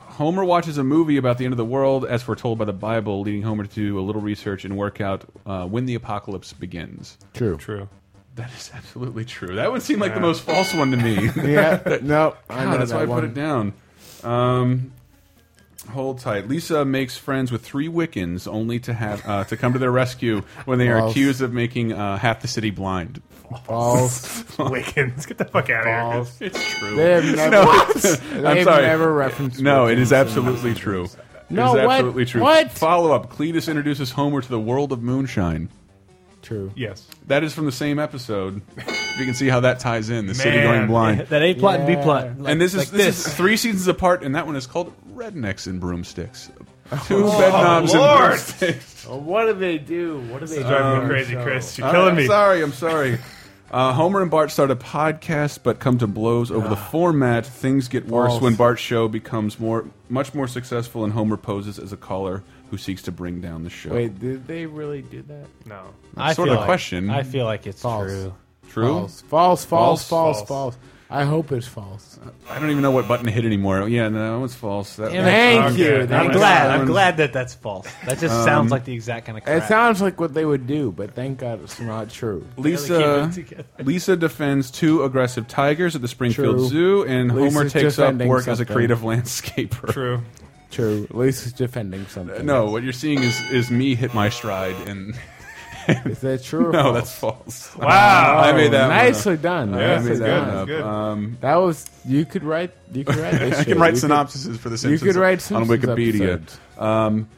Speaker 4: Homer watches a movie about the end of the world, as foretold by the Bible, leading Homer to do a little research and work out uh, when the apocalypse begins.
Speaker 5: True.
Speaker 3: True.
Speaker 4: That is absolutely true. That would seem like the most false one to me.
Speaker 5: Yeah. no. I
Speaker 4: God,
Speaker 5: know
Speaker 4: that's
Speaker 5: that
Speaker 4: why I
Speaker 5: one.
Speaker 4: put it down. Um, Hold tight. Lisa makes friends with three Wiccans, only to have uh, to come to their rescue when they are
Speaker 5: False.
Speaker 4: accused of making uh, half the city blind.
Speaker 5: False.
Speaker 3: Wiccans, get the fuck out of
Speaker 5: False.
Speaker 3: here. It's true.
Speaker 5: They have never,
Speaker 4: I'm
Speaker 5: They've
Speaker 4: sorry.
Speaker 5: never referenced.
Speaker 4: No, it is
Speaker 5: Wiccans in-
Speaker 4: absolutely true.
Speaker 5: No,
Speaker 4: it is
Speaker 5: what?
Speaker 4: absolutely true.
Speaker 5: What?
Speaker 4: Follow up. Cletus introduces Homer to the world of moonshine.
Speaker 5: True.
Speaker 3: Yes.
Speaker 4: That is from the same episode. you can see how that ties in the city
Speaker 3: Man.
Speaker 4: going blind.
Speaker 6: That A plot and B
Speaker 5: Yeah.
Speaker 6: plot. like-
Speaker 4: and this is
Speaker 6: like
Speaker 4: this, is three seasons apart, and that one is called Rednecks and Broomsticks. Two bedknobs and
Speaker 3: Lord.
Speaker 4: broomsticks.
Speaker 5: what do they do? What do they
Speaker 3: Driving me crazy, Chris.
Speaker 5: Uh,
Speaker 3: You're
Speaker 4: All right,
Speaker 3: killing
Speaker 4: I'm
Speaker 3: me.
Speaker 4: sorry, I'm sorry. Uh, Homer and Bart start a podcast, but come to blows over the format. Things get worse
Speaker 5: False.
Speaker 4: when Bart's show becomes more, much more successful, and Homer poses as a caller who seeks to bring down the show.
Speaker 5: Wait, did they really do that?
Speaker 3: No.
Speaker 6: I
Speaker 4: sort of
Speaker 6: feel
Speaker 4: a
Speaker 6: like-
Speaker 4: question.
Speaker 6: I feel like it's
Speaker 5: False.
Speaker 6: true.
Speaker 4: True.
Speaker 5: False. False. False.
Speaker 4: False,
Speaker 5: False.
Speaker 3: false.
Speaker 5: False. I hope it's false.
Speaker 4: I don't even know what button to hit anymore. Yeah, no, it's false. That
Speaker 6: Damn it.
Speaker 5: Thank
Speaker 3: Okay.
Speaker 5: you.
Speaker 3: I'm
Speaker 5: Thank
Speaker 6: I'm
Speaker 5: you.
Speaker 6: glad.
Speaker 4: Um,
Speaker 6: I'm glad that that's false. That just sounds like the exact kind of crap.
Speaker 5: It sounds like what they would do, but thank God it's not true.
Speaker 4: Lisa
Speaker 6: Barely keep it together.
Speaker 4: Lisa defends two aggressive tigers at the Springfield
Speaker 5: True.
Speaker 4: Zoo, and
Speaker 5: Lisa's
Speaker 4: Homer takes up
Speaker 5: defending
Speaker 4: work as a
Speaker 5: something.
Speaker 4: creative landscaper.
Speaker 3: True.
Speaker 5: True. Lisa's defending something.
Speaker 4: No, what you're seeing is is me hit my stride, and
Speaker 5: Is that true? Or
Speaker 4: no,
Speaker 5: false? Oh,
Speaker 4: that's false.
Speaker 3: Wow.
Speaker 4: I made that one
Speaker 5: Nicely
Speaker 4: up.
Speaker 5: done.
Speaker 4: I
Speaker 3: Yeah,
Speaker 5: Nicely
Speaker 4: made
Speaker 3: that's
Speaker 4: that
Speaker 3: good,
Speaker 5: done.
Speaker 4: up.
Speaker 3: that's good.
Speaker 4: Um,
Speaker 5: That was. You could write. You could write. This
Speaker 4: I
Speaker 5: shit.
Speaker 4: can write
Speaker 5: You could-
Speaker 4: synopses for the
Speaker 5: you
Speaker 4: Simpsons
Speaker 5: could write
Speaker 4: on
Speaker 5: Simpsons
Speaker 4: Wikipedia.
Speaker 5: episodes.
Speaker 4: Um,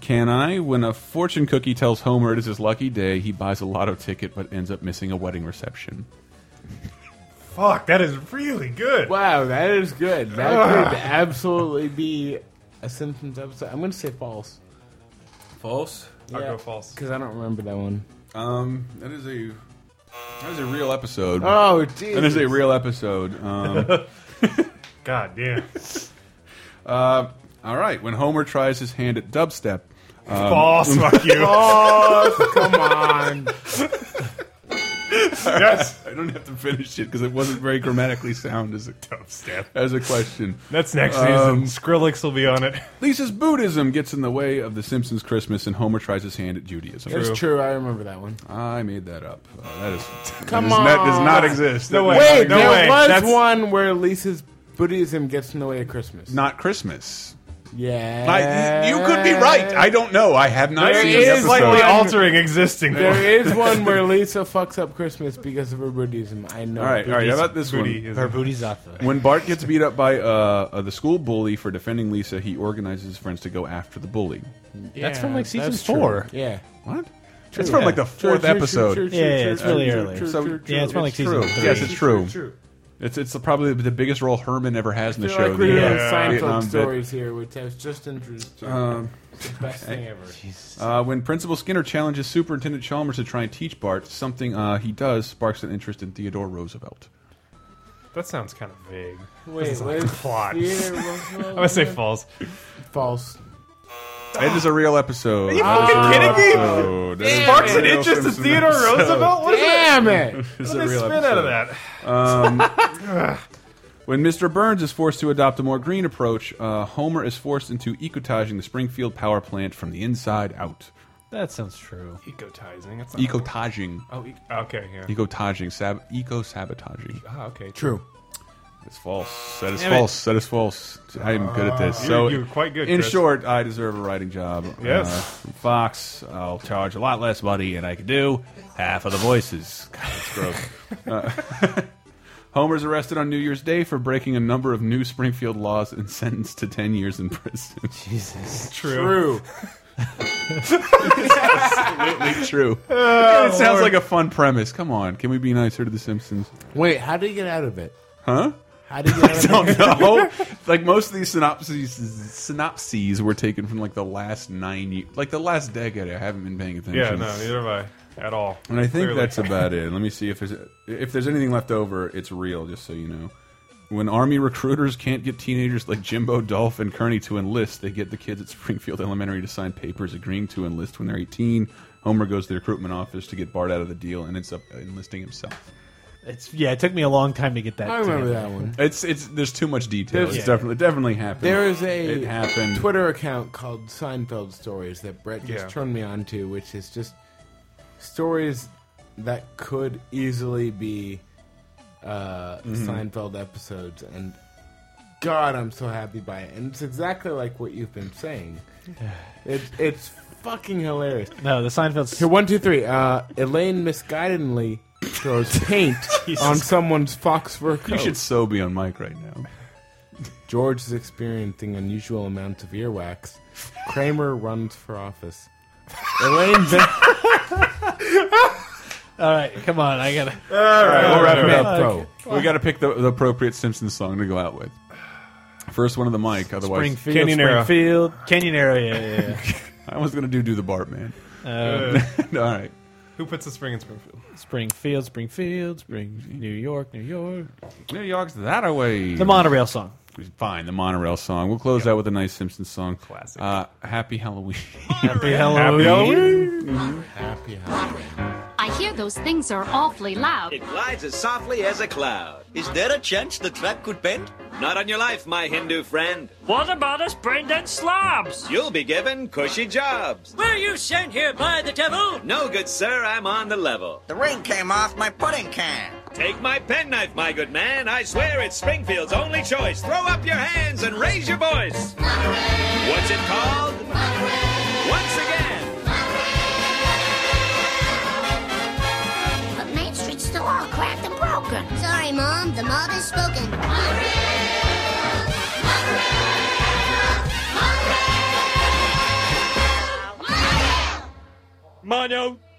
Speaker 4: can I? When a fortune cookie tells Homer it is his lucky day, he buys a lotto ticket but ends up missing a wedding reception.
Speaker 3: Fuck, that is really good.
Speaker 5: Wow, that is good. That could absolutely be a Simpsons episode. I'm going to say false.
Speaker 4: False.
Speaker 3: I'll go false.
Speaker 5: Because I don't remember that one.
Speaker 4: Um, that is a that is a real episode.
Speaker 5: Oh, Jesus.
Speaker 4: That is a real episode. Um,
Speaker 3: God damn.
Speaker 4: uh, all right, when Homer tries his hand at dubstep,
Speaker 3: false, fuck you.
Speaker 5: Oh, come on.
Speaker 3: Yes.
Speaker 4: I don't have to finish it because it wasn't very grammatically sound as a
Speaker 3: Dubstep.
Speaker 4: as a question.
Speaker 3: That's next
Speaker 4: Um,
Speaker 3: season. Skrillex will be on it.
Speaker 4: Lisa's Buddhism gets in the way of the Simpsons Christmas, and Homer tries his hand at Judaism.
Speaker 5: That's true. I remember that one.
Speaker 4: I made that up. Uh, that is that
Speaker 5: Come
Speaker 4: is- that does
Speaker 5: on.
Speaker 4: not exist.
Speaker 3: No
Speaker 4: That
Speaker 3: way.
Speaker 4: does not
Speaker 5: Wait,
Speaker 4: exist.
Speaker 5: there
Speaker 3: way.
Speaker 5: was
Speaker 3: That's-
Speaker 5: one where Lisa's Buddhism gets in the way of Christmas.
Speaker 4: Not Christmas.
Speaker 5: Yeah.
Speaker 4: I, you could be right. I don't know. I have not
Speaker 5: There
Speaker 4: seen
Speaker 5: is
Speaker 4: the
Speaker 5: It's
Speaker 4: episode.
Speaker 5: like
Speaker 3: Slightly
Speaker 5: one-
Speaker 3: altering existing.
Speaker 5: There is one where Lisa fucks up Christmas because of her Buddhism. I know.
Speaker 4: all right, all right. How about this one?
Speaker 3: Booty is
Speaker 6: Her booty's up. though.
Speaker 4: When Bart gets beat up by uh, uh, the school bully for defending Lisa, he organizes his friends to go after the bully.
Speaker 6: That's from, like, season
Speaker 5: that's true.
Speaker 6: four.
Speaker 5: Yeah.
Speaker 4: What? It's from like the
Speaker 5: True,
Speaker 4: fourth
Speaker 5: true, true,
Speaker 4: episode.
Speaker 5: true, true,
Speaker 6: Yeah,
Speaker 5: true,
Speaker 6: it's
Speaker 5: true,
Speaker 6: really
Speaker 5: true,
Speaker 6: early.
Speaker 5: true,
Speaker 4: So-
Speaker 5: true, true.
Speaker 6: Yeah, it's from, like, season
Speaker 4: true.
Speaker 6: three.
Speaker 4: Yes, it's true.
Speaker 5: True.
Speaker 4: It's it's probably the biggest role Herman ever has in the
Speaker 5: feel
Speaker 4: show.
Speaker 5: like we're
Speaker 4: the,
Speaker 5: doing
Speaker 4: uh,
Speaker 5: Seinfeld
Speaker 4: Vietnam bit.
Speaker 5: stories here, which I was just introduced to.
Speaker 4: Um,
Speaker 5: It's the best thing ever.
Speaker 4: uh, when Principal Skinner challenges Superintendent Chalmers to try and teach Bart something, uh, he does sparks an interest in Theodore Roosevelt.
Speaker 3: That sounds kind of vague.
Speaker 5: Wait,
Speaker 3: like
Speaker 5: wait.
Speaker 3: the plot.
Speaker 5: Theodore
Speaker 3: I'm gonna
Speaker 5: Roosevelt-
Speaker 3: say false.
Speaker 5: false.
Speaker 4: It is a real episode. Are you
Speaker 3: fucking kidding me?
Speaker 4: me?
Speaker 3: Sparks an interest in Theodore Roosevelt. What is that?
Speaker 5: Damn it!
Speaker 4: It's
Speaker 3: What
Speaker 4: a
Speaker 3: did they
Speaker 4: real
Speaker 3: spin
Speaker 4: episode.
Speaker 3: out of that?
Speaker 4: When Mr. Burns is forced to adopt a more green approach, uh, Homer is forced into ecotizing the Springfield power plant from the inside out.
Speaker 6: That sounds true.
Speaker 3: Ecotizing. That's not
Speaker 4: Ecotaging.
Speaker 3: Oh, e- okay. Yeah.
Speaker 4: Ecotaging. Sab eco sabotaging.
Speaker 3: ah, okay.
Speaker 5: True.
Speaker 4: It's false. That is
Speaker 6: Damn it.
Speaker 4: false. That is false. I am good at this.
Speaker 3: You're-
Speaker 4: so
Speaker 3: Uh, you're quite good,
Speaker 4: In
Speaker 3: Chris.
Speaker 4: short, I deserve a writing job.
Speaker 3: Yes.
Speaker 4: Uh, Fox, I'll charge a lot less money, and I can do half of the voices. God, that's gross. Uh, Homer's arrested on New Year's Day for breaking a number of new Springfield laws and sentenced to ten years in prison.
Speaker 6: Jesus.
Speaker 3: True.
Speaker 5: True.
Speaker 4: Absolutely true.
Speaker 3: Oh,
Speaker 4: it sounds like a fun premise. Come on, can we be nicer to the Simpsons?
Speaker 5: Wait, how do you get out of it?
Speaker 4: Huh?
Speaker 5: How do you get out of it?
Speaker 4: Oh, no. like most of these synopses synopses were taken from like the last nine ye like the last decade. I haven't been paying attention.
Speaker 3: Yeah. No. Neither have I at all.
Speaker 4: And I think
Speaker 3: Clearly.
Speaker 4: that's about it. Let me see if there's if there's anything left over. It's real, just so you know. When army recruiters can't get teenagers like Jimbo Dolph and Kearney to enlist, they get the kids at Springfield Elementary to sign papers agreeing to enlist when they're 18. Homer goes to the recruitment office to get Bart out of the deal and ends up enlisting himself.
Speaker 6: It's yeah. It took me a long time to get that.
Speaker 5: I remember
Speaker 6: together.
Speaker 5: that one.
Speaker 4: It's it's there's too much detail.
Speaker 5: There's-
Speaker 4: It's definitely definitely happened.
Speaker 5: There is
Speaker 4: it
Speaker 5: a
Speaker 4: happened.
Speaker 5: Twitter account called Seinfeld Stories that Brett just
Speaker 3: Yeah.
Speaker 5: turned me on to, which is just stories that could easily be uh, Seinfeld episodes, and God, I'm so happy by it. And it's exactly like what you've been saying. It's it's fucking hilarious.
Speaker 6: No, the Seinfeld's
Speaker 5: Here, one, two, three. Uh, Elaine misguidedly throws paint on someone's fox fur coat.
Speaker 6: Oh.
Speaker 4: You should so be on mic right now.
Speaker 5: George is experiencing unusual amounts of earwax. Kramer runs for office. Elaine. Be-
Speaker 6: All right, come on. I gotta.
Speaker 3: All right,
Speaker 4: All
Speaker 3: all
Speaker 4: right,
Speaker 3: right,
Speaker 4: all
Speaker 3: all
Speaker 4: right.
Speaker 3: right.
Speaker 5: Pro.
Speaker 4: We got to pick the, the appropriate Simpsons song to go out with. First one of the mic, otherwise
Speaker 6: Springfield,
Speaker 3: Canyon Arrow.
Speaker 6: Springfield, Canyon area. Yeah, yeah,
Speaker 4: I was gonna do do the Bart man.
Speaker 6: yeah.
Speaker 4: All right,
Speaker 3: Who puts the spring in Springfield?
Speaker 6: Uh, Springfield, Springfield, Spring, New York, New York.
Speaker 4: New York's that away.
Speaker 6: The monorail song.
Speaker 4: Fine, the monorail song. We'll close out with a nice Simpsons song. Classic. Uh, Happy Halloween.
Speaker 6: Happy Halloween.
Speaker 5: Happy Halloween.
Speaker 11: I hear those things are awfully loud.
Speaker 12: It glides as softly as a cloud. Is there a chance the track could bend? Not on your life, my Hindu friend.
Speaker 13: What about us brain dead slobs?
Speaker 12: You'll be given cushy jobs.
Speaker 13: Were you sent here by the devil?
Speaker 12: No good, sir, I'm on the level.
Speaker 13: The ring came off my pudding can.
Speaker 12: Take my penknife, my good man. I swear it's Springfield's only choice. Throw up your hands and raise your voice. What's it called? Once again.
Speaker 10: But Main Street's still all cracked and broken.
Speaker 1: Sorry, Mom, the mob has spoken.
Speaker 13: Mono